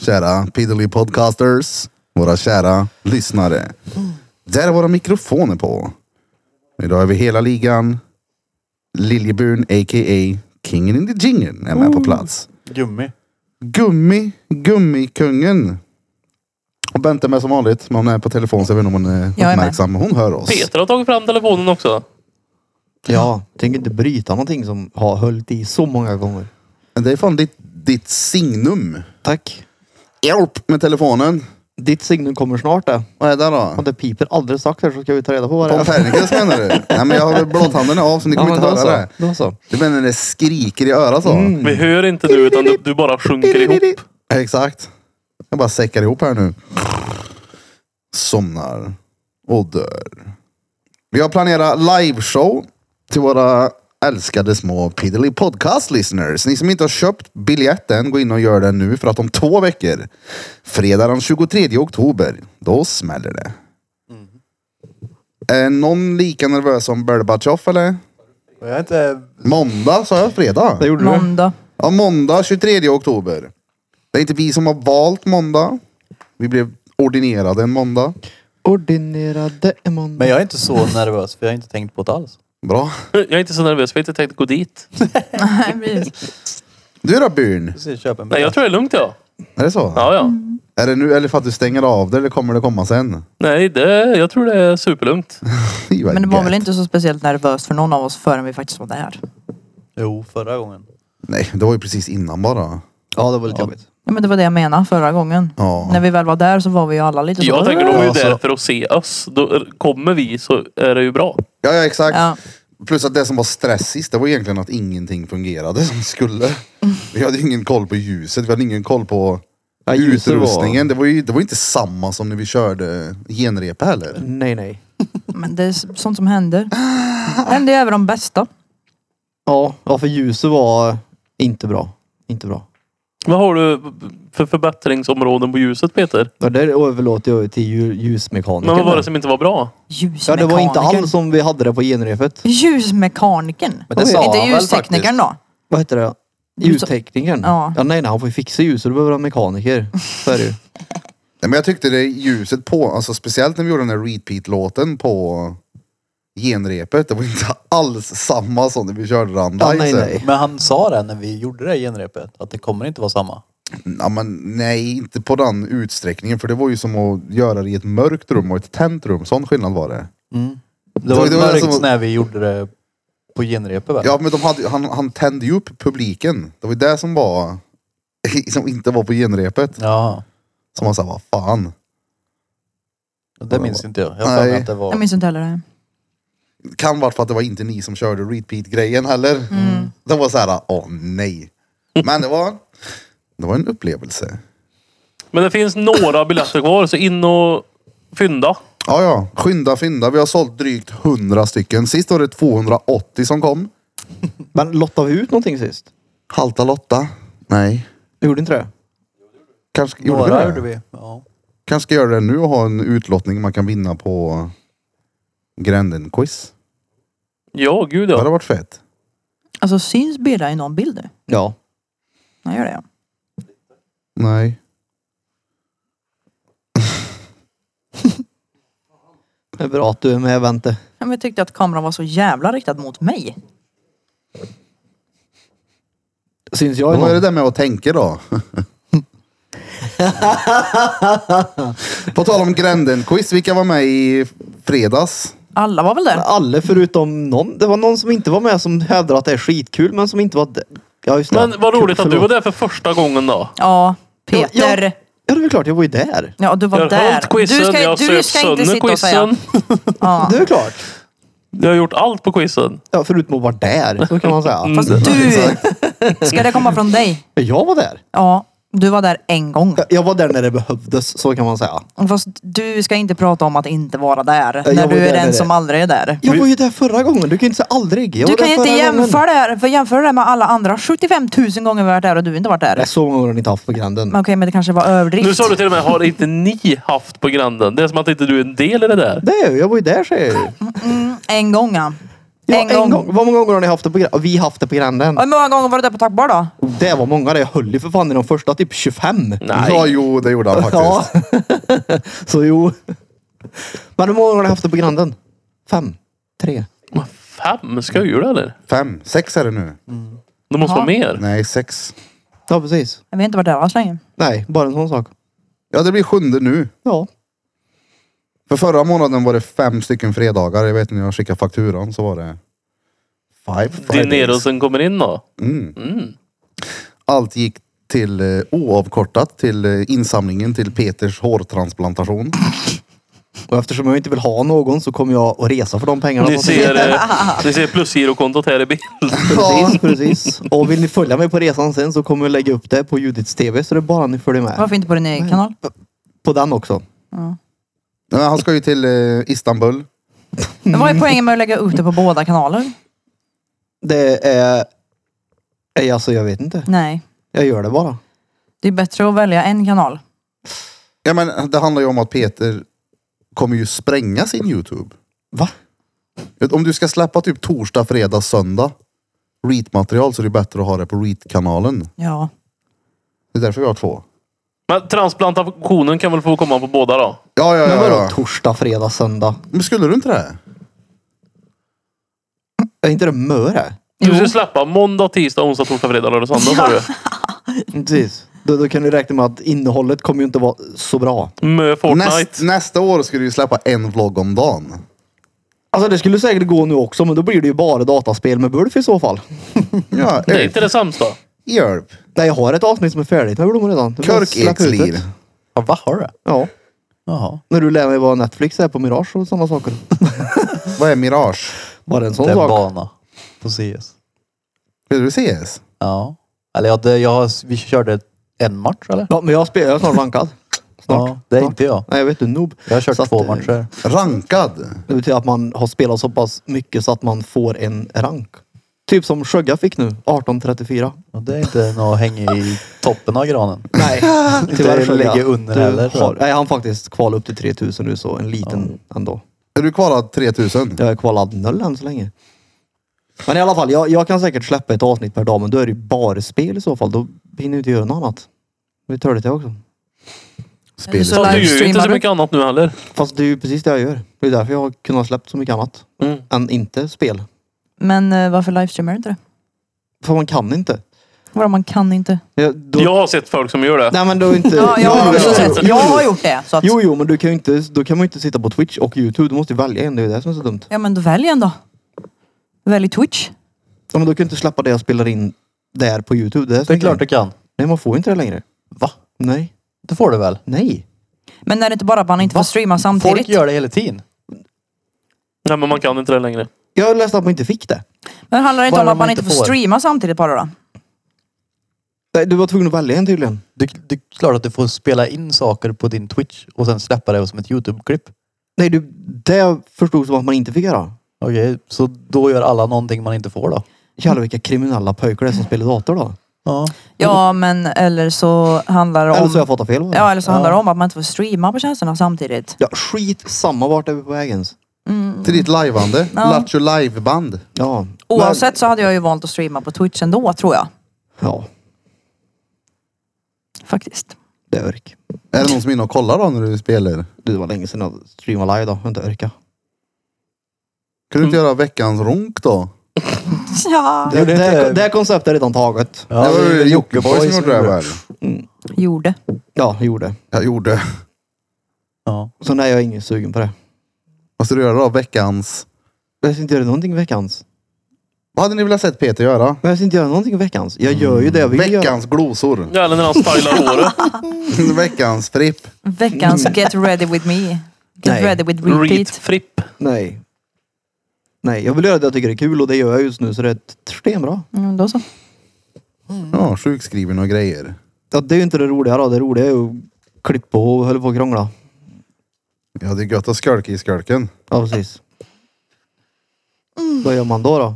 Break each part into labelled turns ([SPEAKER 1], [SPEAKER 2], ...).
[SPEAKER 1] Kära Piddly Podcasters, våra kära lyssnare. Där är våra mikrofoner på. Idag är vi hela ligan. Liljeburn a.k.a. Kingen in the Jingen är med på plats.
[SPEAKER 2] Gummi.
[SPEAKER 1] Gummi, Gummikungen. Och Bente är med som vanligt, men hon är på telefon så jag vet inte om hon är
[SPEAKER 3] Jag är med.
[SPEAKER 1] uppmärksam. Hon hör oss.
[SPEAKER 4] Peter har tagit fram telefonen också.
[SPEAKER 2] Ja, tänker inte bryta någonting som har höllt i så många gånger.
[SPEAKER 1] Det är fan ditt, ditt signum.
[SPEAKER 2] Tack.
[SPEAKER 1] Hjälp med telefonen.
[SPEAKER 2] Ditt signum kommer snart det.
[SPEAKER 1] Vad är det då?
[SPEAKER 2] Om det piper alldeles strax här så ska vi ta reda på vad det är.
[SPEAKER 1] Pompernicus menar du? Nej men jag har blåtanden är av så ni kommer
[SPEAKER 2] men
[SPEAKER 1] inte
[SPEAKER 2] då
[SPEAKER 1] höra det.
[SPEAKER 2] så. Då så.
[SPEAKER 1] Du menar när det skriker i örat så?
[SPEAKER 4] Vi hör inte du utan du, du bara Mm. sjunker ihop.
[SPEAKER 1] Exakt. Jag bara säckar ihop här nu. Somnar och dör. Vi har planerat liveshow till våra älskade små Piddly Podcast listeners. Ni som inte har köpt biljetten, gå in och gör det nu för att om två veckor, fredag den 23 oktober, då smäller det.
[SPEAKER 4] Mm.
[SPEAKER 1] Är någon lika nervös som Berbatjov eller?
[SPEAKER 5] Jag är inte...
[SPEAKER 1] Måndag sa jag fredag.
[SPEAKER 2] Det gjorde du.
[SPEAKER 3] Måndag.
[SPEAKER 1] Ja, måndag 23 oktober. Det är inte vi som har valt måndag. Vi blev ordinerade en måndag.
[SPEAKER 2] Ordinerade är man.
[SPEAKER 5] Men jag är inte så nervös för jag har inte tänkt på det alls.
[SPEAKER 1] Bra.
[SPEAKER 4] Jag är inte så nervös, vi har inte tänkt gå dit.
[SPEAKER 3] Nej, precis.
[SPEAKER 1] Du då Byrn?
[SPEAKER 5] Precis, köpa en
[SPEAKER 4] Nej, jag tror det är lugnt ja.
[SPEAKER 1] Är det så?
[SPEAKER 4] Ja, ja.
[SPEAKER 1] Är det nu eller för att du stänger av det eller kommer det komma sen?
[SPEAKER 4] Nej, det, jag tror det är superlugnt.
[SPEAKER 1] Fy, vad
[SPEAKER 3] Men det var
[SPEAKER 1] gött.
[SPEAKER 3] väl inte så speciellt nervöst för någon av oss förrän vi faktiskt var där.
[SPEAKER 5] Jo, förra gången.
[SPEAKER 1] Nej, det var ju precis innan bara.
[SPEAKER 2] Ja, det var lite jobbigt.
[SPEAKER 3] Ja, men det var det jag menade förra gången.
[SPEAKER 1] Ja.
[SPEAKER 3] När vi väl var där så var vi ju alla lite så.
[SPEAKER 4] Jag tänker de är ju
[SPEAKER 2] Alltså-
[SPEAKER 4] där för att se oss. Då kommer vi så är det ju bra.
[SPEAKER 1] Ja, ja exakt.
[SPEAKER 3] Ja.
[SPEAKER 1] Plus att det som var stressigt, det var egentligen att ingenting fungerade som skulle. Vi hade ju ingen koll på ljuset, vi hade ingen koll på
[SPEAKER 2] Ja, ljuset var-
[SPEAKER 1] utrustningen. Det var ju det var ju inte samma som när vi körde genrepa heller.
[SPEAKER 2] Nej, nej.
[SPEAKER 3] Men det är s- sånt som händer. Det händer ju även de bästa.
[SPEAKER 2] Ja, ja, för ljuset var inte bra. Inte bra.
[SPEAKER 4] Vad har du för förbättringsområden på ljuset Peter?
[SPEAKER 2] Ja, det överlåter jag till ljus-
[SPEAKER 4] Men
[SPEAKER 2] ljusmekanikern.
[SPEAKER 4] vad var det som inte var bra?
[SPEAKER 2] Ja, det
[SPEAKER 3] Ljusmekanikern.
[SPEAKER 2] var inte alls som vi hade det på genrepet.
[SPEAKER 3] Ljusmekanikern.
[SPEAKER 5] Men det sa
[SPEAKER 3] inte
[SPEAKER 5] han väl
[SPEAKER 3] ljusteknikern då?
[SPEAKER 2] Vad heter det? Ljusteknikern.
[SPEAKER 3] Ja.
[SPEAKER 2] ja. Nej, nej, han får ju fixa ljus så du behöver en mekaniker. Så är det ju.
[SPEAKER 1] Nej, men jag tyckte det ljuset på, alltså speciellt när vi gjorde den där repeat-låten på genrepet, det var inte alls samma som när vi körde
[SPEAKER 2] Ja,
[SPEAKER 1] Randai.
[SPEAKER 2] nej,
[SPEAKER 1] sen.
[SPEAKER 2] nej.
[SPEAKER 5] Men han sa det när vi gjorde det genrepet, att det kommer inte vara samma.
[SPEAKER 1] Ja, men, nej, inte på den utsträckningen för det var ju som att göra det i ett mörkt rum och ett tänt rum. Sån skillnad var det.
[SPEAKER 5] Det var,
[SPEAKER 1] det var
[SPEAKER 5] mörkt
[SPEAKER 1] som-
[SPEAKER 5] när vi gjorde det på genrepet väl?
[SPEAKER 1] Ja men de hade, han, han tände ju upp publiken. Det var ju det som var, som inte var på genrepet.
[SPEAKER 5] Ja,
[SPEAKER 1] Som man sa, vad fan.
[SPEAKER 5] det minns inte jag. Jag har för
[SPEAKER 1] Nej.
[SPEAKER 5] mig att det
[SPEAKER 3] Jag
[SPEAKER 5] var...
[SPEAKER 3] minns inte heller det.
[SPEAKER 1] Kan vara för att det var inte ni som körde repeat-grejen heller. Det var så här, åh nej. Men det var, det var en upplevelse.
[SPEAKER 4] Men det finns några biljetter kvar så in och fynda.
[SPEAKER 1] Ja, ja. Skynda, fynda. Vi har sålt drygt 100 stycken. Sist var det 280 som kom.
[SPEAKER 2] Men lottade vi ut någonting sist?
[SPEAKER 1] Halta Lotta. Nej.
[SPEAKER 2] Vi gjorde inte det?
[SPEAKER 1] Kanske gjorde vi
[SPEAKER 5] Några
[SPEAKER 1] det?
[SPEAKER 5] gjorde vi. Ja.
[SPEAKER 1] Kanske ska göra det nu och ha en utlottning man kan vinna på Gränden-quiz.
[SPEAKER 4] Ja, gud
[SPEAKER 1] Det hade
[SPEAKER 4] ja.
[SPEAKER 1] varit fett.
[SPEAKER 3] Alltså syns Birra i någon bild nu?
[SPEAKER 2] Ja.
[SPEAKER 3] Nej, gör det ja.
[SPEAKER 1] Nej.
[SPEAKER 2] Det är bra att du är med Vente.
[SPEAKER 3] Ja, Men jag tyckte att kameran var så jävla riktad mot mig.
[SPEAKER 2] Syns jag i
[SPEAKER 1] Vad är det
[SPEAKER 2] någon?
[SPEAKER 1] där med att tänka då? på tal om Gränden-quiz. Vilka var med i fredags?
[SPEAKER 3] Alla var väl där?
[SPEAKER 2] Alla förutom någon. Det var någon som inte var med som hävdar att det är skitkul men som inte var där. Ja just det.
[SPEAKER 4] Men vad roligt att du
[SPEAKER 2] Förlåt.
[SPEAKER 4] var där för första gången då.
[SPEAKER 3] Ja,
[SPEAKER 2] Ja,
[SPEAKER 3] Peter.
[SPEAKER 2] Ja, ja det är klart, jag var ju där.
[SPEAKER 3] Ja, du var
[SPEAKER 4] Jag har
[SPEAKER 3] där.
[SPEAKER 4] hållit quizen,
[SPEAKER 3] du ska,
[SPEAKER 4] jag har
[SPEAKER 3] du
[SPEAKER 4] sövt
[SPEAKER 3] ska inte
[SPEAKER 4] sönder
[SPEAKER 3] sitta och
[SPEAKER 4] quizen.
[SPEAKER 3] säga. Ja.
[SPEAKER 2] Det är klart.
[SPEAKER 4] Jag har gjort allt på quizen.
[SPEAKER 2] Ja, förutom att vara där, så kan man säga.
[SPEAKER 4] Mm.
[SPEAKER 3] Fast du, ska det komma från dig?
[SPEAKER 2] Jag var där.
[SPEAKER 3] Ja, du var där en gång.
[SPEAKER 2] Jag var där när det behövdes, så kan man säga.
[SPEAKER 3] Fast du ska inte prata om att inte vara där.
[SPEAKER 2] jag
[SPEAKER 3] när
[SPEAKER 2] var
[SPEAKER 3] du är
[SPEAKER 2] där
[SPEAKER 3] den
[SPEAKER 2] nere.
[SPEAKER 3] som aldrig är där.
[SPEAKER 2] Jag var ju där förra gången, du kan ju inte säga aldrig. Jag
[SPEAKER 3] Du
[SPEAKER 2] var
[SPEAKER 3] kan
[SPEAKER 2] där
[SPEAKER 3] ju inte
[SPEAKER 2] förra gången.
[SPEAKER 3] jämföra det, här, för jämföra det här med alla andra 75 000 gånger vi har varit där och du inte varit där.
[SPEAKER 2] Nej, så många har ni inte haft på gränden.
[SPEAKER 3] Men okej, men det kanske var överdrift.
[SPEAKER 4] Nu sa du till och med, har inte ni haft på Granden? Det är som att inte du är en del i det där.
[SPEAKER 2] Det är ju, jag var ju där säger jag ju.
[SPEAKER 3] En gång ja.
[SPEAKER 2] Ja,
[SPEAKER 3] En
[SPEAKER 2] en,
[SPEAKER 3] gång.
[SPEAKER 2] gång. Vad många gånger har ni haft det på gränden? Vi haft det på gränden.
[SPEAKER 3] Och hur många gånger var du där på tackbar då?
[SPEAKER 2] Det var många det. Jag höll ju för fan i de första typ 25.
[SPEAKER 4] Nej.
[SPEAKER 1] Ja, jo, det gjorde han faktiskt.
[SPEAKER 2] Ja. Så jo. Men hur många gånger har ni haft det på granden? Fem? Tre?
[SPEAKER 4] Fem skojor eller?
[SPEAKER 1] Fem, sex är det nu.
[SPEAKER 4] Det måste
[SPEAKER 3] Ja.
[SPEAKER 4] vara mer.
[SPEAKER 1] Nej, sex.
[SPEAKER 2] Ja, precis.
[SPEAKER 3] Jag vet inte vad det var så länge.
[SPEAKER 2] Nej, bara en sån sak.
[SPEAKER 1] Ja, det blir sjunde nu.
[SPEAKER 2] Ja.
[SPEAKER 1] För förra månaden var det fem stycken fredagar. Jag vet när jag skickade fakturan så var det five
[SPEAKER 4] Dinero
[SPEAKER 1] Fridays.
[SPEAKER 4] som kommer in då.
[SPEAKER 1] Mm.
[SPEAKER 4] Mm.
[SPEAKER 1] Allt gick till eh, oavkortat till eh, insamlingen till Peters hårtransplantation.
[SPEAKER 2] Och eftersom jag inte vill ha någon så kommer jag att resa för de pengarna.
[SPEAKER 4] Ni
[SPEAKER 2] som finns.
[SPEAKER 4] ser, eh, ni ser plusgirokontot här i bild.
[SPEAKER 2] Precis, precis. Och vill ni följa mig på resan sen så kommer jag lägga upp det på Judits TV så det är bara ni följer med.
[SPEAKER 3] Varför inte på din egen kanal?
[SPEAKER 2] På den också.
[SPEAKER 1] Nej, Han ska ju till eh, Istanbul.
[SPEAKER 3] Men vad är poängen med att lägga ut det på båda kanaler?
[SPEAKER 2] Det är... Nej, Alltså jag vet inte.
[SPEAKER 3] Nej.
[SPEAKER 2] Jag gör det bara.
[SPEAKER 3] Det är bättre att välja en kanal.
[SPEAKER 1] Ja, men det handlar ju om att Peter kommer ju spränga sin Youtube.
[SPEAKER 2] Va?
[SPEAKER 1] Om du ska släppa typ torsdag, fredag, söndag reat-material så är det bättre att ha det på reat-kanalen.
[SPEAKER 3] Ja.
[SPEAKER 1] Det är därför vi har två.
[SPEAKER 4] Men transplantationen kan väl få komma på båda då?
[SPEAKER 1] Ja, ja,
[SPEAKER 2] Men
[SPEAKER 1] ja.
[SPEAKER 2] vadå
[SPEAKER 1] ja.
[SPEAKER 2] torsdag, fredag, söndag?
[SPEAKER 1] Men skulle du inte det?
[SPEAKER 2] Är inte det Möre?
[SPEAKER 4] Du ska släppa måndag, tisdag, onsdag, torsdag, fredag, lördag, söndag sa du.
[SPEAKER 2] Precis. Då, då kan du räkna med att innehållet kommer ju inte vara så bra.
[SPEAKER 4] Mö Fortnite.
[SPEAKER 1] Näst, nästa år ska du ju släppa en vlogg om dagen.
[SPEAKER 2] Alltså det skulle säkert gå nu också men då blir det ju bara dataspel med Bulf i så fall.
[SPEAKER 1] Ja,
[SPEAKER 4] Det är
[SPEAKER 1] hjälp.
[SPEAKER 4] inte det sämsta.
[SPEAKER 1] hjälp.
[SPEAKER 2] Nej jag har ett avsnitt som är färdigt med blommor redan. Det är bara att släppa ut
[SPEAKER 1] Körkekslir.
[SPEAKER 2] det.
[SPEAKER 5] Ja, vad har du?
[SPEAKER 2] Ja.
[SPEAKER 5] Jaha.
[SPEAKER 2] När du lär mig vad Netflix är på Mirage och sådana saker.
[SPEAKER 1] Vad är Mirage?
[SPEAKER 2] Bara en sån
[SPEAKER 5] Det är
[SPEAKER 2] sak.
[SPEAKER 5] bana på CS.
[SPEAKER 1] Vill du ses?
[SPEAKER 5] Ja. Eller ja, det, jag, har- vi körde en match eller?
[SPEAKER 2] Ja men jag spelar, jag är snart rankad. Snart.
[SPEAKER 5] Ja, det är
[SPEAKER 2] snart.
[SPEAKER 5] inte jag.
[SPEAKER 2] Nej jag vet du, noob.
[SPEAKER 5] Jag har kört
[SPEAKER 2] Så att,
[SPEAKER 5] två
[SPEAKER 2] eh,
[SPEAKER 5] matcher.
[SPEAKER 1] Rankad.
[SPEAKER 2] Det betyder att man har spelat så pass mycket så att man får en rank. Typ som Sjögga fick nu, 1834.
[SPEAKER 5] Och det är inte något häng i toppen av granen.
[SPEAKER 2] Nej,
[SPEAKER 5] Inte
[SPEAKER 2] Sjögga.
[SPEAKER 5] lägger under
[SPEAKER 2] Du
[SPEAKER 5] heller, tror
[SPEAKER 2] Har,
[SPEAKER 5] jag.
[SPEAKER 2] nej, han faktiskt kval upp till 3000 nu så en liten ändå.
[SPEAKER 1] Är du kvarad 3000?
[SPEAKER 2] Jag är kvalad noll än så länge. Men i alla fall, jag, jag kan säkert släppa ett avsnitt per dag men då är det ju bara spel i så fall. Då hinner jag inte göra något annat. Det är törligt det också.
[SPEAKER 1] Spel.
[SPEAKER 3] Så
[SPEAKER 4] Du
[SPEAKER 3] live-
[SPEAKER 4] gör ju inte
[SPEAKER 3] Livestreamar
[SPEAKER 4] så
[SPEAKER 3] du?
[SPEAKER 4] mycket annat nu heller.
[SPEAKER 2] Fast det är ju precis det jag gör. Det är därför jag har kunnat släppa så mycket annat
[SPEAKER 4] Mm.
[SPEAKER 2] än inte spel.
[SPEAKER 3] Men eh, varför livestreamar du inte det?
[SPEAKER 2] För man kan inte.
[SPEAKER 3] Vadå man kan inte?
[SPEAKER 2] Jag, då,
[SPEAKER 4] Jag har sett folk som gör det.
[SPEAKER 2] Nej men då är inte...
[SPEAKER 3] Ja, jag har
[SPEAKER 2] Jo,
[SPEAKER 3] också
[SPEAKER 2] jo,
[SPEAKER 3] sett.
[SPEAKER 2] jo.
[SPEAKER 3] Jag har gjort det. Så att,
[SPEAKER 2] Jo, jo, men du kan ju inte, då kan man ju inte sitta på Twitch och YouTube. Du måste ju välja en. Det är ju det som är så dumt.
[SPEAKER 3] Ja men då välj en då. Välj Twitch.
[SPEAKER 2] Ja, men då kan du inte släppa det jag spelar in där på YouTube. Det är,
[SPEAKER 5] Det är klart du kan.
[SPEAKER 2] Nej, man får ju inte det längre.
[SPEAKER 5] Va?
[SPEAKER 2] Nej.
[SPEAKER 5] Det får du väl?
[SPEAKER 2] Nej.
[SPEAKER 3] Men är det inte bara att man inte får streama
[SPEAKER 5] Folk
[SPEAKER 3] samtidigt?
[SPEAKER 5] gör det hela tiden.
[SPEAKER 4] Nej men man kan inte det längre.
[SPEAKER 2] Jag läste att man inte fick det.
[SPEAKER 3] Men handlar det inte
[SPEAKER 5] Bara
[SPEAKER 3] om att
[SPEAKER 5] man
[SPEAKER 3] man
[SPEAKER 5] inte
[SPEAKER 3] inte får
[SPEAKER 5] får.
[SPEAKER 3] streama samtidigt bara då?
[SPEAKER 2] Nej, du var tvungen att välja en tydligen.
[SPEAKER 5] Du, det är klart att du får spela in saker på din Twitch och sen släppa det som ett YouTube-klipp.
[SPEAKER 2] Nej, du, det förstod som att man inte fick göra.
[SPEAKER 5] Okej, så då gör alla någonting man inte får då?
[SPEAKER 2] Jävlar vilka kriminella pojkar det är som spelar dator då.
[SPEAKER 5] Ja.
[SPEAKER 3] Ja men eller så handlar det om...
[SPEAKER 2] Eller så har jag fattat fel. va?
[SPEAKER 3] Ja eller så handlar det om att man inte får streama på tjänsterna samtidigt.
[SPEAKER 2] ja, skit samma vart är vi på väg ens.
[SPEAKER 1] Till ditt lajvande.
[SPEAKER 3] Ja.
[SPEAKER 1] Lattjo liveband.
[SPEAKER 2] Ja.
[SPEAKER 3] Oavsett så hade jag ju valt att streama på Twitch ändå tror jag.
[SPEAKER 2] Men, ja,
[SPEAKER 3] Faktiskt.
[SPEAKER 2] det är örk.
[SPEAKER 1] Är det någon som är inne och kollar då när du spelar? Kan
[SPEAKER 2] Du, Det var länge sedan jag streamade live då. Jag har inte örka.
[SPEAKER 1] du inte göra veckans ronk då?
[SPEAKER 3] Ja.
[SPEAKER 2] Det,
[SPEAKER 5] gjorde
[SPEAKER 2] det,
[SPEAKER 5] inte-
[SPEAKER 2] det, här konceptet är redan taget.
[SPEAKER 5] Ja,
[SPEAKER 1] det var
[SPEAKER 5] är
[SPEAKER 1] ju Jockiboi som
[SPEAKER 5] Boys
[SPEAKER 1] gjorde det väl?
[SPEAKER 3] Gjorde.
[SPEAKER 2] Ja, jag gjorde.
[SPEAKER 1] Jag gjorde.
[SPEAKER 5] Ja.
[SPEAKER 2] Så nej, jag är ingen sugen på det.
[SPEAKER 1] Vad ska du göra då? Veckans?
[SPEAKER 2] Jag ska inte göra någonting i veckans.
[SPEAKER 1] Vad hade ni velat sett Peter göra?
[SPEAKER 2] Men jag ska inte göra någonting i veckans. Jag gör ju det jag vill göra.
[SPEAKER 1] Veckans glosor.
[SPEAKER 4] Ja, Eller när han stylar håret.
[SPEAKER 1] Veckans fripp.
[SPEAKER 3] Veckans Get Ready With Me. Get
[SPEAKER 2] Nej.
[SPEAKER 3] Ready With
[SPEAKER 4] Reet
[SPEAKER 3] Repeat.
[SPEAKER 4] fripp.
[SPEAKER 2] Nej. Nej, jag vill göra det jag tycker är kul och det gör jag just nu så det är stenbra.
[SPEAKER 3] Mm, då så.
[SPEAKER 1] Ja, sjukskriven och grejer.
[SPEAKER 2] Ja, det är ju inte det roliga då. Det roliga är ju att klippa och hålla på och krångla.
[SPEAKER 1] Ja, det är gött att skölka i skölken.
[SPEAKER 2] Ja, precis. Vad gör man då då?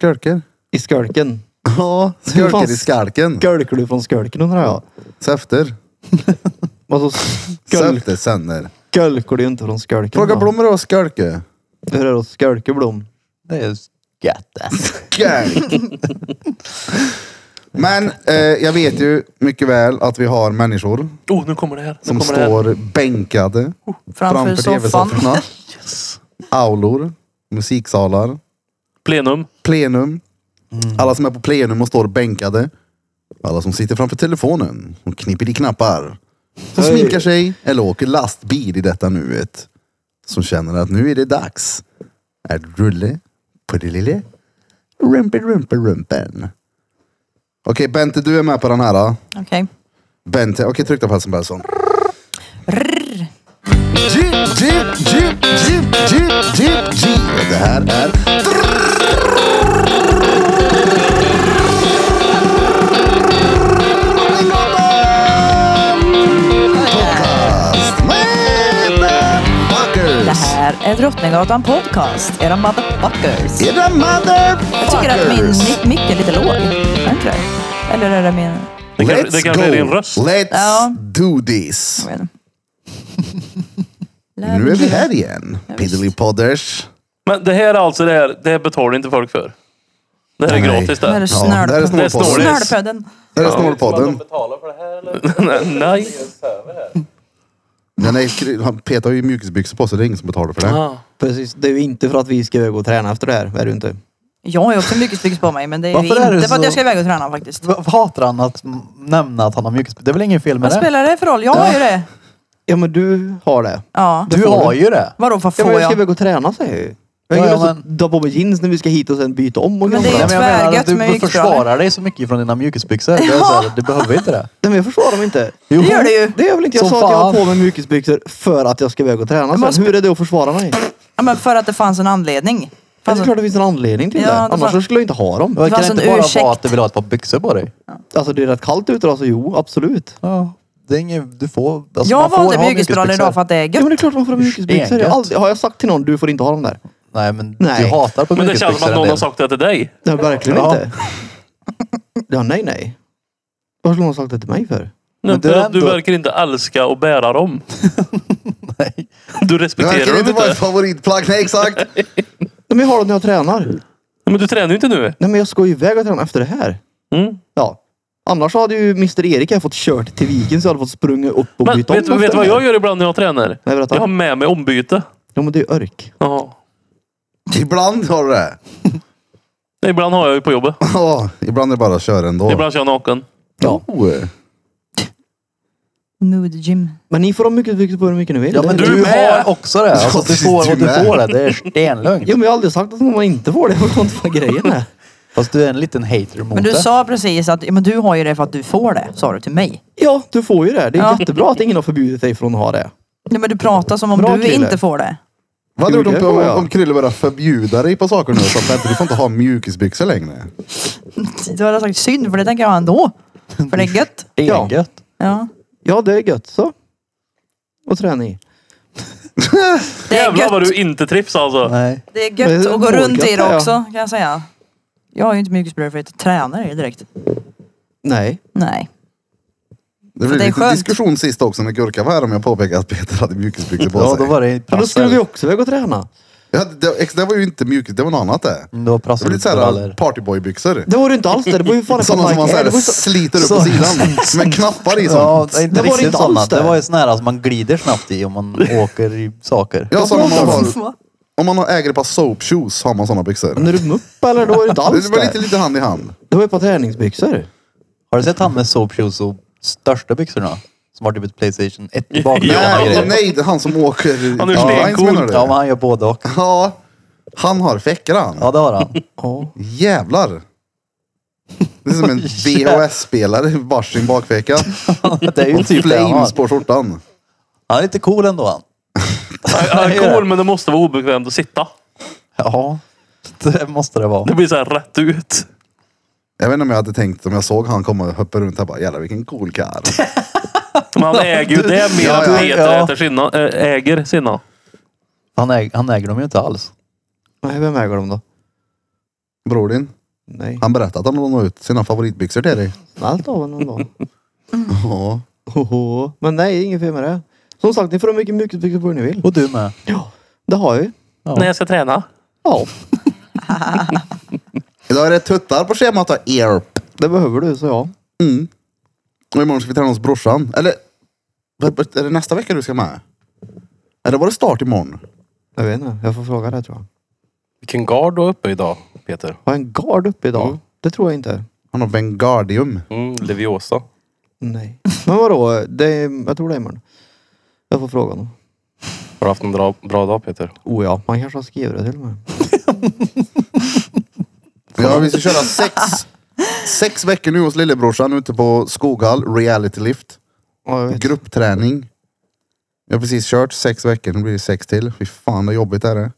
[SPEAKER 1] Skölker?
[SPEAKER 2] I skölken?
[SPEAKER 1] Ja,
[SPEAKER 2] Hur fan
[SPEAKER 1] skölker i skalken.
[SPEAKER 2] Skölkar du från skölken undrar jag?
[SPEAKER 1] Säfter.
[SPEAKER 2] Alltså skölk,
[SPEAKER 1] Säfter sänder.
[SPEAKER 2] skölkar du ju inte från skölken.
[SPEAKER 1] Fråga
[SPEAKER 2] då.
[SPEAKER 1] blommor och skölke.
[SPEAKER 2] Hur är det att skölka Blom?
[SPEAKER 5] Det är gött.
[SPEAKER 1] Gang. Men eh, jag vet ju mycket väl att vi har människor
[SPEAKER 4] Oh, nu kommer det här. Nu
[SPEAKER 1] som
[SPEAKER 4] kommer det här.
[SPEAKER 1] står bänkade
[SPEAKER 3] Framför, soffan.
[SPEAKER 1] tv-sofforna. Aulor, musiksalar,
[SPEAKER 4] Plenum.
[SPEAKER 1] plenum. Alla som är på plenum och står bänkade. Alla som sitter framför telefonen och knipper i knappar. Som
[SPEAKER 2] Hej.
[SPEAKER 1] sminkar sig eller åker lastbil i detta nuet. Som känner att nu är det dags. Att rulle på det lille. Rumpen, rumpen, rumpen. Okej Bente, du är med på den här. Då.
[SPEAKER 3] Okej.
[SPEAKER 1] Bente, okej tryck då på Helsing Bellson. Jip, jip, jip, jip, jip, jip, jip. Det här är... Podcast med
[SPEAKER 3] Det
[SPEAKER 1] motherfuckers.
[SPEAKER 3] här är Drottninggatan podcast. Era motherfuckers.
[SPEAKER 1] Era motherfuckers.
[SPEAKER 3] Jag tycker att min mic- mick är lite låg. Är den inte det? Eller är det min...
[SPEAKER 4] Det kanske,
[SPEAKER 1] Let's
[SPEAKER 4] det kanske är din
[SPEAKER 1] go.
[SPEAKER 4] röst.
[SPEAKER 1] Let's
[SPEAKER 3] Ja.
[SPEAKER 1] do this.
[SPEAKER 3] Jag vet inte.
[SPEAKER 1] Nu är vi här igen.
[SPEAKER 3] Ja, visst.
[SPEAKER 1] Piddly Podders.
[SPEAKER 4] Men det här är alltså det här, det här betalar inte folk för. Det här är
[SPEAKER 1] Nej.
[SPEAKER 4] gratis
[SPEAKER 3] Det här är
[SPEAKER 4] det.
[SPEAKER 1] Ja, det här är
[SPEAKER 3] snörpodden.
[SPEAKER 4] Det är
[SPEAKER 1] Snålpodden.
[SPEAKER 4] snålis.
[SPEAKER 3] Snörpöden.
[SPEAKER 1] Det här är Snålpodden.
[SPEAKER 4] Nej.
[SPEAKER 1] Den är, han petar ju mjukisbyxor på sig, det är ingen som betalar för det.
[SPEAKER 4] Ah.
[SPEAKER 2] Precis, det är ju inte för att vi ska gå och träna efter det här, är det ju inte.
[SPEAKER 3] Jag har ju också mycket styggs på mig men det är
[SPEAKER 5] Varför
[SPEAKER 3] inte
[SPEAKER 5] är det
[SPEAKER 3] för att
[SPEAKER 5] så-
[SPEAKER 3] jag ska iväg och träna faktiskt.
[SPEAKER 5] Varför Hatar han att m- nämna att han har mjukis? Det är väl inget fel med
[SPEAKER 3] Vad
[SPEAKER 5] det?
[SPEAKER 3] spelar det för roll? Jag har ju det.
[SPEAKER 2] Ja men du har det.
[SPEAKER 3] Ja.
[SPEAKER 5] Du
[SPEAKER 2] får
[SPEAKER 5] har
[SPEAKER 2] du.
[SPEAKER 5] ju det.
[SPEAKER 3] Vadå vad
[SPEAKER 2] Ja,
[SPEAKER 3] får
[SPEAKER 2] men jag ska
[SPEAKER 3] jag?
[SPEAKER 2] väl gå och träna säger jag ju. Jag
[SPEAKER 5] Ja,
[SPEAKER 2] har
[SPEAKER 5] ja,
[SPEAKER 2] ja, men... ta på mig jeans när vi ska hit och sen byta om
[SPEAKER 3] Men
[SPEAKER 2] och
[SPEAKER 3] det är
[SPEAKER 2] grejer.
[SPEAKER 5] Nej, men jag menar att
[SPEAKER 3] tvärgött med
[SPEAKER 5] du
[SPEAKER 3] mjukisbrallor.
[SPEAKER 5] försvarar dig så mycket från dina mjukisbyxor. Det är så här, du behöver inte det.
[SPEAKER 2] Nej men jag försvarar mig inte.
[SPEAKER 5] Jo.
[SPEAKER 3] Det gör det ju.
[SPEAKER 2] Det är väl inte. Jag
[SPEAKER 5] Som
[SPEAKER 2] sa att jag har
[SPEAKER 5] fan.
[SPEAKER 2] på mig mjukisbyxor för att jag ska iväg och träna
[SPEAKER 3] Men
[SPEAKER 2] sen. Hur är det att försvara mig?
[SPEAKER 3] Ja, men för att det fanns en anledning.
[SPEAKER 2] Ja, det
[SPEAKER 3] Fanns
[SPEAKER 2] är klart det finns en anledning till
[SPEAKER 3] Ja,
[SPEAKER 2] det.
[SPEAKER 3] det
[SPEAKER 2] Annars
[SPEAKER 3] fanns-
[SPEAKER 2] så skulle jag inte ha dem.
[SPEAKER 5] Det
[SPEAKER 3] var
[SPEAKER 5] kan
[SPEAKER 3] alltså
[SPEAKER 5] inte
[SPEAKER 3] en
[SPEAKER 5] bara
[SPEAKER 3] ursäkt.
[SPEAKER 5] vara att du vill ha ett par byxor på dig.
[SPEAKER 2] Alltså det är rätt kallt ute alltså. Jo, absolut.
[SPEAKER 5] Ja. Det är inget, du får, alltså
[SPEAKER 3] jag
[SPEAKER 5] man får
[SPEAKER 3] valde
[SPEAKER 5] ha
[SPEAKER 3] mjukisbrallor idag för att det är
[SPEAKER 2] Ja, men
[SPEAKER 3] gött.
[SPEAKER 2] det är klart man får ha mjukisbyxor. Jag har, aldrig, har jag sagt till någon, du får inte ha dem där?
[SPEAKER 5] Nej men
[SPEAKER 2] Nej.
[SPEAKER 5] du hatar på
[SPEAKER 4] Men det
[SPEAKER 5] mjukisbyxor
[SPEAKER 4] känns som att
[SPEAKER 5] en
[SPEAKER 4] någon
[SPEAKER 5] del.
[SPEAKER 4] har sagt det till dig.
[SPEAKER 2] Nej, verkligen
[SPEAKER 5] Ja.
[SPEAKER 2] inte. Ja, nej, nej. Varför skulle någon ha sagt det till mig för?
[SPEAKER 4] Nej,
[SPEAKER 5] Men det
[SPEAKER 4] för
[SPEAKER 5] är
[SPEAKER 4] att du
[SPEAKER 5] ändå-
[SPEAKER 4] verkar inte älska och bära dem.
[SPEAKER 5] Nej.
[SPEAKER 4] Du
[SPEAKER 1] Det
[SPEAKER 4] respekterar
[SPEAKER 1] verkar
[SPEAKER 4] dem
[SPEAKER 1] inte
[SPEAKER 4] inte.
[SPEAKER 1] vara ett favoritplagg, nej exakt.
[SPEAKER 2] Nej, men jag har dem när jag tränar.
[SPEAKER 4] Men du tränar ju inte nu.
[SPEAKER 2] Nej, men jag ska ju iväg och träna efter det här.
[SPEAKER 4] Mm.
[SPEAKER 2] Ja. Annars hade ju Mr Erik här fått kört till viken så jag hade fått sprungit upp och
[SPEAKER 4] Men
[SPEAKER 2] byta
[SPEAKER 4] vet,
[SPEAKER 2] om.
[SPEAKER 4] vet
[SPEAKER 2] efter
[SPEAKER 4] du vad
[SPEAKER 2] det här.
[SPEAKER 4] jag gör ibland när jag tränar?
[SPEAKER 2] Nej,
[SPEAKER 4] Jag
[SPEAKER 2] berätta.
[SPEAKER 4] har med mig ombyte.
[SPEAKER 2] Ja, men det är ju örk.
[SPEAKER 4] Ja.
[SPEAKER 1] Ibland har du det.
[SPEAKER 4] Ibland har jag ju på jobbet.
[SPEAKER 1] Ja, ibland är det bara att köra ändå.
[SPEAKER 4] Ibland kör jag naken.
[SPEAKER 2] Ja.
[SPEAKER 1] Oh.
[SPEAKER 3] Nude gym.
[SPEAKER 2] Men ni får ha mycket byxor på hur mycket ni vill.
[SPEAKER 5] Ja men
[SPEAKER 2] Det-
[SPEAKER 5] du
[SPEAKER 4] med.
[SPEAKER 5] har också det. Alltså,
[SPEAKER 1] Ja,
[SPEAKER 5] att du får, och
[SPEAKER 1] du
[SPEAKER 5] du
[SPEAKER 1] med.
[SPEAKER 5] får det. Det är stenlugnt.
[SPEAKER 2] Ja, men jag har aldrig sagt att man inte får det. Jag förstår inte vad grejen är.
[SPEAKER 5] Fast du är en liten hater mot
[SPEAKER 3] Men du
[SPEAKER 5] det.
[SPEAKER 3] sa precis att ja, men du har ju det för att du får det, sa du till mig.
[SPEAKER 2] Ja, du får ju det. Det är
[SPEAKER 3] Ja.
[SPEAKER 2] jättebra att ingen har förbjudit dig från att ha det.
[SPEAKER 3] Nej, men du pratar som om
[SPEAKER 2] Bra
[SPEAKER 3] du
[SPEAKER 2] kille.
[SPEAKER 3] inte får det.
[SPEAKER 1] Vad hade du
[SPEAKER 2] Gjorde
[SPEAKER 1] gjort om,
[SPEAKER 2] jag, ja.
[SPEAKER 1] om Krille började förbjuda dig på saker nu? Så att Bente, du får inte ha mjukisbyxor längre.
[SPEAKER 3] Du hade sagt synd för det tänker jag ändå. För det är gött.
[SPEAKER 5] Det är
[SPEAKER 2] Ja.
[SPEAKER 5] gött.
[SPEAKER 3] Ja.
[SPEAKER 2] Ja, det är gött så. Och träna i.
[SPEAKER 3] Det är
[SPEAKER 4] Jävlar vad
[SPEAKER 3] gött.
[SPEAKER 4] du inte trivs alltså.
[SPEAKER 5] Nej.
[SPEAKER 3] Det är
[SPEAKER 2] Men
[SPEAKER 3] gött
[SPEAKER 2] det är
[SPEAKER 3] att gå runt i
[SPEAKER 2] vårgött, ja.
[SPEAKER 3] det också kan jag säga. Jag har ju inte mjukisbrallor för att jag tränar i det direkt.
[SPEAKER 2] Nej.
[SPEAKER 3] Nej.
[SPEAKER 1] Det blev
[SPEAKER 3] det är
[SPEAKER 1] lite
[SPEAKER 3] skönt.
[SPEAKER 1] diskussion sist också när Gurka var här om jag påpekade att Peter hade mjukisbyxor på sig.
[SPEAKER 5] Ja då var det
[SPEAKER 2] Men då skulle vi
[SPEAKER 5] prassel.
[SPEAKER 2] också iväg och träna.
[SPEAKER 1] Ja, det, ex- det var ju inte mjukis, det var något annat det.
[SPEAKER 5] Då
[SPEAKER 1] Det var
[SPEAKER 5] prassel
[SPEAKER 1] lite
[SPEAKER 5] på brallor.
[SPEAKER 1] såhär partyboybyxor.
[SPEAKER 2] Det var det inte alls det. Det var ju fan
[SPEAKER 1] Sådana som man
[SPEAKER 2] Nike.
[SPEAKER 1] såhär
[SPEAKER 2] Det var ju så-
[SPEAKER 1] sliter upp på
[SPEAKER 5] Så-
[SPEAKER 1] sidan med knappar i.
[SPEAKER 5] Ja,
[SPEAKER 1] Ja,
[SPEAKER 5] det är
[SPEAKER 2] Det
[SPEAKER 5] inte
[SPEAKER 2] var det
[SPEAKER 5] riktigt
[SPEAKER 2] inte alls
[SPEAKER 5] sådana.
[SPEAKER 2] det.
[SPEAKER 5] Det var ju sådana här som man glider snabbt i om man åker i saker.
[SPEAKER 1] ja sådana man har.
[SPEAKER 3] Va?
[SPEAKER 1] Om man har- äger ett par soap shoes har man sådana byxor.
[SPEAKER 2] Men är du mupp eller? Det var ju inte alls
[SPEAKER 1] Det var lite,
[SPEAKER 2] det.
[SPEAKER 1] lite hand i hand.
[SPEAKER 2] Det var ju ett par träningsbyxor.
[SPEAKER 5] Har du sett han med soap shoes och största byxorna? Som har typ ett Playstation 1 i bakgrunden. och
[SPEAKER 1] Nej,
[SPEAKER 5] grejer.
[SPEAKER 1] nej, det är han som åker...
[SPEAKER 4] Han är
[SPEAKER 1] Ja,
[SPEAKER 4] stencool.
[SPEAKER 1] menar du?
[SPEAKER 5] Ja men han gör både och.
[SPEAKER 1] Ja, han har fäckor han.
[SPEAKER 5] Ja det har han.
[SPEAKER 2] Ja.
[SPEAKER 1] Jävlar. Det är som en VHS-spelare i varsin bakficka.
[SPEAKER 5] Det är ju typ det han
[SPEAKER 1] Flames
[SPEAKER 5] har.
[SPEAKER 1] på skjortan.
[SPEAKER 5] Han är lite cool ändå han.
[SPEAKER 4] Jag är cool men det måste vara obekvämt att sitta.
[SPEAKER 5] Ja. Det måste det vara.
[SPEAKER 4] Det blir så här rätt ut.
[SPEAKER 1] Jag vet inte om jag hade tänkt om jag såg han komma och hoppa runt här bara jävlar vilken cool karl.
[SPEAKER 4] Men han äger ju det mer
[SPEAKER 1] Ja,
[SPEAKER 4] än
[SPEAKER 1] ja,
[SPEAKER 4] Peter
[SPEAKER 5] ja.
[SPEAKER 4] äter sina, äh, äger sina.
[SPEAKER 5] Han äger, han äger dem ju inte alls.
[SPEAKER 2] Nej, vem äger dem då?
[SPEAKER 1] Bror din,
[SPEAKER 2] Nej.
[SPEAKER 1] han berättade att han lånade ut sina favoritbyxor till dig.
[SPEAKER 2] Allt av honom då.
[SPEAKER 1] Ja.
[SPEAKER 2] Hoho. Men nej, inget fel med det. Som sagt, ni får ha mycket mjukisbyxor på hur ni vill.
[SPEAKER 5] Och du med.
[SPEAKER 2] Ja. Det har vi.
[SPEAKER 5] Ja.
[SPEAKER 4] När jag ska träna.
[SPEAKER 2] Ja.
[SPEAKER 1] Idag är det tuttar på schemat. och Erp.
[SPEAKER 2] Det behöver du, så ja.
[SPEAKER 1] Och imorgon ska vi träna hos brorsan. Eller är det nästa vecka du ska med? Eller var det start imorgon?
[SPEAKER 2] Jag vet inte. Jag får fråga det tror jag.
[SPEAKER 6] Vilken gard du har uppe idag, Peter.
[SPEAKER 2] Har jag en gard uppe idag? Det tror jag inte.
[SPEAKER 1] Han har Bengardium.
[SPEAKER 6] Mm, Leviosa.
[SPEAKER 2] Nej. Men vadå? Det är, jag tror det är imorgon. Jag får fråga honom.
[SPEAKER 6] Har du haft en bra, bra dag, Peter?
[SPEAKER 2] Oh ja. Man kanske har skrivit det till och med.
[SPEAKER 1] Ja, vi ska köra sex, sex veckor nu hos lillebrorsan ute på Skoghall Reality Lift.
[SPEAKER 2] Ja, jag vet.
[SPEAKER 1] Gruppträning. Jag har precis kört sex veckor, nu blir det sex till. Fy fan vad jobbigt är det.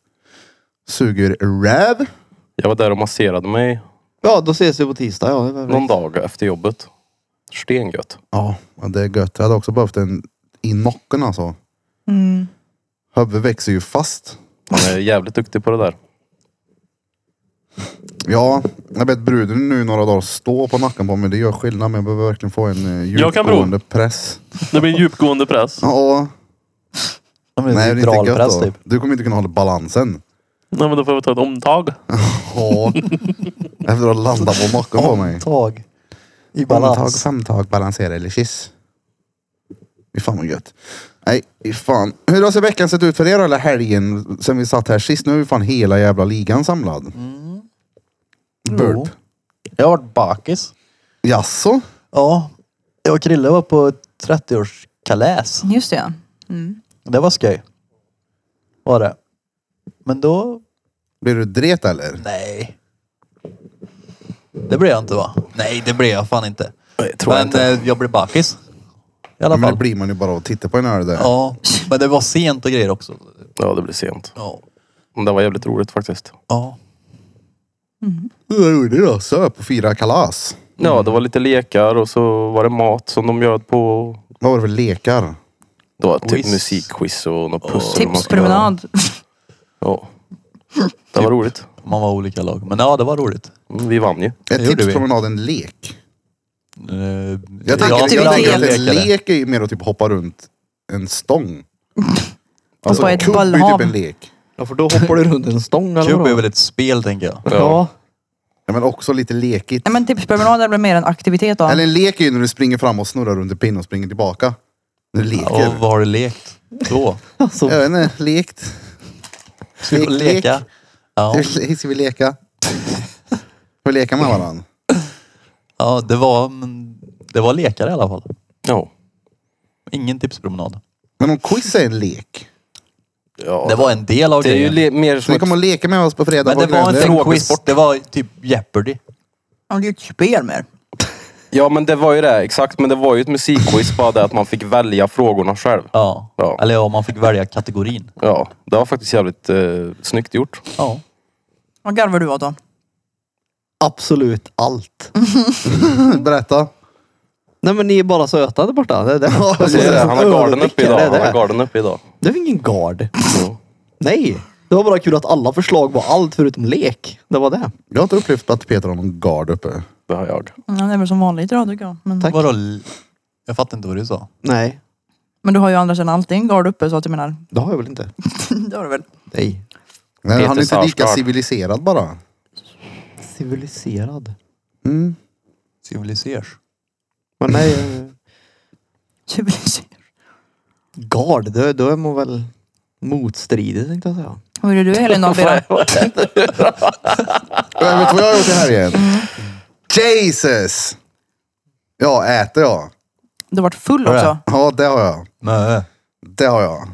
[SPEAKER 1] Suger räv.
[SPEAKER 6] Jag var där och masserade mig
[SPEAKER 2] Ja, då ses vi på tisdag. Ja, det var
[SPEAKER 6] någon dag efter jobbet. Stengött.
[SPEAKER 1] Ja, det är gött. Jag hade också behövt en i nocken alltså.
[SPEAKER 3] Mm.
[SPEAKER 1] Huvudet växer ju fast.
[SPEAKER 6] Han är jävligt duktig på det där.
[SPEAKER 1] Ja, jag vet bruden nu några dagar stå på nacken på mig. Det gör skillnad men jag behöver verkligen få en eh,
[SPEAKER 4] Jag kan prova.
[SPEAKER 1] djupgående press.
[SPEAKER 4] Det blir en djupgående press.
[SPEAKER 1] Ja,
[SPEAKER 5] De är
[SPEAKER 1] nej det är inte gött
[SPEAKER 5] dralpress
[SPEAKER 1] då.
[SPEAKER 5] typ.
[SPEAKER 1] Du kommer inte kunna hålla balansen.
[SPEAKER 4] Nej, men då får vi ta ett omtag.
[SPEAKER 1] Ja. Efter att landa på nacken på mig.
[SPEAKER 5] Tag. I
[SPEAKER 1] Omtag,
[SPEAKER 5] balans.
[SPEAKER 1] samtag, balansera eller kyss. Fy fan vad gött. Nej, fy fan. Hur har så veckan sett ut för er eller helgen sen vi satt här sist? Nu är vi fan hela jävla ligan samlad.
[SPEAKER 5] Mm.
[SPEAKER 1] Burp.
[SPEAKER 5] Jag har varit bakis.
[SPEAKER 1] Jaså?
[SPEAKER 5] Ja. Jag och Krille var på 30-årskalas.
[SPEAKER 3] Just det. ja. Mm.
[SPEAKER 5] Det var skoj. Var det. Men då...
[SPEAKER 1] Blir du dret eller?
[SPEAKER 5] Nej. Det blev jag inte va? Nej, det blev jag fan inte.
[SPEAKER 6] Nej, tror
[SPEAKER 5] men
[SPEAKER 6] jag inte.
[SPEAKER 5] eh, jag blev bakis. I alla
[SPEAKER 1] Men det
[SPEAKER 5] fall.
[SPEAKER 1] blir man ju bara av att titta på en öl där.
[SPEAKER 5] Ja, men det var sent och grejer också.
[SPEAKER 6] Ja, det blir sent.
[SPEAKER 5] Ja.
[SPEAKER 6] Men det var jävligt roligt faktiskt.
[SPEAKER 5] Ja.
[SPEAKER 3] Mm.
[SPEAKER 1] Vad gjorde du då? Söp och fira kalas.
[SPEAKER 6] Ja, det var lite lekar och så var det mat som de bjöd på.
[SPEAKER 1] Vad var det för lekar?
[SPEAKER 6] Det var typ
[SPEAKER 5] Quiz.
[SPEAKER 6] musikquiz och något pussel. man skulle göra.
[SPEAKER 3] Tipspromenad.
[SPEAKER 6] Ja. Det var roligt.
[SPEAKER 5] Man var olika lag. Men ja, det var roligt.
[SPEAKER 6] Mm, Vi vann ju.
[SPEAKER 1] Är
[SPEAKER 5] Det gjorde vi.
[SPEAKER 1] tipspromenad en lek?
[SPEAKER 5] Eh,
[SPEAKER 1] Jag tänker,
[SPEAKER 5] typ
[SPEAKER 1] jag,
[SPEAKER 3] aktivitet.
[SPEAKER 1] tänker att en
[SPEAKER 5] lekade.
[SPEAKER 1] lek är ju mer att typ hoppa runt en stång.
[SPEAKER 3] Hoppa i ett
[SPEAKER 1] kubb är ju
[SPEAKER 3] bollhav.
[SPEAKER 1] typ en lek.
[SPEAKER 2] Ja, för då hoppar du runt en stång eller
[SPEAKER 5] Cube
[SPEAKER 2] vadå?
[SPEAKER 5] är väl ett spel tänker jag.
[SPEAKER 2] Ja.
[SPEAKER 1] Ja, men också lite lekigt.
[SPEAKER 3] Nej men tipspromenad är väl mer en aktivitet då.
[SPEAKER 1] Eller en lek är ju när du springer fram och snurrar runt en pinne och springer tillbaka. När du leker.
[SPEAKER 5] Och vad har du lekt då?
[SPEAKER 2] Alltså,
[SPEAKER 1] Jag vet inte, lekt.
[SPEAKER 5] Ska vi
[SPEAKER 1] Lek,
[SPEAKER 5] leka? Ja.
[SPEAKER 1] Ska vi leka? Ska vi leka med varandra?
[SPEAKER 5] ja, det var men det var lekar i alla fall.
[SPEAKER 6] Ja.
[SPEAKER 5] Ingen tipspromenad.
[SPEAKER 1] Men om quiz är en lek.
[SPEAKER 6] ja.
[SPEAKER 5] Det var en del av
[SPEAKER 6] det är ju
[SPEAKER 5] grejen.
[SPEAKER 6] le- mer som
[SPEAKER 1] Så ni
[SPEAKER 6] ett
[SPEAKER 1] kommer att leka med oss på fredag.
[SPEAKER 5] men det
[SPEAKER 1] vad
[SPEAKER 5] var
[SPEAKER 1] glömde
[SPEAKER 5] inte
[SPEAKER 1] jag?
[SPEAKER 5] en quiz. Det var typ Jeopardy.
[SPEAKER 3] Ja, Det är ju ett spel mer.
[SPEAKER 6] Ja men det var ju det, exakt. Men det var ju ett musikquiz bara det att man fick välja frågorna själv.
[SPEAKER 5] Ja.
[SPEAKER 6] Ja.
[SPEAKER 5] Eller ja, man fick välja kategorin.
[SPEAKER 6] Ja, det var faktiskt jävligt eh, snyggt gjort.
[SPEAKER 5] Ja.
[SPEAKER 3] Vad garvar du åt då?
[SPEAKER 2] absolut allt.
[SPEAKER 1] Mm, Berätta.
[SPEAKER 2] Nej men ni är bara söta där borta. Det är det.
[SPEAKER 1] det
[SPEAKER 6] Det är det. Han har garden uppe
[SPEAKER 2] Överblickar,
[SPEAKER 6] idag.
[SPEAKER 2] det är
[SPEAKER 6] Han har
[SPEAKER 2] Det
[SPEAKER 6] garden uppe idag.
[SPEAKER 2] Det är väl ingen gard.
[SPEAKER 6] Jo.
[SPEAKER 2] Nej. Det var bara kul att alla förslag var allt förutom lek. Det var det.
[SPEAKER 1] Jag har inte upplevt att Peter har någon gard uppe.
[SPEAKER 6] Det har jag.
[SPEAKER 3] Ja, det är väl som vanligt idag tycker jag. Men,
[SPEAKER 5] Vadå? l- Jag fattar inte vad du sa.
[SPEAKER 2] Nej.
[SPEAKER 3] men du har ju andra sidan alltid en gard uppe så att jag menar.
[SPEAKER 2] Det har jag väl inte.
[SPEAKER 3] det har du väl.
[SPEAKER 2] Nej.
[SPEAKER 1] Nej,
[SPEAKER 6] Peter
[SPEAKER 1] han är inte lika
[SPEAKER 6] Sarsgaard.
[SPEAKER 1] civiliserad bara.
[SPEAKER 2] Civiliserad.
[SPEAKER 1] Mm.
[SPEAKER 5] Civilisers.
[SPEAKER 2] Men nej. eh, Gard. Då, då är man väl motstridig tänkte jag säga.
[SPEAKER 3] Hur är du Helena och Bera?
[SPEAKER 1] Jag vet du vad jag har gjort i helgen?
[SPEAKER 3] Mm.
[SPEAKER 1] Jesus! Ja, äter jag.
[SPEAKER 3] Du har varit full
[SPEAKER 5] Har du
[SPEAKER 3] också.
[SPEAKER 1] Ja, det har jag.
[SPEAKER 5] Nej.
[SPEAKER 1] Det har jag.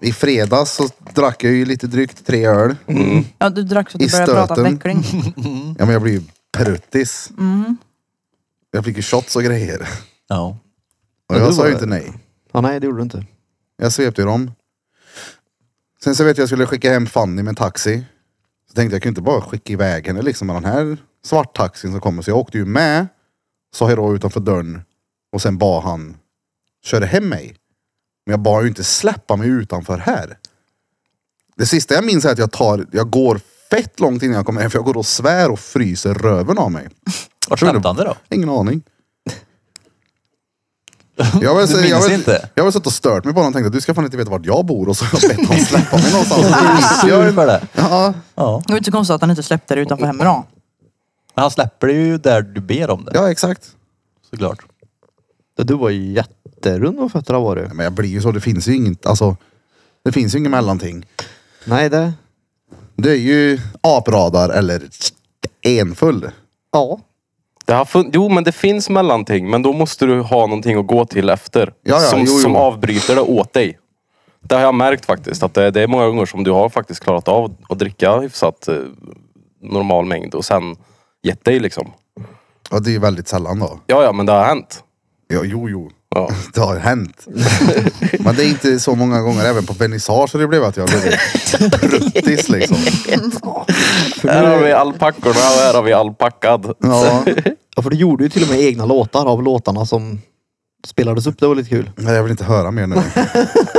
[SPEAKER 1] I fredags så drack jag ju lite drygt tre öl.
[SPEAKER 2] Mm.
[SPEAKER 3] Ja, du drack så att
[SPEAKER 1] I
[SPEAKER 3] du började prata
[SPEAKER 1] stöten.
[SPEAKER 3] veckling.
[SPEAKER 1] Ja men jag blir ju pruttis.
[SPEAKER 3] Mm.
[SPEAKER 1] Jag fick ju shots och grejer.
[SPEAKER 5] Ja.
[SPEAKER 1] Och
[SPEAKER 2] Ja,
[SPEAKER 1] jag
[SPEAKER 2] du
[SPEAKER 1] sa
[SPEAKER 2] var-
[SPEAKER 1] ju inte nej.
[SPEAKER 2] Ja, nej det gjorde du inte.
[SPEAKER 1] Jag svepte ju dem. Sen så vet jag jag skulle skicka hem Fanny med en taxi. Så tänkte jag, jag kan ju inte bara skicka iväg henne liksom med den här svarttaxin som kommer. Så jag åkte ju med, sa hej då utanför dörren och sen bad han köra hem mig. Men jag bad ju inte släppa mig utanför här. Det sista jag minns är att jag tar, jag går fett långt innan jag kommer hem för jag går och svär och fryser röven av mig.
[SPEAKER 5] Vart
[SPEAKER 1] Tror du-
[SPEAKER 5] släppte han det då?
[SPEAKER 1] Ingen aning. Jag har väl-
[SPEAKER 5] Du minns
[SPEAKER 1] jag har väl-
[SPEAKER 5] inte?
[SPEAKER 1] Jag har väl suttit och stört mig på honom och tänkte du ska fan inte veta vart jag bor och så har jag bett honom släppa mig någonstans.
[SPEAKER 5] Sur för det.
[SPEAKER 1] Ja,
[SPEAKER 5] Ja.
[SPEAKER 3] Det var inte så konstigt att han inte släppte det utanför hemma då.
[SPEAKER 5] Men han släpper det ju där du ber om det.
[SPEAKER 1] ja exakt.
[SPEAKER 5] Såklart.
[SPEAKER 2] Det- Du var ju jätterund om fötterna var du.
[SPEAKER 1] Nej, Men jag blir ju så, det finns ju inget, alltså. Det finns ju inget mellanting.
[SPEAKER 2] Nej det...
[SPEAKER 1] Det är ju apradar eller enfull.
[SPEAKER 2] Ja.
[SPEAKER 6] Det har fun- jo, men det finns mellanting. Men då måste du ha någonting att gå till efter.
[SPEAKER 1] ja,
[SPEAKER 6] som,
[SPEAKER 1] jo, jo.
[SPEAKER 6] som avbryter det åt dig. Det har jag märkt faktiskt. Att det, det är många gånger som du har faktiskt klarat av att dricka hyfsat eh, normal mängd och sen gett dig liksom.
[SPEAKER 1] Ja, det är ju väldigt sällan då.
[SPEAKER 6] Ja, ja, men det har hänt.
[SPEAKER 1] Ja, jo, jo.
[SPEAKER 6] Ja.
[SPEAKER 1] Det har hänt. Men det är inte så många gånger, även på vernissager det blev att jag blev pruttis liksom.
[SPEAKER 6] Här har vi alpackorna och här har vi alpackad.
[SPEAKER 1] Ja,
[SPEAKER 2] ja. För du gjorde ju till och med egna låtar av låtarna som spelades upp. Det var lite kul.
[SPEAKER 1] men jag vill inte höra mer nu.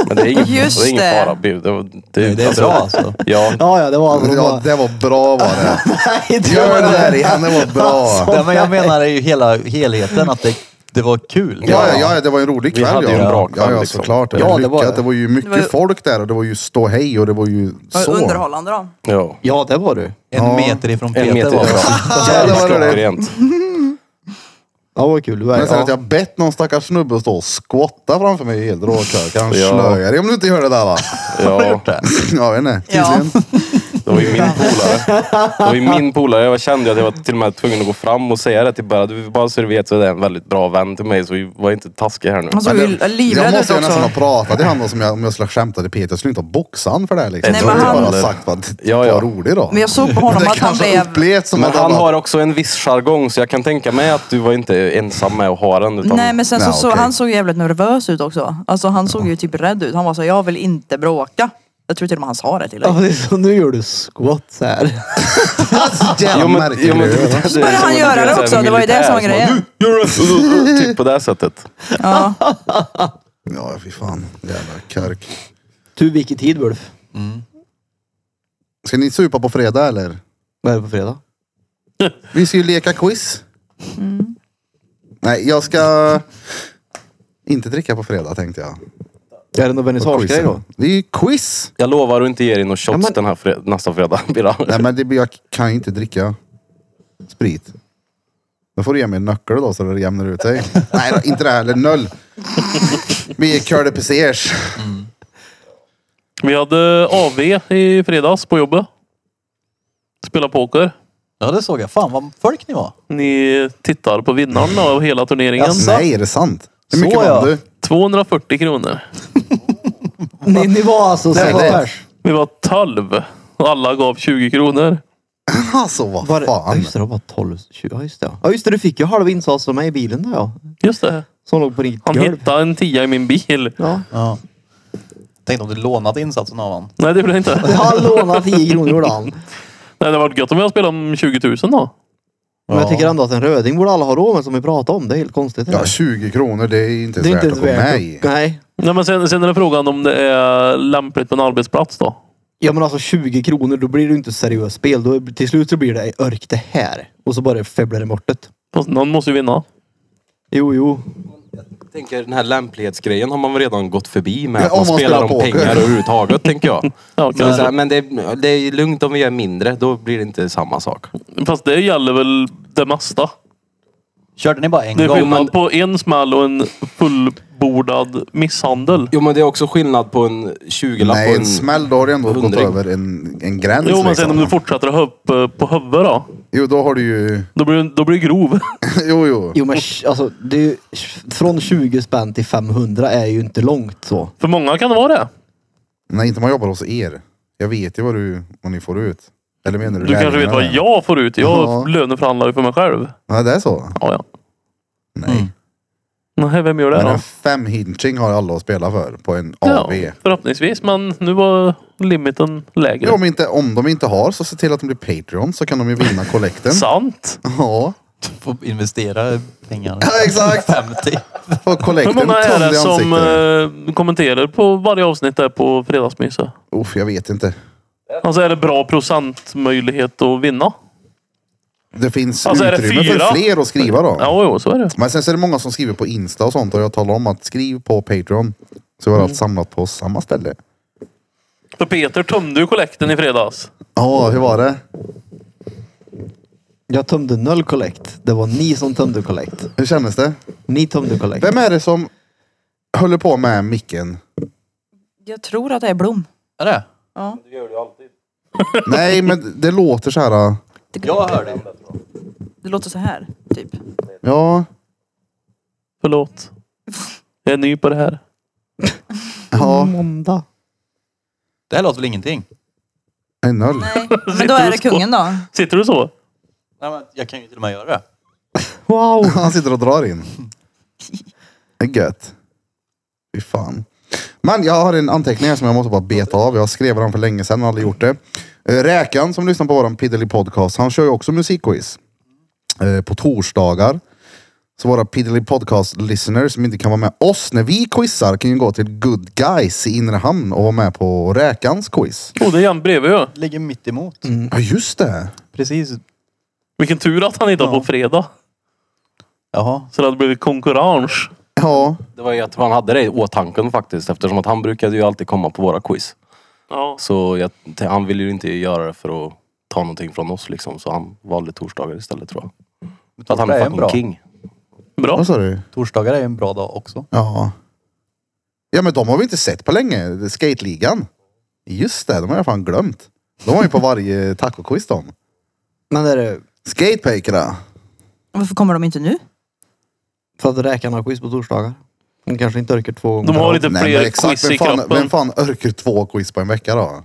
[SPEAKER 6] Men det är ingen,
[SPEAKER 3] Just
[SPEAKER 6] det är ingen
[SPEAKER 3] det.
[SPEAKER 6] fara. Det, det,
[SPEAKER 5] Det, det är bra alltså.
[SPEAKER 6] Ja,
[SPEAKER 2] Ja, ja det var alltså
[SPEAKER 1] Ja,
[SPEAKER 2] bara...
[SPEAKER 1] det var bra var det.
[SPEAKER 2] Nej, det
[SPEAKER 1] Gör
[SPEAKER 2] var-
[SPEAKER 1] det där igen, det var bra.
[SPEAKER 5] Nej, men jag menar ju hela helheten att det, det var kul.
[SPEAKER 1] Ja, ja, ja, det var en rolig
[SPEAKER 6] Vi
[SPEAKER 1] kväll.
[SPEAKER 6] hade
[SPEAKER 1] ja.
[SPEAKER 6] ju en bra
[SPEAKER 1] Ja,
[SPEAKER 6] kväll,
[SPEAKER 1] ja
[SPEAKER 6] liksom.
[SPEAKER 1] såklart. Det
[SPEAKER 2] Ja,
[SPEAKER 1] var
[SPEAKER 2] det var
[SPEAKER 1] lyckat.
[SPEAKER 2] det.
[SPEAKER 1] Det var ju mycket
[SPEAKER 3] Det var ju-
[SPEAKER 1] folk där och det var ju ståhej och det var ju
[SPEAKER 3] Det var
[SPEAKER 1] så.
[SPEAKER 3] underhållande då.
[SPEAKER 6] ja.
[SPEAKER 2] Ja, det var du.
[SPEAKER 5] En meter ifrån Peter
[SPEAKER 6] En meter
[SPEAKER 5] var bra.
[SPEAKER 1] Ja, det var roligt.
[SPEAKER 6] Klockrent.
[SPEAKER 2] Ja, det var kul. Du var,
[SPEAKER 1] Men sen att
[SPEAKER 2] ja.
[SPEAKER 1] jag bett någon stackars snubbe att stå och skotta framför mig i helt råkök. Han
[SPEAKER 6] Ja.
[SPEAKER 1] slöjar dig om du inte gör det där va?
[SPEAKER 6] Ja,
[SPEAKER 1] Ja, jag vet inte.
[SPEAKER 3] Ja.
[SPEAKER 1] Tydligen.
[SPEAKER 6] det var ju min polare. Det var ju min polare. Jag kände att jag var till och med tvungen att gå fram och säga det till Berra. Du bara så du vet så är det en väldigt bra vän till mig. Så vi var inte taskiga här nu.
[SPEAKER 3] Han såg ju livrädd
[SPEAKER 1] Jag
[SPEAKER 3] ut
[SPEAKER 1] måste ju nästan
[SPEAKER 3] också.
[SPEAKER 1] ha pratat till honom som jag, om jag skulle ha skämtat till Peter. Jag skulle inte ha boxat han för det här liksom.
[SPEAKER 3] Nej,
[SPEAKER 1] jag
[SPEAKER 3] men
[SPEAKER 1] skulle
[SPEAKER 3] han-
[SPEAKER 1] bara ha sagt vad
[SPEAKER 6] Ja, ja.
[SPEAKER 1] vad rolig då.
[SPEAKER 3] Men jag såg på
[SPEAKER 1] Men
[SPEAKER 3] honom
[SPEAKER 1] det
[SPEAKER 3] att han
[SPEAKER 1] kanske
[SPEAKER 3] blev...
[SPEAKER 1] upplevs som
[SPEAKER 6] Men
[SPEAKER 1] att jag
[SPEAKER 6] han
[SPEAKER 1] bara-
[SPEAKER 6] har också en viss jargong så jag kan tänka mig att du var inte ensam med att ha den. Utan
[SPEAKER 3] Nej men sen så,
[SPEAKER 1] Nej,
[SPEAKER 3] så
[SPEAKER 1] okej.
[SPEAKER 3] han såg jävligt nervös ut också. Alltså han såg ju typ rädd ut. Han var så jag vill inte bråka. Jag tror till och med han sa det till
[SPEAKER 2] Ja,
[SPEAKER 3] dig.
[SPEAKER 2] det är så, nu gör du squat så här.
[SPEAKER 1] Jävla
[SPEAKER 6] Jo, men-
[SPEAKER 1] märklig
[SPEAKER 6] jo, men-
[SPEAKER 1] grej,
[SPEAKER 6] det-
[SPEAKER 1] va?
[SPEAKER 6] det-
[SPEAKER 3] Så började
[SPEAKER 6] som
[SPEAKER 3] han
[SPEAKER 6] en-
[SPEAKER 3] göra det
[SPEAKER 6] så här
[SPEAKER 3] också. Det var ju det som var
[SPEAKER 6] militär
[SPEAKER 3] grejen.
[SPEAKER 6] bara, "Du, gör det." Typ på det sättet.
[SPEAKER 3] Ja.
[SPEAKER 1] Ja, fy fan. Jävla kark.
[SPEAKER 2] Du, vilken tid Ulf?
[SPEAKER 1] Ska ni supa på fredag eller?
[SPEAKER 2] Vad är det på fredag?
[SPEAKER 1] Vi ska ju leka quiz. Nej, jag ska inte dricka på fredag tänkte jag.
[SPEAKER 2] Är det någon vernissagegrej då?
[SPEAKER 1] Quizen. Det är ju quiz.
[SPEAKER 6] Jag lovar att inte ge dig några shots
[SPEAKER 2] Ja, men-
[SPEAKER 6] den här fred- nästa fredag. Birra.
[SPEAKER 1] Nej, men det, blir- jag kan ju inte dricka sprit. Då får du ge mig en nyckel då så det jämnar ut sig. Nej, då, inte det heller. Noll. Vi är curly pesers.
[SPEAKER 4] Vi hade AV i fredags på jobbet. Spela poker.
[SPEAKER 5] Ja, det såg jag. Fan vad folk ni var.
[SPEAKER 4] Ni tittar på vinnaren av hela turneringen.
[SPEAKER 5] Jaså?
[SPEAKER 1] Nej, är det sant? Hur
[SPEAKER 5] Så
[SPEAKER 1] mycket
[SPEAKER 5] ja.
[SPEAKER 1] vann du?
[SPEAKER 4] 240 kronor.
[SPEAKER 2] Ni, ni var alltså
[SPEAKER 1] Nej,
[SPEAKER 2] sex
[SPEAKER 1] det-
[SPEAKER 2] pers?
[SPEAKER 4] Vi var 12. Alla gav 20 kronor.
[SPEAKER 1] Alltså vad
[SPEAKER 2] Var det, ja,
[SPEAKER 1] fan.
[SPEAKER 2] just det, det var 12, 20. Ja just det. Ja Ja, just det, du fick ju halva insatsen med i bilen där ja.
[SPEAKER 4] Just det.
[SPEAKER 2] Som låg på ditt
[SPEAKER 4] Han
[SPEAKER 2] golv.
[SPEAKER 4] hittade en tia i min bil.
[SPEAKER 2] Ja.
[SPEAKER 5] Ja. Tänkte om du lånat insatsen av han.
[SPEAKER 4] Nej, det blev inte.
[SPEAKER 2] Han lånade 10 kronor gjorde han.
[SPEAKER 4] Nej, det var gött om jag spelade om 20 000 då.
[SPEAKER 2] Men jag tycker ändå att en röding borde alla ha råd med som vi pratade om. Det är helt konstigt. det
[SPEAKER 1] Ja,
[SPEAKER 2] där.
[SPEAKER 1] 20 kronor, det är ju inte ens värt att gå
[SPEAKER 2] värt
[SPEAKER 1] med
[SPEAKER 2] att-
[SPEAKER 1] i.
[SPEAKER 2] Nej.
[SPEAKER 4] Nej, men sen, sen är det frågan om det är lämpligt på en arbetsplats då.
[SPEAKER 2] Ja men alltså 20 kronor, då blir det ju inte seriöst spel. Då, till slut så blir det örk det här. Och så bara febblar det mortet.
[SPEAKER 4] Fast någon måste ju vinna.
[SPEAKER 2] Jo, jo.
[SPEAKER 6] Jag tänker den här lämplighetsgrejen har man väl redan gått förbi med
[SPEAKER 1] Ja,
[SPEAKER 6] att
[SPEAKER 1] om
[SPEAKER 6] man,
[SPEAKER 1] man
[SPEAKER 6] spelar
[SPEAKER 1] spelar
[SPEAKER 6] om
[SPEAKER 1] poker.
[SPEAKER 6] pengar överhuvudtaget tänker jag.
[SPEAKER 4] Ja,
[SPEAKER 6] Men, så här,
[SPEAKER 4] kanske.
[SPEAKER 6] men det, är, det är lugnt om vi gör mindre, då blir det inte samma sak.
[SPEAKER 4] Fast det gäller väl det mesta.
[SPEAKER 5] Körde ni bara en
[SPEAKER 4] Det är
[SPEAKER 5] gång?
[SPEAKER 4] skillnad på en smäll och en fullbordad misshandel.
[SPEAKER 6] Jo men det är också skillnad på en 20-lapp
[SPEAKER 1] Nej,
[SPEAKER 6] och
[SPEAKER 1] en smäll då har du ändå gått
[SPEAKER 6] hundring.
[SPEAKER 1] över en, en gräns.
[SPEAKER 4] Jo, men sen
[SPEAKER 1] liksom.
[SPEAKER 4] om du fortsätter att ha upp eh, på huvudet då.
[SPEAKER 1] Jo, då har du ju...
[SPEAKER 4] Då blir, då blir det grov.
[SPEAKER 1] jo, jo.
[SPEAKER 2] Jo men sh- alltså, det är ju, från 20 spänn till 500 är ju inte långt så.
[SPEAKER 4] För många kan det vara det.
[SPEAKER 1] Nej, inte man jobbar hos er. Jag vet ju vad, du, vad ni får ut. Eller menar du
[SPEAKER 4] Du kanske vet
[SPEAKER 1] lärlingarna
[SPEAKER 4] vad
[SPEAKER 1] där?
[SPEAKER 4] jag får ut. Jag
[SPEAKER 1] Ja.
[SPEAKER 4] löneförhandlar ju för mig själv.
[SPEAKER 1] Ja, det är så.
[SPEAKER 4] Ja, ja.
[SPEAKER 1] Nej.
[SPEAKER 4] Nej, vem gör Mm. det
[SPEAKER 1] Men
[SPEAKER 4] då?
[SPEAKER 1] en femhinching har alla att spela för på en
[SPEAKER 4] Ja,
[SPEAKER 1] AV.
[SPEAKER 4] förhoppningsvis. Men nu var limiten lägre.
[SPEAKER 1] Ja, om, inte, om de inte har så se till att de blir Patreon så kan de ju vinna kollekten.
[SPEAKER 4] Sant.
[SPEAKER 1] ja.
[SPEAKER 5] Får investera pengar.
[SPEAKER 1] ja, exakt.
[SPEAKER 5] 50.
[SPEAKER 1] Och
[SPEAKER 4] Hur
[SPEAKER 1] kollekten
[SPEAKER 4] många är
[SPEAKER 1] tömde
[SPEAKER 4] det
[SPEAKER 1] i
[SPEAKER 4] som
[SPEAKER 1] ansiktet.
[SPEAKER 4] eh, kommenterar på varje avsnitt där på Fredagsmyset?
[SPEAKER 1] Uff, jag vet inte.
[SPEAKER 4] Alltså är det bra procentmöjlighet att vinna?
[SPEAKER 1] det finns
[SPEAKER 4] Alltså, är det
[SPEAKER 1] utrymme
[SPEAKER 4] fyra?
[SPEAKER 1] för fler att skriva då.
[SPEAKER 4] Ja, jo, så är det.
[SPEAKER 1] Men sen så är det många som skriver på Insta och sånt och jag talar om att skriv på Patreon. Så vi har allt samlat på samma ställe.
[SPEAKER 4] För Peter tömde ju kollekten i fredags.
[SPEAKER 1] Ja, hur var det?
[SPEAKER 2] Jag tömde noll collect. Det var ni som tömde collect.
[SPEAKER 1] Hur kändes det?
[SPEAKER 2] Ni tömde collect.
[SPEAKER 1] Vem är det som håller på med micken?
[SPEAKER 3] Jag tror att det är Blom.
[SPEAKER 5] Är det?
[SPEAKER 3] Ja.
[SPEAKER 1] Nej, men det låter så här. äh,
[SPEAKER 5] Jag hör dig.
[SPEAKER 3] Det låter så här, typ.
[SPEAKER 1] Ja,
[SPEAKER 4] Förlåt. Jag är ny på det här.
[SPEAKER 1] ja,
[SPEAKER 2] Måndag.
[SPEAKER 5] Det här låter väl ingenting?
[SPEAKER 1] en noll.
[SPEAKER 3] Nej. Men då är det kungen då.
[SPEAKER 4] Sitter du så?
[SPEAKER 5] Nej, men jag kan ju till och med göra det.
[SPEAKER 2] Wow!
[SPEAKER 1] Han sitter och drar in. Det är gött. Fy fan. Men jag har en anteckning här som jag måste bara beta av. Jag skrev den för länge sedan och aldrig gjort det. Eh, Räkan som lyssnar på våran Piddly podcast, han kör ju också musikquiz. Eh, På torsdagar. Så våra Piddly podcast listeners som inte kan vara med oss när vi quizar kan ju gå till Good Guys i Inre Hamn och vara med på Räkans quiz.
[SPEAKER 4] Oh, det är han bredvid ju.
[SPEAKER 5] Ligger mitt emot.
[SPEAKER 1] Ja just det.
[SPEAKER 5] Precis.
[SPEAKER 4] Vilken tur att han inte var på fredag.
[SPEAKER 5] Jaha.
[SPEAKER 4] Så det hade blivit konkurrens.
[SPEAKER 1] Ja,
[SPEAKER 6] Det var ju att han hade det i åtanke faktiskt eftersom att han brukade ju alltid komma på våra quiz.
[SPEAKER 4] Ja.
[SPEAKER 6] Så jag, han ville ju inte göra det för att ta någonting från oss liksom. Så han valde torsdagar istället tror jag. För att han
[SPEAKER 5] Det
[SPEAKER 6] är
[SPEAKER 5] är
[SPEAKER 6] fucking
[SPEAKER 5] bra.
[SPEAKER 6] king.
[SPEAKER 4] Bra.
[SPEAKER 1] vad sa du?
[SPEAKER 5] Torsdagar är ju en bra dag också.
[SPEAKER 1] Ja. Ja men de har vi inte sett på länge. Det är Skateligan. Just det, de har jag fan glömt. De var ju på varje tacoquiz de.
[SPEAKER 2] Men är det
[SPEAKER 1] Skatepakera.
[SPEAKER 3] Varför kommer de inte nu?
[SPEAKER 2] för att räkarna har quiz på torsdagar? De kanske inte orkar två gånger.
[SPEAKER 4] De har lite
[SPEAKER 1] Nej
[SPEAKER 4] fler
[SPEAKER 1] men exakt,
[SPEAKER 4] quiz
[SPEAKER 1] vem
[SPEAKER 4] i
[SPEAKER 1] fan,
[SPEAKER 4] kroppen.
[SPEAKER 1] vem fan orkar två quiz på en vecka då?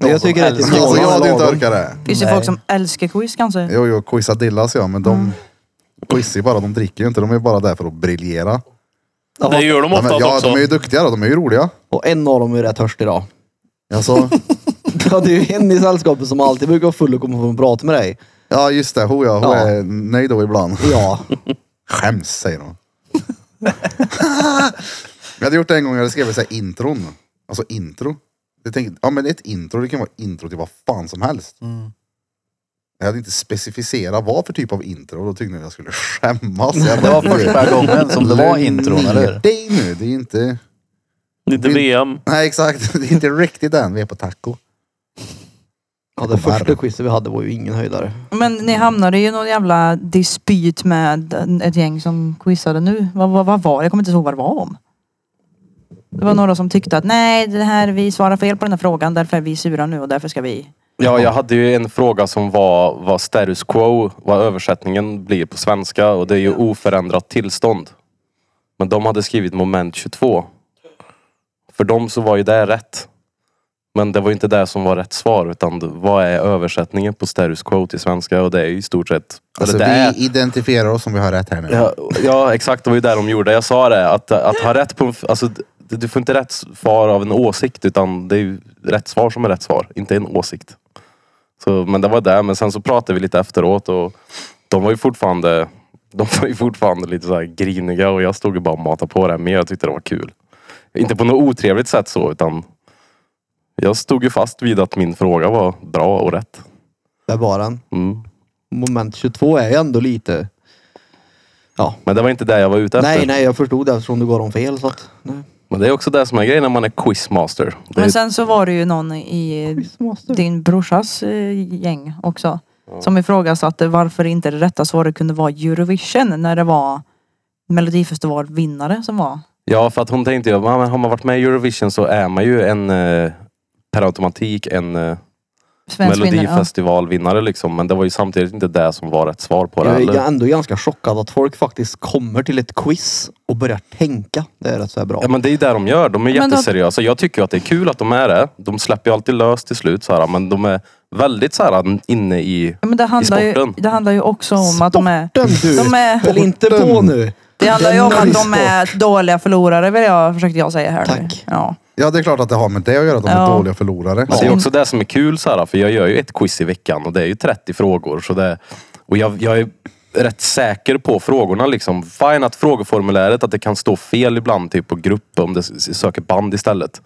[SPEAKER 2] Men jag tycker att det är
[SPEAKER 1] Alltså jag hade ju inte
[SPEAKER 2] lagom.
[SPEAKER 1] orkat det.
[SPEAKER 3] Finns det
[SPEAKER 2] Nej.
[SPEAKER 3] folk som älskar quiz kanske?
[SPEAKER 1] Jo jo, quizar dillas ja men
[SPEAKER 2] Mm.
[SPEAKER 1] de quizar ju bara. De dricker ju inte. De är bara där för att briljera.
[SPEAKER 4] Det gör de
[SPEAKER 1] Ja,
[SPEAKER 4] ofta
[SPEAKER 1] men, ja
[SPEAKER 4] också.
[SPEAKER 1] de är ju duktiga då. De är ju roliga.
[SPEAKER 2] Och en av dem är ju rätt törstig idag.
[SPEAKER 1] Alltså,
[SPEAKER 2] Du hade ju en i sällskapet som alltid brukar vara full och komma och prata med dig.
[SPEAKER 1] ja just det. Ho ja, ho
[SPEAKER 2] Ja.
[SPEAKER 1] är nöjd då ibland.
[SPEAKER 2] Ja.
[SPEAKER 1] Skäms säger hon. jag hade gjort det en gång, jag hade skrivit så här intron. Alltså intro. Jag tänkte, ja men ett intro, det kan vara intro till vad fan som helst.
[SPEAKER 5] Mm.
[SPEAKER 1] Jag hade inte specificerat vad för typ av intro och då tyckte ni att jag skulle skämmas. Jag
[SPEAKER 5] Det
[SPEAKER 1] bara,
[SPEAKER 5] var första gången som det var
[SPEAKER 1] "Lugn
[SPEAKER 5] intron,
[SPEAKER 1] ner
[SPEAKER 5] eller hur?
[SPEAKER 1] dig nu, det är inte...
[SPEAKER 4] Lite
[SPEAKER 1] Vill-
[SPEAKER 4] VM.
[SPEAKER 1] Nej exakt, det är inte riktigt än, vi är på taco.
[SPEAKER 2] ja det första quizet vi hade var ju ingen höjdare.
[SPEAKER 3] Men ni hamnade ju i någon jävla dispyt med ett gäng som quizade nu. Vad, vad, vad var det? Jag kommer inte ihåg vad det var om. Det var några som tyckte att nej, det här, vi svarar fel på den här frågan. Därför är vi sura nu och därför ska vi...
[SPEAKER 6] Ja, jag hade ju en fråga som var vad status quo, vad översättningen blir på svenska och det är ju oförändrat tillstånd. Men de hade skrivit moment 22. För dem så var ju det rätt. Men det var ju inte det som var rätt svar utan det- vad är översättningen på status quo till svenska och det är ju i stort sett...
[SPEAKER 1] Alltså
[SPEAKER 6] eller det är,
[SPEAKER 1] vi identifierar oss om vi har rätt här nu.
[SPEAKER 6] Ja, ja exakt, det var ju det de gjorde. Jag sa det, att, att ha rätt på... en f- Alltså, d- du får inte rätt svar av en åsikt utan det är ju rätt svar som är rätt svar, inte en åsikt. Så, men det var det, men sen så pratade vi lite efteråt och de var ju fortfarande, de var ju fortfarande lite så här griniga och jag stod ju bara och matade på det, men jag tyckte det var kul. Inte på något otrevligt sätt så, utan jag stod ju fast vid att min fråga var bra och rätt.
[SPEAKER 2] Det är bara en.
[SPEAKER 6] Mm.
[SPEAKER 2] Moment 22 är ju ändå lite... Ja.
[SPEAKER 6] Men det var inte det jag var ute efter.
[SPEAKER 2] Nej, nej, jag förstod det eftersom du gav dem fel så att... Nej.
[SPEAKER 6] Men det är också det som är grejen när man är quizmaster. Det är
[SPEAKER 3] Men sen så var det ju någon i din brorsas eh, gäng också. Som ifrågasatte varför inte det rätta svaret kunde vara Eurovision när det var Melodifestivalvinnare som var.
[SPEAKER 6] Ja, för att hon tänkte ju, "Ja, men har man varit med i Eurovision så är man ju en eh, per automatik en eh,
[SPEAKER 3] Svensk vinnare.
[SPEAKER 6] melodifestivalvinnare liksom. Men det var ju samtidigt inte det som var rätt svar på det
[SPEAKER 2] Jag är
[SPEAKER 6] heller.
[SPEAKER 2] ändå ganska chockad att folk faktiskt kommer till ett quiz och börjar tänka. Det är rätt så här bra.
[SPEAKER 6] Ja men det är ju det de gör, de är
[SPEAKER 3] Men då-
[SPEAKER 6] jätteseriösa. Jag tycker ju att det är kul att de är det. De släpper ju alltid lös till slut så här, men de är väldigt så här mm, inne i...
[SPEAKER 3] Ja, men det, handlar ju,
[SPEAKER 6] sporten.
[SPEAKER 3] det handlar ju också om att de är...
[SPEAKER 2] Sporten, du!
[SPEAKER 3] De är-
[SPEAKER 2] Håll inte på nu!
[SPEAKER 3] Det handlar ju om
[SPEAKER 2] Denna
[SPEAKER 3] att de är dåliga förlorare vill jag, försökte jag säga här. nu.
[SPEAKER 2] Tack.
[SPEAKER 3] Ja.
[SPEAKER 1] Ja det är klart att det har med det att göra, att de är
[SPEAKER 3] Ja.
[SPEAKER 1] dåliga förlorare.
[SPEAKER 6] Men det är också det som är kul så här, för jag gör ju ett quiz i veckan och det är ju 30 frågor. Så det, och jag, jag är rätt säker på frågorna liksom. Fine att frågeformuläret, att det kan stå fel ibland typ på grupp om det s- söker band istället.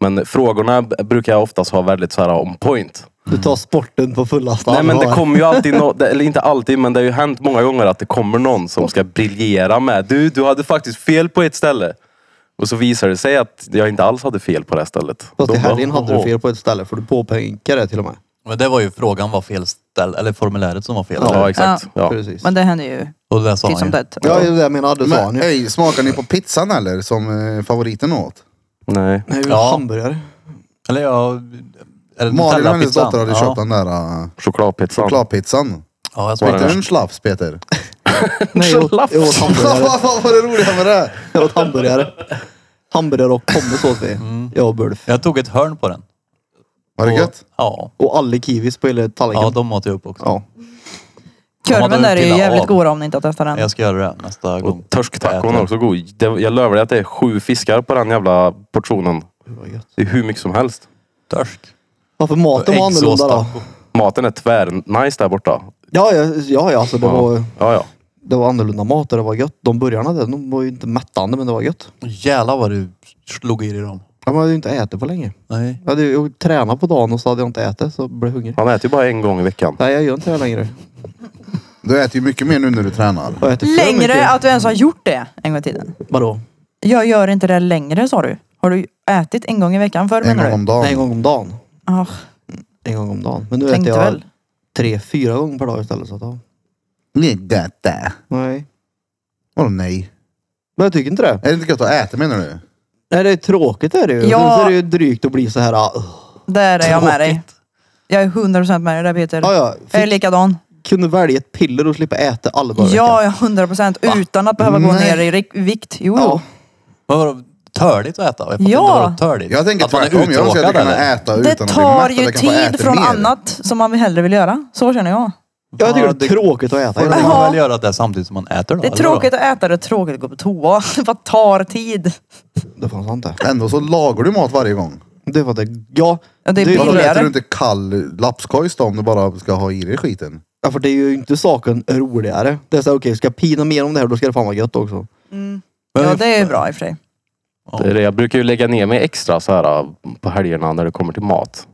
[SPEAKER 6] Men frågorna b- brukar jag oftast ha väldigt så här on point.
[SPEAKER 2] Du tar sporten på fullaste
[SPEAKER 6] Nej men det
[SPEAKER 2] allvar.
[SPEAKER 6] kommer ju alltid, nå- det- eller inte alltid, men det har ju hänt många gånger att det kommer någon som ska briljera med. Du, du hade faktiskt fel på ett ställe. Och så visar det sig att jag inte alls hade fel på det här stället.
[SPEAKER 2] Fast i
[SPEAKER 6] Då bara,
[SPEAKER 2] helgen hade du
[SPEAKER 6] "Oho."
[SPEAKER 2] fel på ett ställe för du påpekade det till och med.
[SPEAKER 5] Men det var ju frågan var fel ställ, eller formuläret som var fel.
[SPEAKER 6] Ja, exakt. Ja.
[SPEAKER 2] Precis.
[SPEAKER 3] Men det händer ju
[SPEAKER 5] Och det sa
[SPEAKER 3] titt Typ som
[SPEAKER 5] han ju.
[SPEAKER 3] tätt.
[SPEAKER 2] Ja, det är det jag menade. Det sa han
[SPEAKER 1] Men,
[SPEAKER 2] ju.
[SPEAKER 1] ey, smakar ni på pizzan eller? Som eh, favoriten åt?
[SPEAKER 6] Nej.
[SPEAKER 2] Nej,
[SPEAKER 5] Ja.
[SPEAKER 2] hamburgare.
[SPEAKER 5] Eller ja... Eller
[SPEAKER 1] Malin och hennes
[SPEAKER 5] Nutella-pizzan.
[SPEAKER 1] dotter hade
[SPEAKER 5] ja.
[SPEAKER 1] köpt den där uh,
[SPEAKER 6] Chokladpizzan.
[SPEAKER 1] chokladpizzan.
[SPEAKER 5] Ja, jag
[SPEAKER 1] Inte
[SPEAKER 5] smakade den.
[SPEAKER 1] en schlaps Peter.
[SPEAKER 2] Nej, jag åt, jag åt hamburgare.
[SPEAKER 1] Vad var det roliga med det?
[SPEAKER 2] Jag åt hamburgare. Hamburgare och pommes åt vi.
[SPEAKER 6] Mm.
[SPEAKER 2] Jag och Bulf.
[SPEAKER 5] Jag tog ett hörn på den.
[SPEAKER 1] Var det
[SPEAKER 5] Och-
[SPEAKER 1] gött?
[SPEAKER 5] Ja.
[SPEAKER 2] Och alla kiwis på hela tallriken.
[SPEAKER 5] Ja, de åt jag upp också.
[SPEAKER 2] Ja.
[SPEAKER 5] De
[SPEAKER 3] Kurven
[SPEAKER 5] hade
[SPEAKER 3] där är ju
[SPEAKER 5] pillat
[SPEAKER 3] jävligt
[SPEAKER 5] av.
[SPEAKER 3] god om ni inte har testat den.
[SPEAKER 5] Jag ska göra det nästa gång.
[SPEAKER 6] Och törstacon
[SPEAKER 5] Jag
[SPEAKER 6] är
[SPEAKER 5] äter.
[SPEAKER 6] också god. Det, jag lovar dig att det är sju fiskar på den jävla portionen.
[SPEAKER 2] Det var gött.
[SPEAKER 6] Det är hur mycket som helst.
[SPEAKER 5] Törsk.
[SPEAKER 2] Varför maten var annorlunda då?
[SPEAKER 5] Äggsås, taco.
[SPEAKER 6] Maten är tvär-nice där borta.
[SPEAKER 2] Ja, ja, ja, ja alltså det, var,
[SPEAKER 6] Ja, ja.
[SPEAKER 2] det var annorlunda mat och det var gött. De burgarna där, de var ju inte mättande men det var gött.
[SPEAKER 5] Jävlar vad du slog i dig dem.
[SPEAKER 2] Jag hade ju inte ätit på länge.
[SPEAKER 5] Nej.
[SPEAKER 2] Jag hade ju tränat på dagen och så hade jag inte ätit så blev jag hungrig.
[SPEAKER 6] Han äter ju bara en gång i veckan.
[SPEAKER 2] Nej, jag gör inte det längre.
[SPEAKER 1] Du äter ju mycket mer nu när du tränar.
[SPEAKER 2] Jag äter för
[SPEAKER 3] Längre
[SPEAKER 2] mycket.
[SPEAKER 3] att du ens har gjort det en gång i tiden.
[SPEAKER 2] Vadå?
[SPEAKER 3] Jag gör inte det längre sa du. Har du ätit en gång i veckan förr
[SPEAKER 1] En
[SPEAKER 3] menar
[SPEAKER 1] gång
[SPEAKER 3] du?
[SPEAKER 1] om dagen.
[SPEAKER 2] Nej, en gång om dagen.
[SPEAKER 3] Ah,
[SPEAKER 2] En gång om dagen. Men nu äter
[SPEAKER 3] tänkte
[SPEAKER 2] jag
[SPEAKER 3] väl.
[SPEAKER 2] tre, fyra gånger per dag istället. Så att, ja.
[SPEAKER 1] Nej, gött det.
[SPEAKER 2] Nej.
[SPEAKER 1] Vadå nej?
[SPEAKER 2] Men jag tycker inte det.
[SPEAKER 1] Är det inte gött att äta menar du?
[SPEAKER 2] Nej, det är tråkigt är det ju.
[SPEAKER 3] Ja.
[SPEAKER 2] Sen så är det ju drygt att bli så här. ah, ugh.
[SPEAKER 3] Där är jag med dig. Jag är 100% med dig där Peter.
[SPEAKER 2] Ja, ja.
[SPEAKER 3] Jag är
[SPEAKER 2] Fick,
[SPEAKER 3] likadan.
[SPEAKER 2] kunde välja ett piller och slippa äta alla dagar i
[SPEAKER 3] Ja,
[SPEAKER 2] veckan.
[SPEAKER 3] jag är 100% utan att behöva gå
[SPEAKER 1] Nej.
[SPEAKER 3] ner i rik- vikt. Jo,
[SPEAKER 2] Ja.
[SPEAKER 3] jo.
[SPEAKER 5] Vad var det? Törligt att äta? Jag fattar
[SPEAKER 3] Ja.
[SPEAKER 5] inte vad det var törligt.
[SPEAKER 1] Jag tänker
[SPEAKER 5] att man är
[SPEAKER 1] tvärtom. Jag
[SPEAKER 5] uttråkad
[SPEAKER 1] önskar att jag kunde
[SPEAKER 5] eller?
[SPEAKER 1] äta
[SPEAKER 3] det
[SPEAKER 1] utan att bli
[SPEAKER 3] tar
[SPEAKER 1] mätt. att
[SPEAKER 3] ju
[SPEAKER 1] jag kan få äta
[SPEAKER 3] tid från
[SPEAKER 1] mer.
[SPEAKER 3] annat som man hellre vill göra. Så känner jag.
[SPEAKER 2] Ja, jag tycker
[SPEAKER 5] Ja,
[SPEAKER 2] det är
[SPEAKER 5] det-
[SPEAKER 2] tråkigt att äta.
[SPEAKER 5] Får
[SPEAKER 2] hela
[SPEAKER 3] Ja.
[SPEAKER 2] dagen.
[SPEAKER 5] man väl göra det samtidigt som man äter då?
[SPEAKER 3] Det är
[SPEAKER 5] eller vadå?
[SPEAKER 3] tråkigt att äta, det är tråkigt att gå på toa. Det bara tar tid.
[SPEAKER 2] Det fanns inte.
[SPEAKER 1] Ändå så lagar du mat varje gång.
[SPEAKER 2] Det var det. Ja,
[SPEAKER 3] Ja, det är
[SPEAKER 2] Det är
[SPEAKER 1] Varför
[SPEAKER 3] billigare.
[SPEAKER 1] äter du inte kall lapskojs då om du bara ska ha i dig skiten?
[SPEAKER 2] ja, för det är ju inte saken roligare. Det är så här, okej, ska jag pina mer om det här då ska det fan vara gött också.
[SPEAKER 3] Ja, det är ju bra i och för sig.
[SPEAKER 6] Det är det. Jag brukar ju lägga ner mig extra så här äh, på helgerna när det kommer till mat.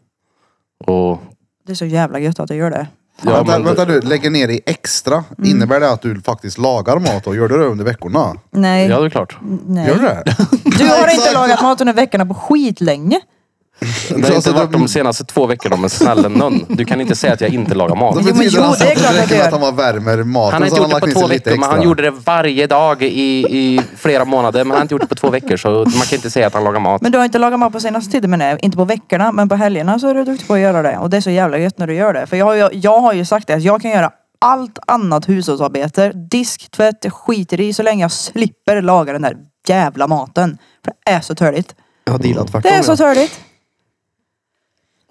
[SPEAKER 6] Och...
[SPEAKER 3] Det är så jävla gött att du gör det.
[SPEAKER 6] Ja,
[SPEAKER 1] vänta,
[SPEAKER 6] men,
[SPEAKER 1] vänta du, lägger ner i extra.
[SPEAKER 3] Mm.
[SPEAKER 1] Innebär det att du faktiskt lagar mat och gör du det under veckorna?
[SPEAKER 3] Nej.
[SPEAKER 6] ja, det är klart.
[SPEAKER 3] nej.
[SPEAKER 1] Gör du det?
[SPEAKER 3] Du har inte
[SPEAKER 1] Exakt.
[SPEAKER 3] lagat mat under veckorna på skitlänge.
[SPEAKER 6] Det har
[SPEAKER 1] Alltså,
[SPEAKER 6] inte varit
[SPEAKER 1] de-
[SPEAKER 6] de senaste två veckorna men snälla nån. Du kan inte säga att jag inte lagar mat.
[SPEAKER 1] Då
[SPEAKER 3] men
[SPEAKER 1] betyder
[SPEAKER 3] jo,
[SPEAKER 1] alltså
[SPEAKER 3] det är
[SPEAKER 1] att
[SPEAKER 3] klart att
[SPEAKER 1] räcker med
[SPEAKER 3] jag gör.
[SPEAKER 1] att han var värmer maten
[SPEAKER 6] Han har inte
[SPEAKER 1] så
[SPEAKER 6] gjort det
[SPEAKER 1] lagt
[SPEAKER 6] på
[SPEAKER 1] in sig
[SPEAKER 6] två
[SPEAKER 1] lite
[SPEAKER 6] veckor men
[SPEAKER 1] extra.
[SPEAKER 6] han gjorde det varje dag i, i flera månader. Men han har inte gjort det på två veckor så man kan inte säga att han lagar mat.
[SPEAKER 3] Men du har inte lagat mat på senaste tiden men nej, inte på veckorna. Men på helgerna så är du duktig på att göra det. Och det är så jävla gött när du gör det. För jag har ju, jag har ju sagt det, att jag kan göra allt annat hushållsarbete. Disk, tvätt, jag skiter i så länge jag slipper laga den där jävla maten. För det är så törligt.
[SPEAKER 2] Jag har dealat tvärtom.
[SPEAKER 3] Mm. Det är så
[SPEAKER 2] jag.
[SPEAKER 3] törligt.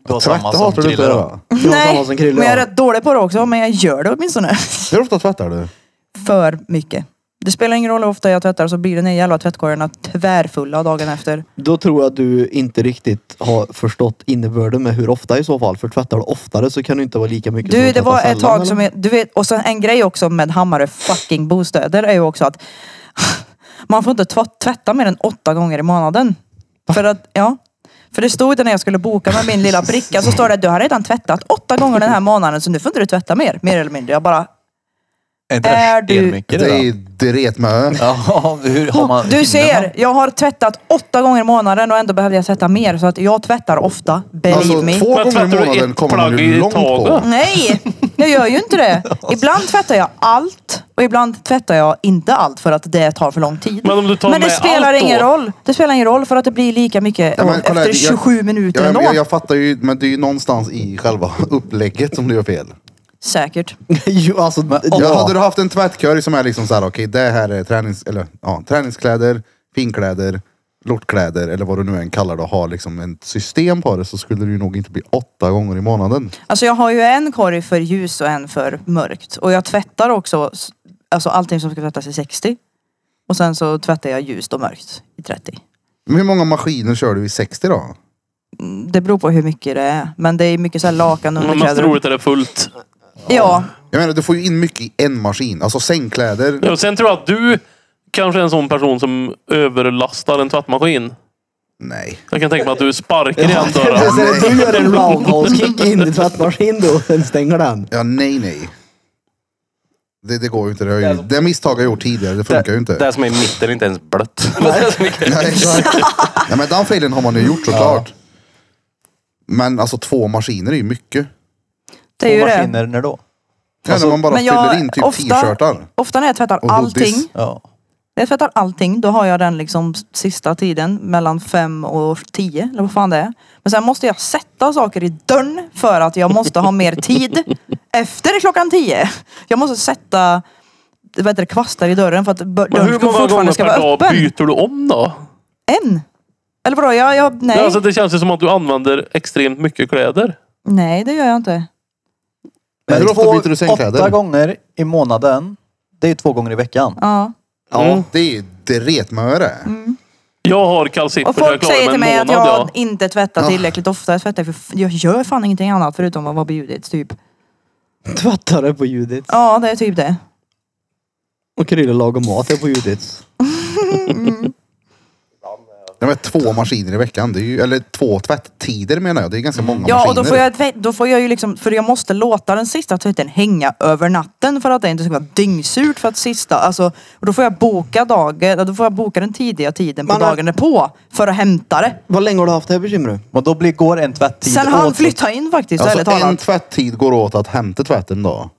[SPEAKER 5] Du har samma
[SPEAKER 1] Tvätta
[SPEAKER 5] som
[SPEAKER 1] hatar du inte att
[SPEAKER 5] Krille då.
[SPEAKER 1] göra.
[SPEAKER 2] Jag har samma
[SPEAKER 3] Nej,
[SPEAKER 2] som Krille,
[SPEAKER 3] men jag är
[SPEAKER 2] ja.
[SPEAKER 3] rätt dålig på det också. Men jag gör det åtminstone.
[SPEAKER 1] Hur ofta tvättar du?
[SPEAKER 3] för mycket. Det spelar ingen roll hur ofta jag tvättar så blir den här jävla tvättkorgarna tvärfulla dagen efter.
[SPEAKER 2] Då tror jag att du inte riktigt har förstått innebörden med hur ofta i så fall. För tvättar du oftare så kan du inte vara lika mycket som
[SPEAKER 3] Du,
[SPEAKER 2] att
[SPEAKER 3] det
[SPEAKER 2] tvätta
[SPEAKER 3] var ett
[SPEAKER 2] sällan,
[SPEAKER 3] tag
[SPEAKER 2] eller?
[SPEAKER 3] som jag, du vet, och sen en grej också med Hammarö fucking bostäder är ju också att man får inte tva- tvätta mer än åtta gånger i månaden. För att, ja. För det stod det när jag skulle boka med min lilla bricka så står det att du har redan tvättat åtta gånger den här månaden så nu får inte du tvätta mer, mer eller mindre. Jag bara,
[SPEAKER 5] Är inte
[SPEAKER 3] Är
[SPEAKER 5] det
[SPEAKER 3] du-
[SPEAKER 5] stenmycket
[SPEAKER 1] Det
[SPEAKER 5] det
[SPEAKER 1] är
[SPEAKER 5] då?
[SPEAKER 1] ju dret med ö.
[SPEAKER 5] Ja, hur har man...
[SPEAKER 3] du
[SPEAKER 5] Innan-
[SPEAKER 3] ser, jag har tvättat åtta gånger i månaden och ändå behövde jag tvätta mer så att jag tvättar ofta. Believe
[SPEAKER 1] Alltså
[SPEAKER 3] me.
[SPEAKER 1] två
[SPEAKER 4] Men
[SPEAKER 1] gånger i
[SPEAKER 4] tvättar du
[SPEAKER 1] månaden
[SPEAKER 4] ett
[SPEAKER 1] kommer man
[SPEAKER 4] plagg
[SPEAKER 1] ju
[SPEAKER 4] i
[SPEAKER 1] långt på.
[SPEAKER 4] taget?
[SPEAKER 3] Nej, jag gör ju inte det. Ibland tvättar jag allt och ibland tvättar jag inte allt för att det tar för lång tid.
[SPEAKER 4] Men om du tar
[SPEAKER 3] det
[SPEAKER 4] med
[SPEAKER 3] spelar
[SPEAKER 4] allt då?
[SPEAKER 3] ingen roll. Det spelar ingen roll för att det blir lika mycket
[SPEAKER 1] Ja, men kolla
[SPEAKER 3] efter
[SPEAKER 1] här, jag-
[SPEAKER 3] 27 minuter
[SPEAKER 1] Ja, men
[SPEAKER 3] ändå.
[SPEAKER 1] jag, jag fattar ju, men det är ju någonstans i själva upplägget som du gör fel.
[SPEAKER 3] Säkert.
[SPEAKER 2] jo, alltså,
[SPEAKER 5] åtta.
[SPEAKER 1] Ja,
[SPEAKER 2] ja.
[SPEAKER 1] hade du haft en tvättkorg som är liksom så här, okej det här är tränings, eller, ja, träningskläder, finkläder, lortkläder eller vad du nu än kallar det och har liksom ett system på det så skulle det ju nog inte bli åtta gånger i månaden.
[SPEAKER 3] Alltså jag har ju en korg för ljus och en för mörkt. Och jag tvättar också s- alltså allting som ska tvättas i 60. Och sen så tvättar jag ljust och mörkt i 30.
[SPEAKER 1] Men hur många maskiner kör du i 60 då?
[SPEAKER 3] Mm, Det beror på hur mycket det är. Men det är mycket så här lakan och
[SPEAKER 4] Men mest
[SPEAKER 3] underkläder.
[SPEAKER 4] roligt är det fullt.
[SPEAKER 3] Ja,
[SPEAKER 1] Jag menar du får ju in mycket i en maskin, alltså sängkläder.
[SPEAKER 4] Ja, och Sen tror jag att du kanske är en sån person som överlastar en tvättmaskin.
[SPEAKER 1] Nej.
[SPEAKER 4] Jag kan tänka mig att du sparkar i
[SPEAKER 2] Ja,
[SPEAKER 4] en
[SPEAKER 2] det är
[SPEAKER 4] dörr.
[SPEAKER 2] så att du gör en roundhouse kick in i tvättmaskinen då och sen stänger den.
[SPEAKER 1] Ja, nej, nej. Det, det går ju inte. Det, har ju, det misstag jag gjort tidigare, det funkar ju
[SPEAKER 6] Det
[SPEAKER 1] inte.
[SPEAKER 6] här som är i mitten är inte ens blött.
[SPEAKER 1] Nej, exakt. Nej, men den felen har man ju gjort såklart. Men alltså två maskiner är ju mycket.
[SPEAKER 3] Det är ju
[SPEAKER 5] Två
[SPEAKER 3] det.
[SPEAKER 5] maskiner, när då?
[SPEAKER 1] Ja,
[SPEAKER 6] Alltså,
[SPEAKER 1] när man bara
[SPEAKER 3] men jag-
[SPEAKER 1] fyller in typ
[SPEAKER 3] ofta-
[SPEAKER 1] t-shirtar.
[SPEAKER 3] Ofta när jag tvättar
[SPEAKER 1] Och hoodies.
[SPEAKER 3] allting,
[SPEAKER 5] Ja.
[SPEAKER 3] när jag tvättar allting, då har jag den liksom sista tiden mellan fem och tio, eller vad fan det är. Men sen måste jag sätta saker i dörren för att jag måste ha mer tid efter klockan tio. Jag måste sätta vad heter det, kvastar i dörren för att bör-
[SPEAKER 4] Men
[SPEAKER 3] dörren
[SPEAKER 4] hur
[SPEAKER 3] ska
[SPEAKER 4] många gånger
[SPEAKER 3] fortfarande ska vara
[SPEAKER 4] per dag
[SPEAKER 3] öppen.
[SPEAKER 4] byter du om då?
[SPEAKER 3] En. Eller vadå? Jag, jag, nej.
[SPEAKER 4] Alltså, det känns ju som att du använder extremt mycket kläder.
[SPEAKER 3] nej, det gör jag inte.
[SPEAKER 1] Men hur ofta
[SPEAKER 5] Eh, Två-
[SPEAKER 1] byter du sängkläder?
[SPEAKER 5] Åtta gånger i månaden. Det är ju två gånger i veckan.
[SPEAKER 3] Ja.
[SPEAKER 6] Mm.
[SPEAKER 1] Ja, det är det retmöre.
[SPEAKER 4] Jag har kalsiter
[SPEAKER 3] Och
[SPEAKER 4] jag är
[SPEAKER 3] folk
[SPEAKER 4] klar med
[SPEAKER 3] säger
[SPEAKER 4] en
[SPEAKER 3] till mig att jag
[SPEAKER 4] månad, ja. Ah.
[SPEAKER 3] inte tvättar
[SPEAKER 1] Ja.
[SPEAKER 3] tillräckligt ofta. Jag, tvättar för, f- jag gör fan ingenting annat förutom att vara bjudits typ.
[SPEAKER 2] Tvättare på Judits.
[SPEAKER 3] Ja, det är typ det.
[SPEAKER 2] Och Krille lagar mat är på Judits.
[SPEAKER 1] Jag vet, två maskiner i veckan, det är ju, eller två tvättider menar jag. Det är ganska många
[SPEAKER 3] Ja,
[SPEAKER 1] maskiner.
[SPEAKER 3] och då får, jag, tvätt- då får jag ju liksom, för jag måste låta den sista tvätten hänga över natten för att det inte ska vara dyngsurt för att sista, alltså, och då får jag boka dagen, då får jag boka den tidiga tiden på
[SPEAKER 2] Men-
[SPEAKER 3] dagen därpå för att hämta det.
[SPEAKER 2] Vad länge har du haft det här bekymret?
[SPEAKER 5] Men då blir, går en tvätttid
[SPEAKER 3] Sen har han
[SPEAKER 5] åt-
[SPEAKER 3] flyttat in faktiskt, ärligt
[SPEAKER 1] Alltså en
[SPEAKER 3] talat.
[SPEAKER 1] tvätttid går åt att hämta tvätten då.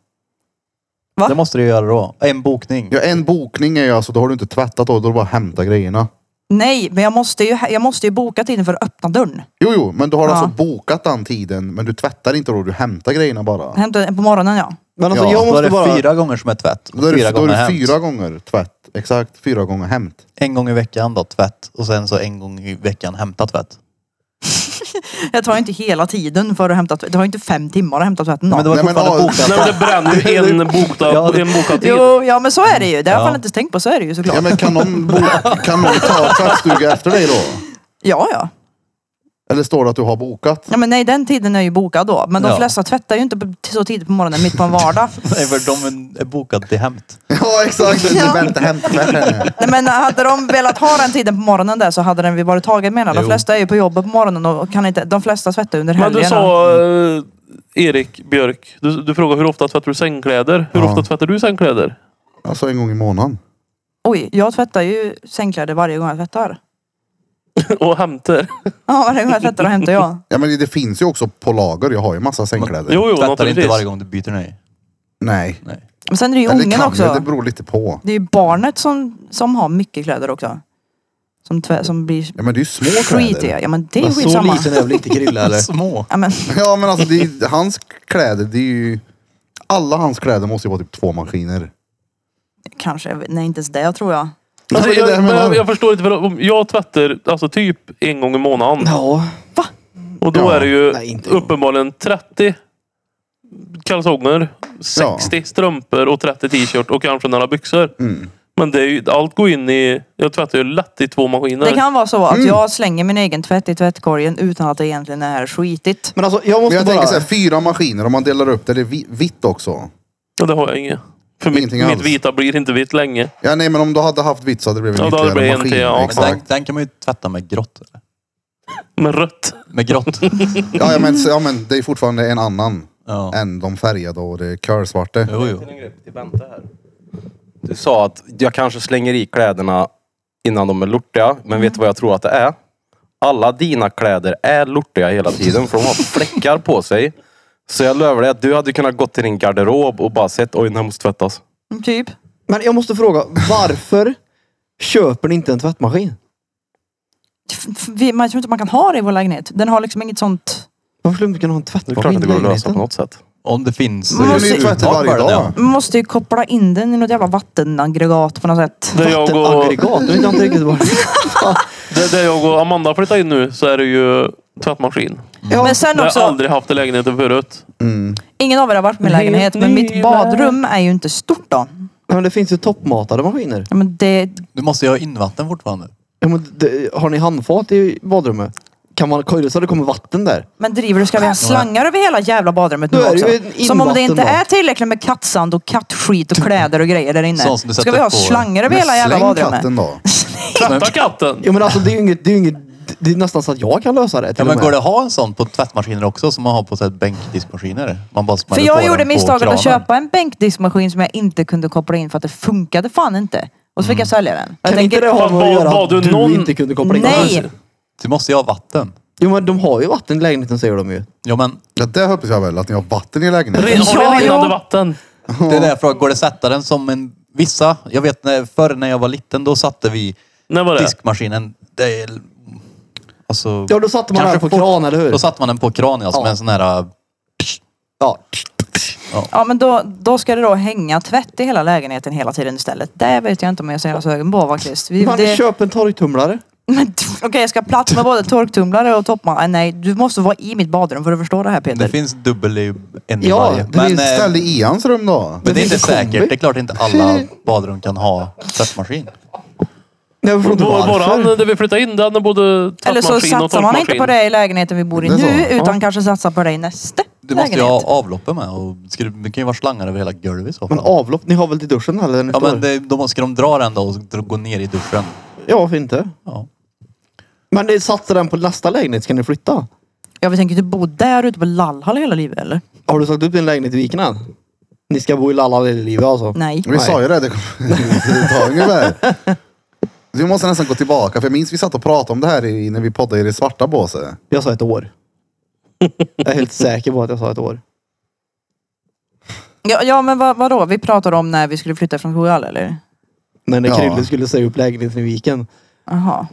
[SPEAKER 5] Det måste du göra då. En bokning.
[SPEAKER 1] Ja, en bokning är ju alltså, då har du inte tvättat då, då är det bara att hämta grejerna.
[SPEAKER 3] Nej, men jag måste, ju, jag måste ju boka tiden för att öppna dörren.
[SPEAKER 1] Jo, jo, men du har
[SPEAKER 3] Ja.
[SPEAKER 1] alltså bokat den tiden, men du tvättar inte då, du hämtar grejerna bara.
[SPEAKER 3] Hämta den på morgonen ja.
[SPEAKER 2] Men alltså
[SPEAKER 1] Ja,
[SPEAKER 2] jag
[SPEAKER 5] Då är
[SPEAKER 2] måste
[SPEAKER 5] det
[SPEAKER 2] bara...
[SPEAKER 5] fyra gånger som är tvätt. Och
[SPEAKER 1] Då är
[SPEAKER 5] fyra
[SPEAKER 1] det, då är
[SPEAKER 5] gånger
[SPEAKER 1] det
[SPEAKER 5] hämt.
[SPEAKER 1] fyra gånger tvätt. Exakt, fyra gånger hämt.
[SPEAKER 5] En gång i veckan då, tvätt. Och sen så en gång i veckan hämta tvätt.
[SPEAKER 3] Jag tar inte hela tiden för att hämta tvätt. Det har inte fem timmar att hämta tvätten
[SPEAKER 5] Men det
[SPEAKER 3] av.
[SPEAKER 5] var
[SPEAKER 1] Nej, men,
[SPEAKER 5] fortfarande
[SPEAKER 1] ja,
[SPEAKER 5] bokat.
[SPEAKER 4] Nej, men det bränner ju en
[SPEAKER 5] Ja,
[SPEAKER 4] bokad,
[SPEAKER 5] det-
[SPEAKER 4] en bokad tid.
[SPEAKER 3] Jo, ja men så är det ju. Det har jag
[SPEAKER 5] Ja.
[SPEAKER 3] fan inte tänkt på. Så är det ju såklart.
[SPEAKER 1] Ja,
[SPEAKER 3] Ja,
[SPEAKER 1] men kan någon, bo, kan någon ta tvättstuga efter dig då?
[SPEAKER 3] ja. ja.
[SPEAKER 1] Eller står det att du har bokat?
[SPEAKER 3] men nej, den tiden är ju bokad då. Men de
[SPEAKER 5] Ja.
[SPEAKER 3] flesta tvättar ju inte på- så tidigt på morgonen, mitt på en vardag.
[SPEAKER 5] Nej, för de är bokade till hämt.
[SPEAKER 1] Ja, exakt. Du
[SPEAKER 3] Ja.
[SPEAKER 1] väntar hämttvätt här nu.
[SPEAKER 3] nej, men eh, hade de velat ha den tiden på morgonen där så hade den vi varit tagen med De
[SPEAKER 5] Jo.
[SPEAKER 3] flesta är ju på jobbet på morgonen och kan inte, de flesta tvättar under
[SPEAKER 4] Men
[SPEAKER 3] helgerna.
[SPEAKER 4] du sa eh, Erik Björk, du, du frågade hur ofta tvättar du sängkläder? Hur
[SPEAKER 1] Ja.
[SPEAKER 4] ofta tvättar du sängkläder?
[SPEAKER 1] Alltså en gång i månaden.
[SPEAKER 3] Oj, jag tvättar ju sängkläder varje gång jag tvättar.
[SPEAKER 4] Och hämtar?
[SPEAKER 3] Ja, varje gång jag tvättar då hämtar jag.
[SPEAKER 1] Ja, men det- det finns ju också på lager. Jag har ju massa sängkläder.
[SPEAKER 4] Jo, jo,
[SPEAKER 5] Tvättar inte varje
[SPEAKER 4] naturligtvis.
[SPEAKER 5] gång du byter nej.
[SPEAKER 1] Nej.
[SPEAKER 3] Men sen är det ju
[SPEAKER 1] Eller
[SPEAKER 3] ungen
[SPEAKER 1] kan
[SPEAKER 3] också.
[SPEAKER 1] jag, Det beror lite på.
[SPEAKER 3] Det är ju barnet som, som har mycket kläder också. Som, tvä, som blir
[SPEAKER 1] Ja, men det är ju små kläder.
[SPEAKER 3] skitiga. Ja men det är ju
[SPEAKER 2] Men så
[SPEAKER 3] skitsamma.
[SPEAKER 2] liten är väl inte Krille eller?
[SPEAKER 5] Små.
[SPEAKER 3] Ja, men,
[SPEAKER 1] Ja, men alltså det är, hans kläder, det är ju... Alla hans kläder måste ju vara typ två maskiner.
[SPEAKER 3] kanske, nej inte ens det tror jag.
[SPEAKER 4] Alltså,
[SPEAKER 1] Ja, men det är det jag
[SPEAKER 4] jag, men
[SPEAKER 1] menar.
[SPEAKER 4] jag, jag förstår inte. För om jag tvättar alltså, typ en gång i månaden.
[SPEAKER 2] Ja.
[SPEAKER 4] Och då
[SPEAKER 1] Ja.
[SPEAKER 4] är det ju
[SPEAKER 2] Nej, inte en gång.
[SPEAKER 4] uppenbarligen 30 kalsonger, 60 strumpor och 30 t-shirt och kanske några byxor.
[SPEAKER 1] Mm.
[SPEAKER 4] Men det är ju, allt går in i... Jag tvättar ju lätt i två maskiner.
[SPEAKER 3] Det kan vara så att
[SPEAKER 2] Mm.
[SPEAKER 3] jag slänger min egen tvätt i tvättkorgen utan att det egentligen är skitigt.
[SPEAKER 2] Men alltså jag
[SPEAKER 1] Men
[SPEAKER 2] måste
[SPEAKER 1] jag
[SPEAKER 2] bara...
[SPEAKER 1] tänker så här, fyra maskiner om man delar upp det. Det är vi- vitt också.
[SPEAKER 4] Ja, det har jag inget. För mitt,
[SPEAKER 1] Ingenting alls.
[SPEAKER 4] mitt vita blir inte vitt länge.
[SPEAKER 1] Ja, nej, men om du hade haft vitt så hade det blivit
[SPEAKER 4] Ja, då hade det
[SPEAKER 1] ytterligare
[SPEAKER 4] blivit en till, ja.
[SPEAKER 1] maskiner.
[SPEAKER 5] Men den,
[SPEAKER 1] Exakt.
[SPEAKER 5] den kan man ju tvätta med grått. eller?
[SPEAKER 4] Men rött.
[SPEAKER 5] Med grått.
[SPEAKER 1] Ja, ja, men, så- ja, men det är fortfarande en annan
[SPEAKER 5] Ja.
[SPEAKER 1] än de färgade och det curlsvarta.
[SPEAKER 5] Jo, jo.
[SPEAKER 6] Du sa att jag kanske slänger i kläderna innan de är lortiga. Men vet du vad jag tror att det är? Alla dina kläder är lortiga hela tiden för de har fläckar på sig. Så jag lovar dig att du hade kunnat gå till din garderob och bara sett oj den här måste tvättas.
[SPEAKER 3] Typ.
[SPEAKER 2] Men jag måste fråga, varför köper ni inte en tvättmaskin?
[SPEAKER 3] F- f- vi- Man tror inte man kan ha det i vår lägenhet. Den har liksom inget sånt...
[SPEAKER 2] Varför skulle man inte kunna ha en
[SPEAKER 6] Det är klart
[SPEAKER 2] tvättmaskin i
[SPEAKER 6] att det går att lösa
[SPEAKER 2] lägenheten?
[SPEAKER 6] på något sätt.
[SPEAKER 5] Om det finns.
[SPEAKER 1] Du
[SPEAKER 3] Man
[SPEAKER 1] kan ju
[SPEAKER 3] måste-
[SPEAKER 1] tvätta varje dag.
[SPEAKER 5] Ja.
[SPEAKER 3] Man måste ju koppla in den i något jävla vattenaggregat på något sätt.
[SPEAKER 4] Där jag, och,
[SPEAKER 2] Vattenaggregat, jag vet inte riktigt vad
[SPEAKER 4] där, där jag och Amanda flyttade in nu så är det ju tvättmaskin.
[SPEAKER 3] Men sen
[SPEAKER 4] Jag har
[SPEAKER 3] också,
[SPEAKER 4] aldrig haft i lägenheten förut.
[SPEAKER 3] ingen av er har varit med i
[SPEAKER 4] Helt
[SPEAKER 3] lägenhet men mitt
[SPEAKER 4] ny
[SPEAKER 3] badrum är ju inte stort då.
[SPEAKER 2] Nej, Men det finns ju toppmatade maskiner.
[SPEAKER 3] Ja, Men det,
[SPEAKER 5] Du måste ju ha invatten fortfarande.
[SPEAKER 2] Ja, men det, har ni handfat i badrummet? Kan man kolla så det kommer vatten där?
[SPEAKER 3] Men driver du? Ska vi ha slangar över hela jävla badrummet nu
[SPEAKER 2] Alltså. Då är det
[SPEAKER 3] också?
[SPEAKER 2] ju en
[SPEAKER 3] Som om det
[SPEAKER 2] invatten
[SPEAKER 3] inte
[SPEAKER 2] då.
[SPEAKER 3] är tillräckligt med kattsand och kattskit och kläder och grejer där inne.
[SPEAKER 5] Sånt som du
[SPEAKER 3] Ska
[SPEAKER 5] sätter
[SPEAKER 3] vi ha
[SPEAKER 5] på-
[SPEAKER 3] slangar över
[SPEAKER 1] Men
[SPEAKER 3] hela jävla
[SPEAKER 1] släng
[SPEAKER 3] badrummet?
[SPEAKER 1] katten då.
[SPEAKER 4] Tvätta katten!
[SPEAKER 2] Ja men alltså det är ju inget, det är ju inget det är nästan så att jag kan lösa det. till
[SPEAKER 5] Ja,
[SPEAKER 2] och
[SPEAKER 5] men
[SPEAKER 2] med.
[SPEAKER 5] går det att ha en sån på tvättmaskiner också som man har på så här bänkdiskmaskiner? Man bara
[SPEAKER 3] För
[SPEAKER 5] smäller på
[SPEAKER 3] jag gjorde
[SPEAKER 5] den på
[SPEAKER 3] misstaget att
[SPEAKER 5] kranen.
[SPEAKER 3] köpa en bänkdiskmaskin som jag inte kunde koppla in för att det funkade fan inte. Och så fick jag sälja den. Jag
[SPEAKER 2] Kan
[SPEAKER 3] tänker-
[SPEAKER 2] inte det ha
[SPEAKER 4] Fan,
[SPEAKER 2] med att
[SPEAKER 4] var-
[SPEAKER 2] göra
[SPEAKER 4] var
[SPEAKER 2] att
[SPEAKER 4] du
[SPEAKER 2] du
[SPEAKER 4] någon-
[SPEAKER 2] inte kunde koppla in
[SPEAKER 3] Nej!
[SPEAKER 5] Du måste ju ha vatten.
[SPEAKER 2] Jo men de har ju vatten i lägenheten säger de ju.
[SPEAKER 5] Ja, men
[SPEAKER 1] Ja, det hoppas jag väl, att ni har vatten i lägenheten.
[SPEAKER 4] Ren, har
[SPEAKER 3] Ja,
[SPEAKER 4] ni rinnande
[SPEAKER 3] ja.
[SPEAKER 4] vatten?
[SPEAKER 5] det är därför går det att sätta den som en... Vissa, jag vet när, förr när jag var liten, då satte vi
[SPEAKER 4] När var det?
[SPEAKER 5] diskmaskinen... Det är, alltså,
[SPEAKER 2] Ja då satte man
[SPEAKER 5] Kanske
[SPEAKER 2] den på
[SPEAKER 5] fort-
[SPEAKER 2] kran eller hur?
[SPEAKER 5] Då satte man den på kran alltså,
[SPEAKER 2] Ja.
[SPEAKER 5] med en sån här...
[SPEAKER 2] ja.
[SPEAKER 3] Ja men då, då ska det då hänga tvätt i hela lägenheten hela tiden istället. Det vet jag inte om jag ser sugen på faktiskt. Vi,
[SPEAKER 2] Man
[SPEAKER 3] det,
[SPEAKER 2] köp en torktumlare.
[SPEAKER 3] men, Okej jag ska ha plats med både torktumlare och toppmatta. Nej du måste vara i mitt badrum för att förstå det här
[SPEAKER 5] Det
[SPEAKER 3] Peter.
[SPEAKER 5] finns dubbel i en i
[SPEAKER 2] Ja,
[SPEAKER 5] varje.
[SPEAKER 2] det
[SPEAKER 5] Men,
[SPEAKER 2] finns
[SPEAKER 5] eh,
[SPEAKER 1] Ställ i hans rum då.
[SPEAKER 5] men det är inte
[SPEAKER 2] finns en kombi.
[SPEAKER 5] säkert. Det är klart inte alla badrum kan ha tvättmaskin.
[SPEAKER 2] Nej, Jag förstår inte
[SPEAKER 4] Vår- Våran
[SPEAKER 2] varför.
[SPEAKER 4] där vi flyttade in, den är både
[SPEAKER 3] Eller så
[SPEAKER 4] tvättmaskin och
[SPEAKER 3] satsar man inte
[SPEAKER 4] torkmaskin.
[SPEAKER 3] på det i lägenheten vi bor i
[SPEAKER 1] Det är så.
[SPEAKER 3] nu utan kanske satsar på det i nästa
[SPEAKER 5] Du måste ju
[SPEAKER 3] lägenhet.
[SPEAKER 5] ha avloppet med. Och ska du, det kan ju vara slangar över hela golvet i så
[SPEAKER 2] Men
[SPEAKER 5] fall.
[SPEAKER 2] avlopp, ni har väl till duschen eller?
[SPEAKER 5] Ja men det, då ska de dra den då och dra- gå ner i duschen.
[SPEAKER 2] ja varför inte?
[SPEAKER 5] Ja.
[SPEAKER 2] Men ni satte den på nästa lägenhet, ska ni flytta?
[SPEAKER 3] Ja vi tänker inte bo där ute på Lallhall hela livet eller?
[SPEAKER 2] Har du sagt upp din lägenhet i Viken än? Ni ska bo i Lalla hela livet alltså?
[SPEAKER 3] Nej.
[SPEAKER 1] Vi sa ju det, det kommer ta ungefär. Vi måste nästan gå tillbaka, för jag minns vi satt och pratade om det här i, när vi poddade i det svarta båset.
[SPEAKER 2] Jag sa ett år. Jag är helt säker på att jag sa ett år.
[SPEAKER 3] Ja, ja men vad, vadå? Vi pratar om när vi skulle flytta från Kogall eller?
[SPEAKER 2] Men när
[SPEAKER 1] Ja.
[SPEAKER 2] Krille skulle säga upp lägenheten i Viken.
[SPEAKER 3] Jaha.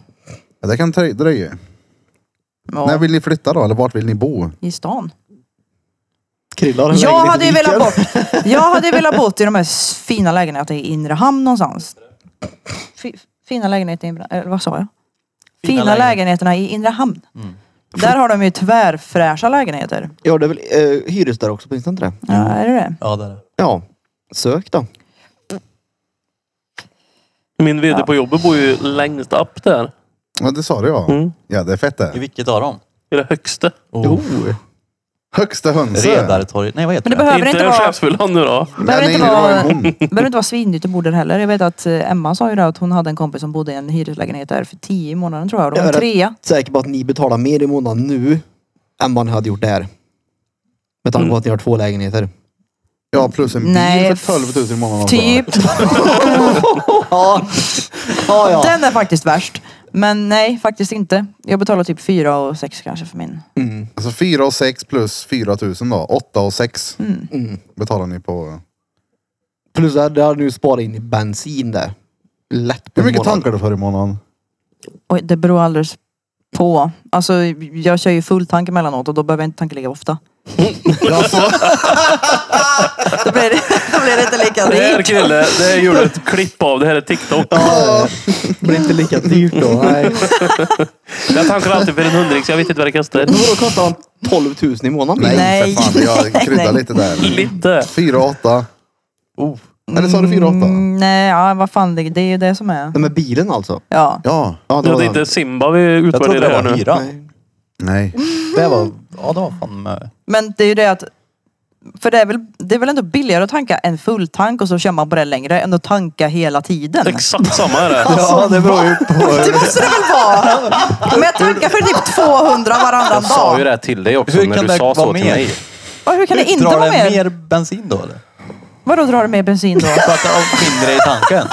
[SPEAKER 1] Ja, det kan drö- dröja.
[SPEAKER 3] Ja,
[SPEAKER 1] När vill ni flytta då? Eller vart vill ni bo?
[SPEAKER 3] I stan.
[SPEAKER 2] Krille har en
[SPEAKER 3] Jag
[SPEAKER 2] lägenhet
[SPEAKER 3] hade
[SPEAKER 2] i
[SPEAKER 3] ju
[SPEAKER 2] Viken.
[SPEAKER 3] velat bort. Jag hade ju velat bort i de här s- fina lägenheterna i inre hamn någonstans. Fi- Fina lägenheter i inre, eller vad sa jag? Fina, Mm.
[SPEAKER 5] lägen-
[SPEAKER 3] lägenheterna i inre hamn. Där har de ju tvärfräscha lägenheter.
[SPEAKER 2] Ja det är väl eh, hyres där också, finns det inte det?
[SPEAKER 3] Ja, är det det?
[SPEAKER 5] Ja det är det.
[SPEAKER 2] Ja. Sök
[SPEAKER 5] Oh.
[SPEAKER 2] då.
[SPEAKER 4] Min VD på jobbet bor ju längst upp där.
[SPEAKER 1] Ja, det sa du ja.
[SPEAKER 4] Mm.
[SPEAKER 1] Ja, det är fett
[SPEAKER 5] I
[SPEAKER 1] det.
[SPEAKER 5] vilket av dem?
[SPEAKER 4] I det högsta.
[SPEAKER 5] Oh.
[SPEAKER 1] Högsta hönse.
[SPEAKER 5] Redartorget. Nej vad heter
[SPEAKER 3] Men det
[SPEAKER 5] det?
[SPEAKER 3] behöver inte,
[SPEAKER 4] inte
[SPEAKER 3] vara,
[SPEAKER 4] chefsfyllan nu då.
[SPEAKER 3] behöver
[SPEAKER 1] Nej,
[SPEAKER 3] inte
[SPEAKER 1] nej, det var
[SPEAKER 3] vara-
[SPEAKER 1] en hon.
[SPEAKER 3] behöver inte vara svindyrt att bo där heller. Jag vet att eh, Emma sa ju det att hon hade en kompis som bodde i en hyreslägenhet där för tio i månaden tror jag. Och De
[SPEAKER 2] Jag
[SPEAKER 3] var
[SPEAKER 2] är rätt
[SPEAKER 3] trea.
[SPEAKER 2] Säker på att ni betalar mer i månaden nu än vad ni hade gjort där. Med tanke
[SPEAKER 3] Mm.
[SPEAKER 2] på att ni har två lägenheter.
[SPEAKER 1] Ja, plus en bil
[SPEAKER 3] Nej,
[SPEAKER 1] för 12 000 i månaden. också.
[SPEAKER 3] Typ.
[SPEAKER 2] Ja. ja, ja.
[SPEAKER 3] Den är faktiskt värst. Men nej, faktiskt inte. Jag betalar typ fyra och sex kanske för min.
[SPEAKER 1] Alltså 4 och 6 plus 4 000 då. 8 och 6
[SPEAKER 3] Mm.
[SPEAKER 1] betalar ni Mm. på.
[SPEAKER 2] Plus där, där har ni ju sparat in i bensin där. Lätt
[SPEAKER 1] Hur
[SPEAKER 2] på en
[SPEAKER 1] mycket
[SPEAKER 2] månad.
[SPEAKER 1] tankar du för i månaden?
[SPEAKER 3] Oj, det beror alldeles på. Alltså jag kör ju full tank emellanåt och då behöver jag inte tanka lika ofta.
[SPEAKER 2] Alltså.
[SPEAKER 3] då, blir det, då blir det inte lika
[SPEAKER 4] Det här
[SPEAKER 3] dyrt.
[SPEAKER 4] Krille, det här gjorde ett klipp av. Det här är TikTok.
[SPEAKER 2] Ja, det blir inte lika dyrt då. Nej.
[SPEAKER 4] Jag tankar alltid för en hundring så jag vet inte vad det kostar.
[SPEAKER 2] Men vadå kostar han 12 000 i månaden?
[SPEAKER 1] Nej,
[SPEAKER 3] Nej.
[SPEAKER 1] för fan. Jag kryddar
[SPEAKER 3] Nej.
[SPEAKER 1] lite där.
[SPEAKER 4] Lite.
[SPEAKER 1] 4 och 8.
[SPEAKER 5] Oh.
[SPEAKER 1] Eller sa du 4 och 8?
[SPEAKER 3] Mm, nej, ja, vad fan, det, det är ju det som är.
[SPEAKER 2] Nej, men bilen alltså.
[SPEAKER 3] Ja.
[SPEAKER 1] Ja.
[SPEAKER 2] Ja,
[SPEAKER 4] Ja,
[SPEAKER 2] var
[SPEAKER 4] det är
[SPEAKER 2] den.
[SPEAKER 4] inte Simba vi
[SPEAKER 5] Jag trodde
[SPEAKER 4] utvärderar
[SPEAKER 5] det
[SPEAKER 4] här
[SPEAKER 5] var
[SPEAKER 4] nu.
[SPEAKER 5] hyra.
[SPEAKER 2] Nej.
[SPEAKER 1] Nej.
[SPEAKER 5] Det var... Ja det var fan med.
[SPEAKER 3] Men det är ju det att för det är, väl, det är väl ändå billigare att tanka en full tank och så kör man på det längre än att tanka hela tiden.
[SPEAKER 4] Exakt samma är det.
[SPEAKER 5] Ja det beror ju på...
[SPEAKER 3] Det måste det väl vara? Men jag tankar för typ 200 varannan
[SPEAKER 4] Jag sa ju
[SPEAKER 3] dag.
[SPEAKER 4] det här till dig också
[SPEAKER 5] Hur
[SPEAKER 4] när
[SPEAKER 5] kan
[SPEAKER 4] du
[SPEAKER 5] det
[SPEAKER 4] sa
[SPEAKER 5] vara
[SPEAKER 4] så till
[SPEAKER 5] mer?
[SPEAKER 4] mig.
[SPEAKER 3] Och hur kan det inte
[SPEAKER 5] Drar
[SPEAKER 3] vara
[SPEAKER 5] det
[SPEAKER 3] mer?
[SPEAKER 5] mer bensin då eller?
[SPEAKER 3] Vadå drar det mer bensin då?
[SPEAKER 5] För att det har mindre i tanken.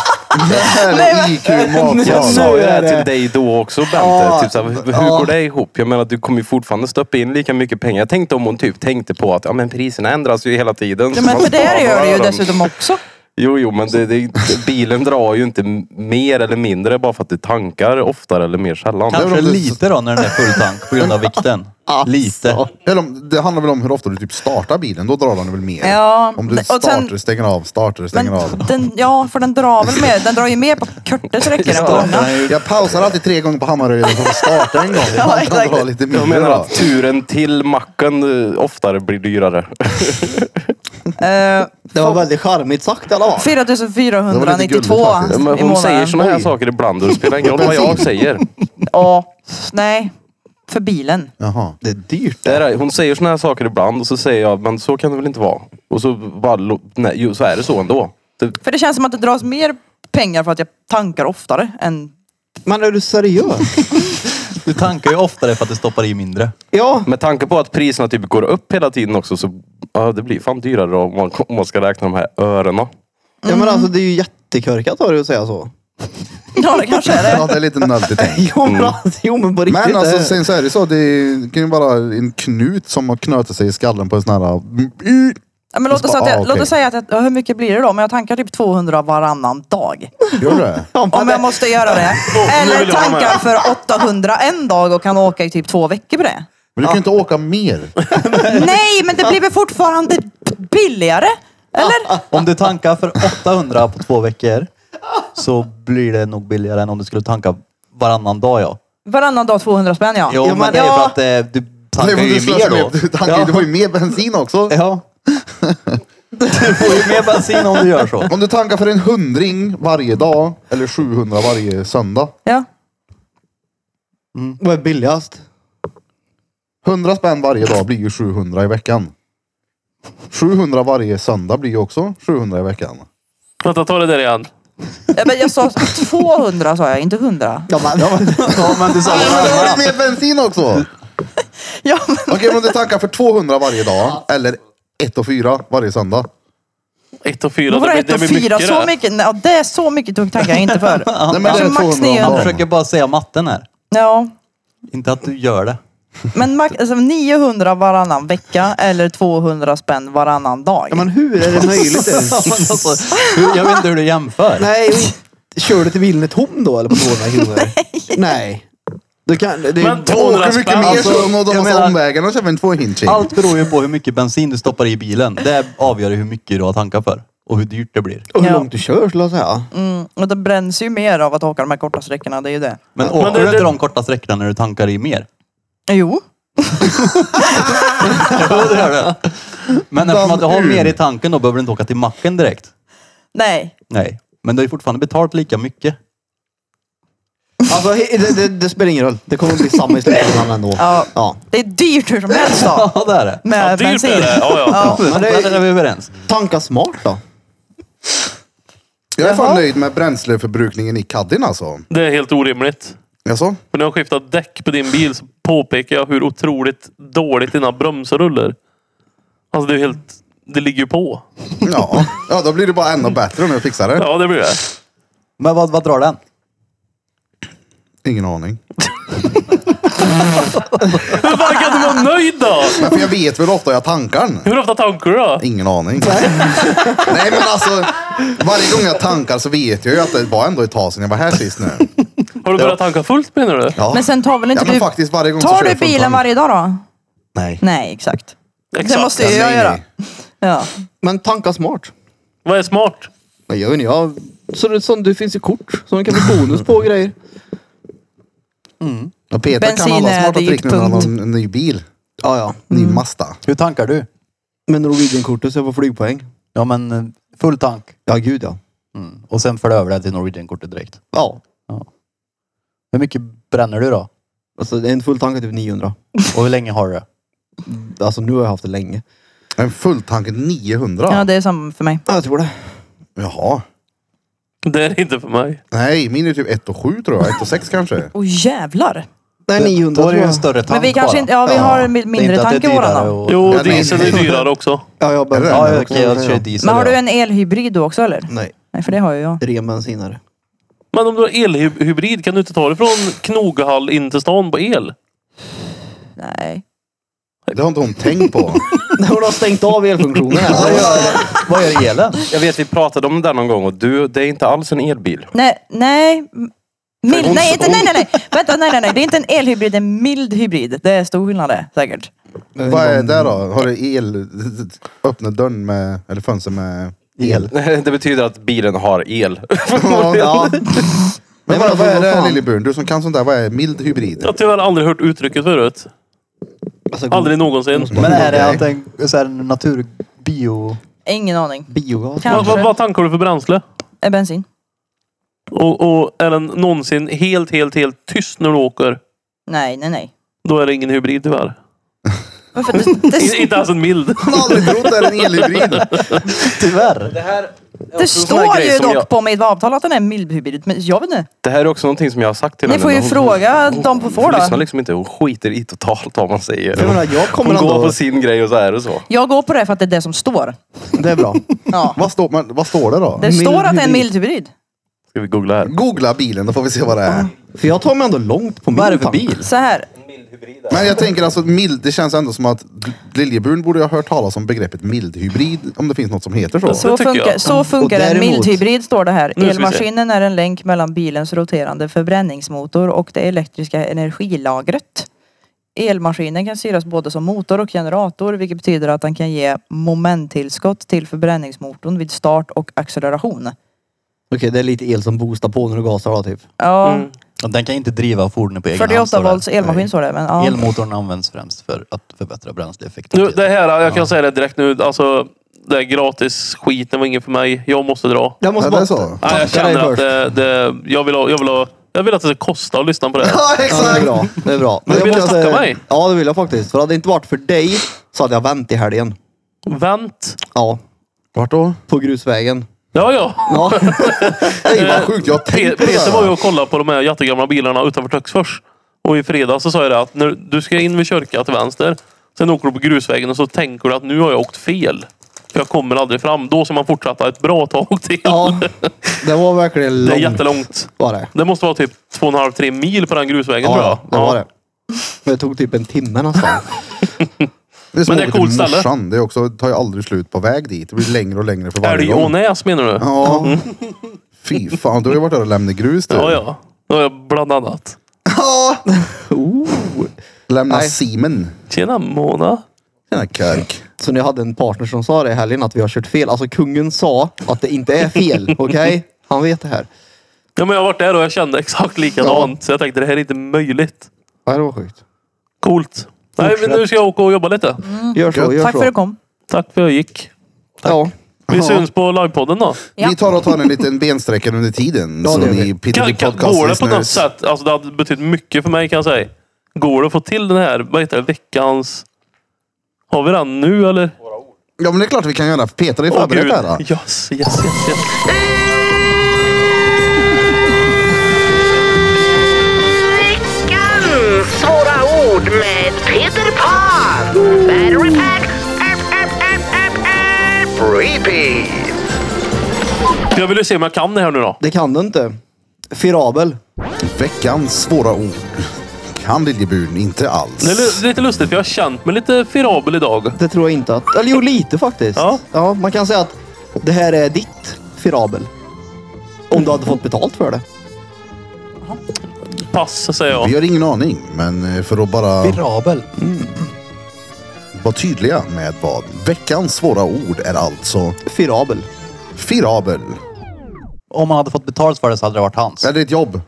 [SPEAKER 1] Det här
[SPEAKER 3] Nej,
[SPEAKER 1] är
[SPEAKER 3] men-
[SPEAKER 1] IQ mat.
[SPEAKER 4] Jag sa ju det
[SPEAKER 2] är
[SPEAKER 4] här
[SPEAKER 2] det-
[SPEAKER 4] till dig då också Bente.
[SPEAKER 2] Ja.
[SPEAKER 4] typ så här, hur
[SPEAKER 2] Ja.
[SPEAKER 4] går det ihop? Jag menar du kommer ju fortfarande stoppa in lika mycket pengar. Jag tänkte om hon typ tänkte på att ja, men priserna ändras ju hela tiden.
[SPEAKER 3] Ja,
[SPEAKER 4] så
[SPEAKER 3] men
[SPEAKER 4] man
[SPEAKER 3] för det
[SPEAKER 4] sparar
[SPEAKER 3] gör det ju
[SPEAKER 4] dem.
[SPEAKER 3] dessutom också.
[SPEAKER 4] Jo, jo, men det, det, bilen drar ju inte mer eller mindre bara för att du tankar oftare eller mer sällan.
[SPEAKER 1] var
[SPEAKER 5] Kanske
[SPEAKER 1] väl-
[SPEAKER 5] lite då när den är full tank på grund av vikten.
[SPEAKER 4] Alltså.
[SPEAKER 5] Lite.
[SPEAKER 1] Eller om, det handlar väl om hur ofta du typ startar bilen. Då drar den väl mer.
[SPEAKER 3] Ja,
[SPEAKER 1] Om du
[SPEAKER 3] och sen-
[SPEAKER 1] startar, stänger av, startar, stänger
[SPEAKER 3] Men
[SPEAKER 1] av.
[SPEAKER 3] den, ja, för den drar väl mer. Den drar ju mer på korta sträckor än på långa.
[SPEAKER 1] Jag pausar alltid tre gånger på Hammaröljen för att starta en gång.
[SPEAKER 3] Ja,
[SPEAKER 1] Man kan
[SPEAKER 3] exakt.
[SPEAKER 1] dra lite
[SPEAKER 4] Jag
[SPEAKER 1] mindre
[SPEAKER 4] menar
[SPEAKER 1] då.
[SPEAKER 4] att turen till macken eh, oftare blir dyrare.
[SPEAKER 3] Eh,
[SPEAKER 2] Det var väldigt charmigt sagt i alla fall.
[SPEAKER 3] 4492
[SPEAKER 1] Det var lite
[SPEAKER 3] i
[SPEAKER 4] Men hon säger
[SPEAKER 3] månaden.
[SPEAKER 4] såna här saker ibland och det spelar ingen roll vad jag säger.
[SPEAKER 3] Ja, nej. För bilen.
[SPEAKER 1] Jaha.
[SPEAKER 2] Det är dyrt.
[SPEAKER 4] Det är, hon säger såna här saker ibland och så säger jag, men så kan det väl inte vara? Och så bara, lo- nej, jo, så är det så ändå. Det,
[SPEAKER 3] För det känns som att det dras mer pengar för att jag tankar oftare än...
[SPEAKER 2] Men är du seriös?
[SPEAKER 5] Du tankar ju oftare för att du stoppar i mindre.
[SPEAKER 2] Ja,
[SPEAKER 6] Med tanke på att priserna typ går upp hela tiden också så ja, det blir fan dyrare om man, om man ska räkna de här örena.
[SPEAKER 2] ja men alltså det är ju jättekörkat av dig att säga så.
[SPEAKER 3] Ja, det kanske är det.
[SPEAKER 1] Ja, det är lite nöltigt.
[SPEAKER 2] Jo
[SPEAKER 4] Mm.
[SPEAKER 2] men, alltså, jo, men på riktigt.
[SPEAKER 1] Men
[SPEAKER 2] det-
[SPEAKER 1] alltså sen så är det så. Det är- det kan ju vara en knut som har knötit sig i skallen på en sån här... Mm,
[SPEAKER 3] Ja, Men låt oss, säga att
[SPEAKER 1] Ah,
[SPEAKER 3] jag,
[SPEAKER 1] okej.
[SPEAKER 3] låt oss säga att jag, ja, hur mycket blir det då? Men jag tankar typ 200 varannan dag.
[SPEAKER 1] Gör det?
[SPEAKER 2] Ja, men
[SPEAKER 3] Om
[SPEAKER 2] det-
[SPEAKER 3] jag måste göra det.
[SPEAKER 4] Oh, nu vill
[SPEAKER 3] Eller
[SPEAKER 4] jag vara med.
[SPEAKER 3] tankar för 800 en dag och kan åka i typ två veckor på det.
[SPEAKER 1] Men du kan ju inte åka mer.
[SPEAKER 3] Nej, men det blir väl fortfarande billigare? Eller?
[SPEAKER 5] Om du tankar för 800 på två veckor så blir det nog billigare än om du skulle tanka varannan dag ja.
[SPEAKER 3] Varannan dag 200 spänn ja.
[SPEAKER 5] Jo, men, det är för att eh, du
[SPEAKER 1] Nej,
[SPEAKER 5] tankar
[SPEAKER 1] men
[SPEAKER 5] ju
[SPEAKER 1] du slösar
[SPEAKER 5] mer då.
[SPEAKER 1] mer. Du tankar-
[SPEAKER 5] ja.
[SPEAKER 1] Du får ju mer bensin också.
[SPEAKER 5] ja. Du får ju mer bensin om du gör så.
[SPEAKER 1] Om du tankar för en hundring varje dag eller 700 varje söndag.
[SPEAKER 3] ja.
[SPEAKER 2] Vad är billigast?
[SPEAKER 1] 100 spänn varje dag blir ju 700 i veckan. 700 varje söndag blir ju också 700 i veckan.
[SPEAKER 4] Vänta, ta det där igen.
[SPEAKER 3] Ja, men jag sa 200 sa jag, inte 100.
[SPEAKER 2] Ja, men,
[SPEAKER 5] Ja, men du sa
[SPEAKER 1] Men då har du mer bensin också!
[SPEAKER 3] Ja, men,
[SPEAKER 1] Okej, men om du tankar för 200 varje dag eller 1 och 4 varje söndag.
[SPEAKER 4] Ett och fyra.
[SPEAKER 3] då var det
[SPEAKER 4] blir-
[SPEAKER 3] ett och
[SPEAKER 4] blir
[SPEAKER 3] fyra.
[SPEAKER 4] mycket
[SPEAKER 3] Så
[SPEAKER 4] det.
[SPEAKER 3] mycket, ja, det är så mycket tungt tankar jag inte för.
[SPEAKER 1] Nej, men det är
[SPEAKER 3] Alltså, Max
[SPEAKER 1] 200 om
[SPEAKER 3] 900.
[SPEAKER 5] Han
[SPEAKER 1] dagen.
[SPEAKER 5] försöker bara säga matten här.
[SPEAKER 3] Ja.
[SPEAKER 5] Inte att du gör det.
[SPEAKER 3] Men max, alltså 900 varannan vecka eller 200 spänn varannan dag.
[SPEAKER 2] ja, men hur är det möjligt ens?
[SPEAKER 5] Ja, men alltså, hur- jag vet inte hur du jämför.
[SPEAKER 2] Nej, kör du till bilen är tom då eller på 200 kronor? Nej. Nej. Du kan, det,
[SPEAKER 4] Men
[SPEAKER 1] Du
[SPEAKER 4] 200
[SPEAKER 1] åker mycket
[SPEAKER 4] spänn,
[SPEAKER 1] mer
[SPEAKER 5] alltså,
[SPEAKER 1] så om de
[SPEAKER 5] jag
[SPEAKER 1] massa
[SPEAKER 5] menar-
[SPEAKER 1] omvägar och köper en tvåhinching.
[SPEAKER 5] Allt beror ju på hur mycket bensin du stoppar i bilen. Det avgör ju hur mycket du har tankar för och hur dyrt det blir.
[SPEAKER 2] och hur
[SPEAKER 3] Ja.
[SPEAKER 2] långt du kör skulle jag säga.
[SPEAKER 3] Mm, och det bränns ju mer av att åka de här korta sträckorna, det är ju det.
[SPEAKER 5] Men åker
[SPEAKER 4] det-
[SPEAKER 5] du inte
[SPEAKER 4] det-
[SPEAKER 5] de korta sträckorna när du tankar i mer?
[SPEAKER 3] Jo.
[SPEAKER 5] Jo, det gör du. Men eftersom att du har mer i tanken då behöver du inte åka till macken direkt.
[SPEAKER 3] Nej.
[SPEAKER 5] Nej, men du har ju fortfarande betalt lika mycket.
[SPEAKER 2] Alltså, he- det, det, det spelar ingen roll. Det kommer att bli samma i slutändan ändå.
[SPEAKER 3] Ja.
[SPEAKER 2] Ja.
[SPEAKER 3] Det är dyrt hur som helst då.
[SPEAKER 5] Ja, det är det.
[SPEAKER 3] Med
[SPEAKER 4] Ja, dyrt
[SPEAKER 3] bensin.
[SPEAKER 4] är det. Ja, ja.
[SPEAKER 3] Ja.
[SPEAKER 5] Men
[SPEAKER 2] det-
[SPEAKER 5] där är vi överens.
[SPEAKER 2] Tanka smart då.
[SPEAKER 1] Jag är fan
[SPEAKER 3] Jaha.
[SPEAKER 1] nöjd med bränsleförbrukningen i caddien alltså.
[SPEAKER 4] Det är helt orimligt.
[SPEAKER 1] Jaså?
[SPEAKER 4] För när jag skiftar däck på din bil så påpekar jag hur otroligt dåligt dina bromsar rullar. Alltså det är ju helt... Det ligger ju på.
[SPEAKER 1] Ja. ja, då blir det bara ännu bättre om jag fixar det.
[SPEAKER 4] Ja, det blir det.
[SPEAKER 5] Men vad, vad drar den?
[SPEAKER 1] Ingen aning.
[SPEAKER 4] Hur fan kan du vara nöjd då?
[SPEAKER 1] Men för jag vet väl ofta jag tankar den.
[SPEAKER 4] Hur ofta tankar du då?
[SPEAKER 1] Ingen aning. Nej men alltså, varje gång jag tankar så vet jag ju att det var ändå ett tag sedan jag var här sist nu.
[SPEAKER 4] Har du börjat tanka fullt menar du?
[SPEAKER 1] Ja.
[SPEAKER 3] Men sen tar väl inte
[SPEAKER 1] ja, men
[SPEAKER 3] du...
[SPEAKER 1] faktiskt varje gång så
[SPEAKER 3] Tar
[SPEAKER 1] kör
[SPEAKER 3] du
[SPEAKER 1] jag full
[SPEAKER 3] bilen
[SPEAKER 1] tank.
[SPEAKER 3] varje dag då?
[SPEAKER 1] Nej.
[SPEAKER 3] Nej, exakt. Det
[SPEAKER 4] Exakt.
[SPEAKER 3] måste ju jag
[SPEAKER 1] nej,
[SPEAKER 3] göra.
[SPEAKER 1] nej.
[SPEAKER 3] Ja.
[SPEAKER 2] Men tanka smart.
[SPEAKER 4] Vad är smart?
[SPEAKER 2] Men jag vet inte, jag... Så det, som, det finns ju kort som man kan få bonus på och grejer.
[SPEAKER 1] Och Peter
[SPEAKER 3] Bensin
[SPEAKER 1] kan alla
[SPEAKER 3] är
[SPEAKER 1] smarta trick
[SPEAKER 3] dyrt,
[SPEAKER 1] nu när han har
[SPEAKER 3] punkt.
[SPEAKER 1] en ny bil.
[SPEAKER 2] Ja, ja.
[SPEAKER 1] Ny Mazda.
[SPEAKER 5] Hur tankar du?
[SPEAKER 2] Med Norwegian-kortet så jag får flygpoäng.
[SPEAKER 5] Ja, men eh, full tank.
[SPEAKER 2] Ja, gud ja.
[SPEAKER 5] Mm. Och sen för du över det till Norwegian-kortet direkt.
[SPEAKER 2] Ja.
[SPEAKER 5] Hur mycket bränner du då?
[SPEAKER 2] Alltså en full tank är typ 900.
[SPEAKER 5] Och hur länge har du det?
[SPEAKER 2] Alltså nu har jag haft det länge.
[SPEAKER 1] En fulltank 900.
[SPEAKER 3] ja, det är samma för mig.
[SPEAKER 2] Ja, jag tror det.
[SPEAKER 1] Jaha.
[SPEAKER 4] Det är det inte för mig.
[SPEAKER 1] Nej, min är typ 1 och 7 tror jag. 1 och 6 kanske.
[SPEAKER 3] Åh jävlar.
[SPEAKER 2] Nej, 900
[SPEAKER 5] Då är
[SPEAKER 2] tror
[SPEAKER 5] det ju en
[SPEAKER 2] jag.
[SPEAKER 5] större tank
[SPEAKER 3] Men vi
[SPEAKER 5] bara.
[SPEAKER 3] kanske inte... Ja, vi har en
[SPEAKER 5] Det är inte
[SPEAKER 3] mindre
[SPEAKER 5] att det är
[SPEAKER 3] tanke i våran
[SPEAKER 5] dyrare
[SPEAKER 3] då.
[SPEAKER 5] och-
[SPEAKER 4] Jo,
[SPEAKER 1] Ja, det är-
[SPEAKER 4] diesel är dyrare också.
[SPEAKER 2] Ja, jag
[SPEAKER 1] Är
[SPEAKER 2] behöver
[SPEAKER 1] det?
[SPEAKER 2] Ja,
[SPEAKER 5] Ja,
[SPEAKER 2] jag
[SPEAKER 5] okej, jag kör
[SPEAKER 2] också.
[SPEAKER 5] diesel.
[SPEAKER 3] Men har
[SPEAKER 5] ja.
[SPEAKER 3] du en elhybrid då också eller?
[SPEAKER 2] Nej,
[SPEAKER 3] Nej, för det har ju jag.
[SPEAKER 2] ren bensinare.
[SPEAKER 4] Men om du har elhybrid, kan du inte ta det från Knogahall in till stan på el?
[SPEAKER 3] Nej.
[SPEAKER 1] Det har inte hon tänkt på.
[SPEAKER 2] Nej, hon har stängt av elfunktionen.
[SPEAKER 5] Vad
[SPEAKER 2] här.
[SPEAKER 5] gör, vad gör elen?
[SPEAKER 6] Jag vet vi pratade om det där någon gång och du, det är inte alls en elbil.
[SPEAKER 3] Nej, nej. M- Mild,
[SPEAKER 6] Hon-
[SPEAKER 3] nej, inte, nej, nej, nej. Vänta, nej, nej, nej. Det är inte en elhybrid, det är en mild hybrid. Det är stor skillnad det, säkert.
[SPEAKER 1] Vad är det då? Har du el? Öppna dörren med, eller fönster med el?
[SPEAKER 6] Det betyder att bilen har el.
[SPEAKER 2] Ja.
[SPEAKER 1] Men vad,
[SPEAKER 2] Nej, men
[SPEAKER 1] vad är
[SPEAKER 2] vad
[SPEAKER 1] det
[SPEAKER 2] fan?
[SPEAKER 1] Lilleburn? Du som kan sånt där, vad är mild hybrid?
[SPEAKER 4] Jag har tyvärr aldrig hört uttrycket förut.
[SPEAKER 2] Alltså, god
[SPEAKER 4] Aldrig någonsin.
[SPEAKER 5] Men är det att en så här, natur... Bio...
[SPEAKER 3] Ingen aning.
[SPEAKER 2] Biogas.
[SPEAKER 4] Vad,
[SPEAKER 3] Kanske.
[SPEAKER 4] vad, vad tankar du för bränsle?
[SPEAKER 3] Eh, Bensin?
[SPEAKER 4] Och, och är den någonsin helt, helt, helt tyst när du åker?
[SPEAKER 3] Nej, nej, nej.
[SPEAKER 4] Då är det ingen hybrid tyvärr.
[SPEAKER 3] Men för det,
[SPEAKER 4] I-
[SPEAKER 3] det,
[SPEAKER 4] Inte ens en mild.
[SPEAKER 1] Man har aldrig trott det är en elhybrid.
[SPEAKER 5] Tyvärr.
[SPEAKER 6] Det här,
[SPEAKER 3] det står ju dock
[SPEAKER 6] jag,
[SPEAKER 3] på mitt avtal att den är mildhybrid. Men jag vet inte.
[SPEAKER 6] Det här är också någonting som jag har sagt till
[SPEAKER 3] Ni
[SPEAKER 6] henne.
[SPEAKER 3] får ju
[SPEAKER 6] men hon-
[SPEAKER 3] fråga dem på får
[SPEAKER 6] Hon lyssnar
[SPEAKER 3] då.
[SPEAKER 6] liksom inte. Hon skiter i totalt vad man säger.
[SPEAKER 5] Jag menar, jag kommer
[SPEAKER 6] hon går
[SPEAKER 5] ändå-
[SPEAKER 6] på sin grej och så är det så.
[SPEAKER 3] Jag går på det för att det är det som står.
[SPEAKER 1] Det är bra.
[SPEAKER 3] Ja.
[SPEAKER 1] Vad, står, men, vad står det då?
[SPEAKER 3] Det står att det är en mildhybrid.
[SPEAKER 6] Ska vi googla här?
[SPEAKER 1] Googla bilen, då får vi se vad det är.
[SPEAKER 2] För jag tar mig ändå långt på min
[SPEAKER 5] Vad är det för
[SPEAKER 2] tanke.
[SPEAKER 5] bil?
[SPEAKER 3] Så här.
[SPEAKER 1] Men jag tänker alltså mild, det känns ändå som att Liljeburen borde ha hört talas om begreppet mildhybrid, om det finns något som heter så.
[SPEAKER 4] Det
[SPEAKER 3] Så
[SPEAKER 4] tycker
[SPEAKER 3] funkar,
[SPEAKER 4] jag.
[SPEAKER 3] så funkar
[SPEAKER 2] Och
[SPEAKER 3] en
[SPEAKER 2] däremot-
[SPEAKER 3] mildhybrid står det här.
[SPEAKER 4] Nu ska vi se.
[SPEAKER 3] Elmaskinen är en länk mellan bilens roterande förbränningsmotor och det elektriska energilagret. Elmaskinen kan styras både som motor och generator vilket betyder att den kan ge momenttillskott till förbränningsmotorn vid start och acceleration.
[SPEAKER 2] Okej, det är lite el som boostar på när du gasar då typ.
[SPEAKER 3] Ja,
[SPEAKER 4] Mm.
[SPEAKER 5] Och Den kan inte driva fordonet på egen hand.
[SPEAKER 3] 48
[SPEAKER 5] står det.
[SPEAKER 3] volts elmaskin står det. Men, ja.
[SPEAKER 5] Elmotorn används främst för att förbättra bränsleeffekten.
[SPEAKER 4] Nu, det här, jag kan säga det direkt nu. Alltså, det är gratis skiten var ingen för mig. Jag måste dra.
[SPEAKER 2] Jag
[SPEAKER 1] Ja,
[SPEAKER 2] måste
[SPEAKER 1] det är
[SPEAKER 2] bara...
[SPEAKER 1] så.
[SPEAKER 4] Nej, jag
[SPEAKER 2] Tacka dig
[SPEAKER 4] känner att eh,
[SPEAKER 2] först.
[SPEAKER 4] det, det, jag, vill ha, jag, vill ha, jag vill att det ska kosta att lyssna på det här.
[SPEAKER 1] Ja,
[SPEAKER 2] Ja, det är
[SPEAKER 1] exakt!
[SPEAKER 2] bra. Det är bra.
[SPEAKER 4] Men
[SPEAKER 2] jag
[SPEAKER 4] vill du
[SPEAKER 2] måste-
[SPEAKER 4] tacka mig?
[SPEAKER 2] Ja, det vill jag faktiskt. För hade det inte varit för dig så hade jag vänt i helgen.
[SPEAKER 4] Vänt.
[SPEAKER 2] Ja,
[SPEAKER 1] Vart då?
[SPEAKER 2] på grusvägen.
[SPEAKER 4] Ja, ja.
[SPEAKER 2] Ja,
[SPEAKER 1] Nej vad sjukt, jag har
[SPEAKER 4] Pe-
[SPEAKER 1] tänkt på det
[SPEAKER 4] Peter var ju
[SPEAKER 1] där.
[SPEAKER 4] och kollade på de här jättegamla bilarna utanför Töcksfors. Och i fredags så sa jag det att när du ska in vid kyrkan till vänster. Sen åker du på grusvägen och så tänker du att nu har jag åkt fel. För jag kommer aldrig fram. Då ska man fortsätta ett bra tag till.
[SPEAKER 2] ja. Det var verkligen långt.
[SPEAKER 4] det är jättelångt.
[SPEAKER 2] Var det.
[SPEAKER 4] Det måste vara typ 2,5-3 mil på den grusvägen tror jag.
[SPEAKER 2] Ja, det var det. Men det tog typ en timme nästan.
[SPEAKER 1] Det är som
[SPEAKER 4] Men det är
[SPEAKER 1] att åka
[SPEAKER 4] coolt
[SPEAKER 1] till
[SPEAKER 4] ställe.
[SPEAKER 1] morsan. Det är också, tar ju aldrig slut på väg dit. Det blir längre och längre för varje gång.
[SPEAKER 4] Älgånäs menar du? Ja,
[SPEAKER 1] Ja. Fy fan, du har ju varit där och lämnat grus du.
[SPEAKER 4] ja. ja. ja bland annat.
[SPEAKER 1] Lämna
[SPEAKER 2] Nej.
[SPEAKER 1] Simen.
[SPEAKER 4] Tjena Mona.
[SPEAKER 1] Tjena Körk.
[SPEAKER 2] Så när jag hade en partner som sa det i helgen att vi har kört fel. Alltså kungen sa att det inte är fel. Okej? Han vet det här.
[SPEAKER 4] Ja, men jag har varit där och jag kände exakt likadant. Så jag tänkte det här är inte möjligt.
[SPEAKER 2] Ja, det var sjukt.
[SPEAKER 4] Coolt. Nej, men nu ska jag åka och jobba lite.
[SPEAKER 2] Mm. Gör så,
[SPEAKER 1] Gött.
[SPEAKER 2] gör
[SPEAKER 3] Tack
[SPEAKER 2] så.
[SPEAKER 3] för att du kom.
[SPEAKER 4] Tack för att jag gick.
[SPEAKER 2] Ja.
[SPEAKER 4] Vi syns på livepodden då.
[SPEAKER 3] Ja.
[SPEAKER 1] Vi tar och tar en liten bensträckare under tiden.
[SPEAKER 2] Ja,
[SPEAKER 1] så
[SPEAKER 2] det gör
[SPEAKER 1] ni
[SPEAKER 2] vi.
[SPEAKER 1] Piddly
[SPEAKER 4] Kan, kan, går det på något
[SPEAKER 1] Podcast-listeners.
[SPEAKER 4] sätt? Alltså det hade betytt mycket för mig kan jag säga. Går det att få till den här, vad heter det, veckans... Har vi den nu eller?
[SPEAKER 1] Ja men det är klart vi kan göra. Peter har ju
[SPEAKER 4] Åh,
[SPEAKER 1] förberett
[SPEAKER 4] gud.
[SPEAKER 1] det här. då.
[SPEAKER 4] Yes, yes, yes, yes.
[SPEAKER 7] Veckans svåra ord med Peter Pan. Battery pack. App, app, app, app, app. Repeat.
[SPEAKER 4] Jag vill ju se om jag kan det här nu då.
[SPEAKER 2] Det kan du inte. Firabel.
[SPEAKER 1] Veckans svåra ord. Kan Liljeburen inte alls.
[SPEAKER 4] Det är lu- lite lustigt för jag har känt mig lite firabel idag.
[SPEAKER 2] Det tror jag inte att... Eller jo, lite faktiskt.
[SPEAKER 4] Ja.
[SPEAKER 2] ja. Man kan säga att det här är ditt firabel. Om du hade fått betalt för det.
[SPEAKER 4] Pass säger
[SPEAKER 1] Vi
[SPEAKER 4] jag.
[SPEAKER 1] har ingen aning, men eh, för att bara
[SPEAKER 5] Virabel.
[SPEAKER 1] vara tydliga med vad veckans svåra ord är alltså
[SPEAKER 2] Firabel.
[SPEAKER 1] firabel.
[SPEAKER 5] Om man hade fått betalt för det så hade det varit hans.
[SPEAKER 1] Är det ett jobb?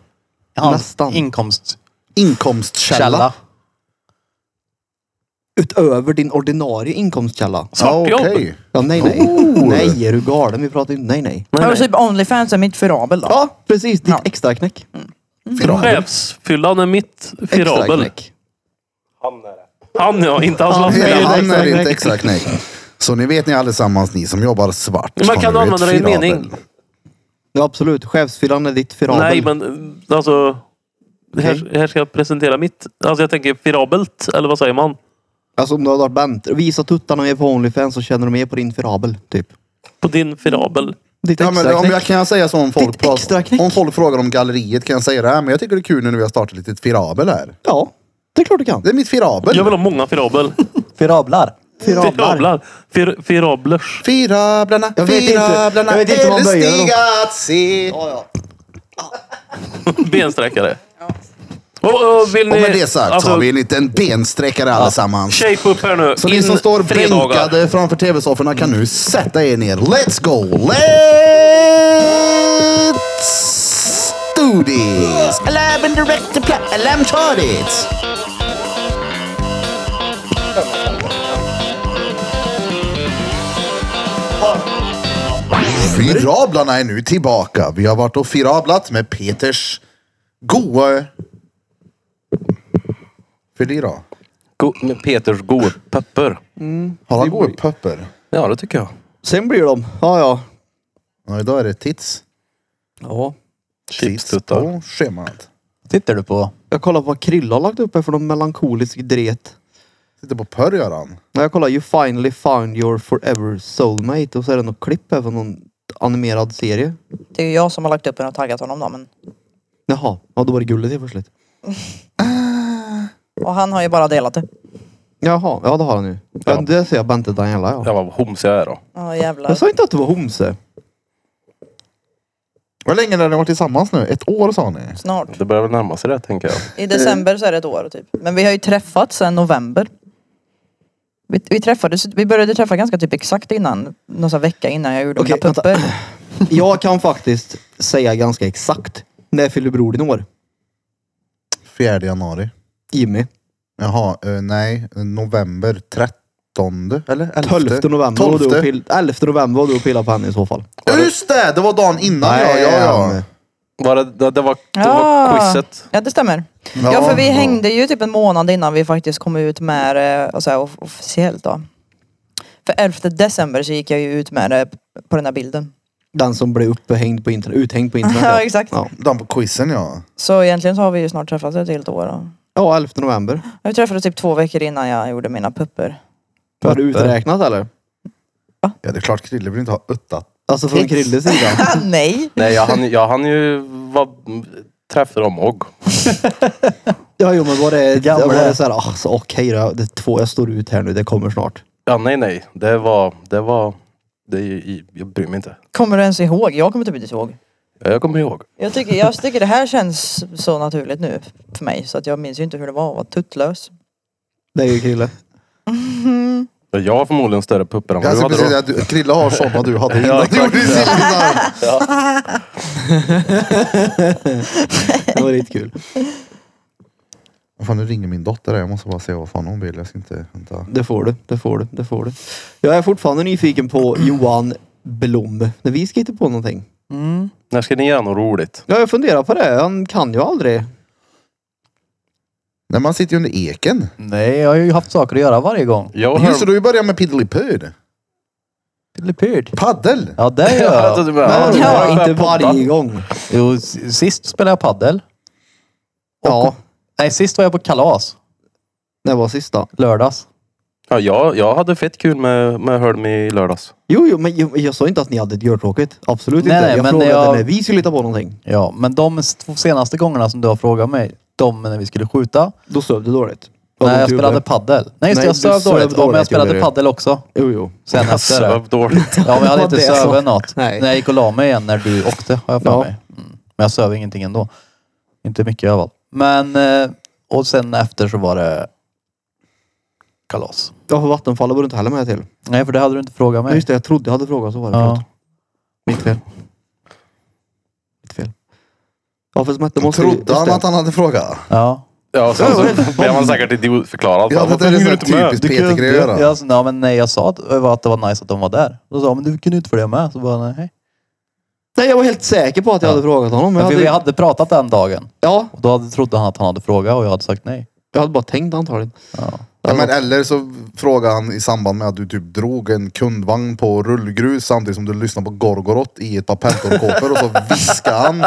[SPEAKER 5] Hans
[SPEAKER 2] nästan.
[SPEAKER 5] inkomstkälla.
[SPEAKER 1] Inkomstkälla.
[SPEAKER 2] Utöver din ordinarie inkomstkälla.
[SPEAKER 4] Svart
[SPEAKER 1] Ja,
[SPEAKER 4] jobb.
[SPEAKER 1] okej.
[SPEAKER 2] Ja, nej, nej.
[SPEAKER 1] Oh.
[SPEAKER 2] Nej, är du galen? Vi pratar inte... Nej, nej.
[SPEAKER 3] Har du typ Onlyfans är mitt förabel då?
[SPEAKER 2] Ja, precis. Ditt
[SPEAKER 3] Ja.
[SPEAKER 2] extra knäck.
[SPEAKER 1] Firabel.
[SPEAKER 4] Chefsfyllan är mitt
[SPEAKER 2] Extra
[SPEAKER 4] firabel.
[SPEAKER 2] knäck.
[SPEAKER 4] Han ja, inte hans
[SPEAKER 1] Nej,
[SPEAKER 4] lastbil.
[SPEAKER 1] han
[SPEAKER 2] extra
[SPEAKER 1] är inte
[SPEAKER 2] knäck.
[SPEAKER 1] extra knäck. Så ni vet ni allesammans, ni som jobbar svart.
[SPEAKER 4] Men man
[SPEAKER 1] har
[SPEAKER 4] kan
[SPEAKER 1] nu ett
[SPEAKER 4] använda det i en
[SPEAKER 1] firabel.
[SPEAKER 4] mening.
[SPEAKER 2] Ja, absolut. Chefsfyllan är ditt firabel.
[SPEAKER 4] Nej, men alltså. Här, här ska jag presentera mitt. Alltså jag tänker firabelt, eller vad säger man?
[SPEAKER 2] Alltså om du hade varit bent. Visa tuttarna mer på Onlyfans så känner de mer på din firabel. Typ.
[SPEAKER 4] På din firabel.
[SPEAKER 2] Ditt
[SPEAKER 1] Ja, men
[SPEAKER 2] extra
[SPEAKER 1] om
[SPEAKER 2] knäck.
[SPEAKER 1] jag kan jag säga så om folk,
[SPEAKER 2] Ditt extra
[SPEAKER 1] pratar,
[SPEAKER 2] knäck.
[SPEAKER 1] om folk frågar om galleriet kan jag säga det här, men jag tycker det är kul nu när vi har startat ett litet firabel här.
[SPEAKER 2] Ja, det är klart du kan.
[SPEAKER 1] Det är mitt firabel.
[SPEAKER 4] Jag vill ha många firabel.
[SPEAKER 5] Virablar.
[SPEAKER 4] Firablar. Fir, firablers.
[SPEAKER 1] Firablarna,
[SPEAKER 2] Jag vet inte-
[SPEAKER 1] firablarna,
[SPEAKER 2] jag vet inte hur man
[SPEAKER 1] är
[SPEAKER 2] böjer dem.
[SPEAKER 1] lustiga att se.
[SPEAKER 4] Bensträckare. Och, och, vill ni,
[SPEAKER 1] Och med det sagt så
[SPEAKER 4] alltså,
[SPEAKER 1] har vi en liten bensträckare allesammans.
[SPEAKER 4] Shape upp här nu.
[SPEAKER 1] Så ni
[SPEAKER 4] In
[SPEAKER 1] som står
[SPEAKER 4] fredagar.
[SPEAKER 1] bänkade framför tv-sofforna kan nu sätta er ner. Let's go! Let's do this! Alab and direct the plan. Alam tar det. Firablarna är nu tillbaka. Vi har varit och firablat med Peters goa... För det då?
[SPEAKER 6] go, med Peters goa pepper.
[SPEAKER 1] Har han goda pöpper?
[SPEAKER 6] Ja, det tycker jag.
[SPEAKER 2] Sen blir de, ja ja.
[SPEAKER 1] Ja, idag är det tits.
[SPEAKER 2] ja.
[SPEAKER 1] Tits
[SPEAKER 6] Chipstuttar.
[SPEAKER 1] på schemat.
[SPEAKER 5] Tittar du på?
[SPEAKER 2] Jag kollar på vad Krilla har lagt upp här för någon melankolisk dret.
[SPEAKER 1] Sitter på pörr gör han.
[SPEAKER 2] Nej, jag kollar You finally found your forever soulmate och så är det något klipp här från någon animerad serie.
[SPEAKER 3] Det är ju jag som har lagt upp den och taggat honom då. Men...
[SPEAKER 2] Jaha, ja då var det gulligt helt plötsligt.
[SPEAKER 3] Och han har ju bara delat det.
[SPEAKER 2] Jaha, ja det har han ju. Ja. Det ser jag Bente Daniela ja.
[SPEAKER 6] Ja, vad homsig jag är då.
[SPEAKER 3] Ja jävlar.
[SPEAKER 2] Jag sa inte att du var homse.
[SPEAKER 1] Hur länge har ni varit tillsammans nu? Ett år sa ni?
[SPEAKER 3] Snart.
[SPEAKER 6] Det börjar väl närma sig det, tänker jag.
[SPEAKER 3] I december så är det ett år typ. Men vi har ju träffats sedan november. Vi, vi träffades, vi började träffa ganska typ exakt innan, någon sån här vecka innan jag gjorde
[SPEAKER 2] Okej,
[SPEAKER 3] mina pupper.
[SPEAKER 2] Jag kan faktiskt säga ganska exakt när fyller bror din år.
[SPEAKER 1] Fjärde januari.
[SPEAKER 2] Jimmy.
[SPEAKER 1] Jaha, eh, nej. November 13 eller?
[SPEAKER 2] 12 november var du och
[SPEAKER 1] Tolfte.
[SPEAKER 2] pill- 11 november var du och pillade på henne i så fall.
[SPEAKER 1] Just det! Det var dagen innan ja, ja, ja.
[SPEAKER 6] Var det, det, det var, det var
[SPEAKER 3] Ja.
[SPEAKER 6] quizet.
[SPEAKER 3] Ja det stämmer.
[SPEAKER 1] Ja,
[SPEAKER 3] Ja, för vi
[SPEAKER 1] ja.
[SPEAKER 3] hängde ju typ en månad innan vi faktiskt kom ut med det alltså, off- officiellt då. För 11 december så gick jag ju ut med det på den här bilden.
[SPEAKER 2] Den som blev upphängd på internet, uthängd på internet.
[SPEAKER 3] Ja, exakt.
[SPEAKER 2] Ja,
[SPEAKER 1] Den på quizen ja.
[SPEAKER 3] Så egentligen så har vi ju snart träffats ett helt år. då.
[SPEAKER 2] ja 11 november.
[SPEAKER 3] Vi träffades typ två veckor innan jag gjorde mina pupper.
[SPEAKER 2] Var det uträknat eller?
[SPEAKER 1] Ja det är klart Krille vill inte ha uttat.
[SPEAKER 2] Alltså från
[SPEAKER 3] Tits.
[SPEAKER 2] Krilles sida.
[SPEAKER 3] Nej!
[SPEAKER 6] Nej, jag hann, jag hann ju var, träffa dem och.
[SPEAKER 2] Ja jo men var det,
[SPEAKER 5] Gamla.
[SPEAKER 2] var det såhär, alltså, okej då, det är två, jag står ut här nu, det kommer snart.
[SPEAKER 6] Ja, nej, nej. Det var... Det var det, är ju i- jag bryr mig inte.
[SPEAKER 3] Kommer du ens ihåg? Jag kommer typ inte ihåg.
[SPEAKER 6] Ja, Jag kommer ihåg.
[SPEAKER 3] Jag tycker, jag tycker det här känns så naturligt nu för mig så att jag minns ju inte hur det var att vara tuttlös.
[SPEAKER 2] Det är ju Krille.
[SPEAKER 6] Ja, Jag har förmodligen större pupper än
[SPEAKER 1] Jag
[SPEAKER 6] vad du
[SPEAKER 1] ska precis
[SPEAKER 6] hade då.
[SPEAKER 1] säga att du- Krille har sådana du hade innan. du gjorde sin innan.
[SPEAKER 2] Det var lite kul.
[SPEAKER 1] Vad Fan nu ringer min dotter här. jag måste bara se vad fan hon vill. Jag ska inte... Vänta.
[SPEAKER 2] Det får du, det får du, det får du. Jag är fortfarande nyfiken på Johan Blom. När vi ska hitta på någonting.
[SPEAKER 6] När ska ni göra något roligt?
[SPEAKER 2] Ja jag funderar på det, han kan ju aldrig.
[SPEAKER 1] Nej man sitter ju under eken.
[SPEAKER 5] Nej, jag har ju haft saker att göra varje gång.
[SPEAKER 6] Jag
[SPEAKER 1] Just det, du har ju börjat med Piddelipyr.
[SPEAKER 5] Pillepyrt.
[SPEAKER 1] Paddel!
[SPEAKER 5] Ja, det gör
[SPEAKER 6] Ja,
[SPEAKER 2] Alltså,
[SPEAKER 5] jag.
[SPEAKER 6] det var-
[SPEAKER 2] ja,
[SPEAKER 6] jag
[SPEAKER 2] inte
[SPEAKER 6] poddar.
[SPEAKER 2] varje gång.
[SPEAKER 5] Jo, s- sist spelade jag paddel.
[SPEAKER 2] Ja,
[SPEAKER 5] Nej, sist var jag på kalas.
[SPEAKER 2] det var sista.
[SPEAKER 5] Lördags.
[SPEAKER 6] Ja, jag, jag hade fett kul med, med Hölm i lördags.
[SPEAKER 2] Jo, jo, men jag, jag sa inte att ni hade ett görtråkigt. Absolut
[SPEAKER 5] Nej,
[SPEAKER 2] inte.
[SPEAKER 5] nej,
[SPEAKER 2] jag
[SPEAKER 5] men
[SPEAKER 2] frågade
[SPEAKER 5] jag-
[SPEAKER 2] när vi skulle hitta på någonting.
[SPEAKER 5] Ja, men de s- två senaste gångerna som du har frågat mig, de när vi skulle skjuta.
[SPEAKER 2] Då sov du dåligt.
[SPEAKER 5] nej, jag
[SPEAKER 2] du typ-
[SPEAKER 5] spelade
[SPEAKER 2] gjorde.
[SPEAKER 5] paddel. Nej, just
[SPEAKER 2] Nej,
[SPEAKER 5] det, jag
[SPEAKER 2] du
[SPEAKER 5] söv
[SPEAKER 2] söv
[SPEAKER 5] dåligt. Ja, men
[SPEAKER 2] dåligt,
[SPEAKER 5] jag
[SPEAKER 2] gjorde
[SPEAKER 5] spelade
[SPEAKER 2] du.
[SPEAKER 5] paddel också.
[SPEAKER 2] Jo, jo.
[SPEAKER 5] Sen
[SPEAKER 6] Jag
[SPEAKER 5] efter det.
[SPEAKER 6] söv dåligt.
[SPEAKER 5] Ja, men jag hade
[SPEAKER 2] Det
[SPEAKER 5] inte
[SPEAKER 2] var det som-
[SPEAKER 5] sövit något.
[SPEAKER 2] Nej.
[SPEAKER 5] När jag gick och la mig igen när du åkte, har jag för
[SPEAKER 2] Ja.
[SPEAKER 5] mig. Mm. Men jag söv ingenting ändå. Inte mycket i alla fall. Men, eh, och sen efter så var det kalas.
[SPEAKER 2] Ja, för Vattenfallet var du inte heller med till.
[SPEAKER 5] Nej, för det hade du inte frågat
[SPEAKER 2] Nej.
[SPEAKER 5] mig.
[SPEAKER 2] Just det, jag trodde jag hade frågat så var det.
[SPEAKER 5] Ja.
[SPEAKER 2] Ja. Mitt fel. Mitt fel. Ja, för som hette måste ju-
[SPEAKER 1] Trodde
[SPEAKER 2] just
[SPEAKER 1] han
[SPEAKER 2] det.
[SPEAKER 1] att han hade frågat?
[SPEAKER 5] ja.
[SPEAKER 6] Ja, sen så blev man säkert idiotförklarad.
[SPEAKER 1] Ja,
[SPEAKER 6] Fan,
[SPEAKER 1] det
[SPEAKER 6] varför
[SPEAKER 1] där är
[SPEAKER 6] hänger
[SPEAKER 1] så
[SPEAKER 6] du
[SPEAKER 1] här
[SPEAKER 6] inte med?
[SPEAKER 1] typiskt. Peter
[SPEAKER 5] kunde-
[SPEAKER 1] grejer då?
[SPEAKER 5] Ja, så, ja, men nej, jag sa att, att det var nice att de var där. Då sa han, men du kunde ju inte följa med. Så bara, nej.
[SPEAKER 2] Nej, jag var helt säker på att jag hade frågat honom. Jag
[SPEAKER 5] Men för
[SPEAKER 2] hade...
[SPEAKER 5] vi hade pratat den dagen.
[SPEAKER 2] Ja,
[SPEAKER 5] Och då hade, trodde han att han hade frågat och jag hade sagt nej.
[SPEAKER 2] jag hade bara tänkt antagligen.
[SPEAKER 1] Ja, men eller så frågade han i samband med att du typ drog en kundvagn på rullgrus samtidigt som du lyssnade på Gorgoroth i ett par pentorkåpor och så viskade han.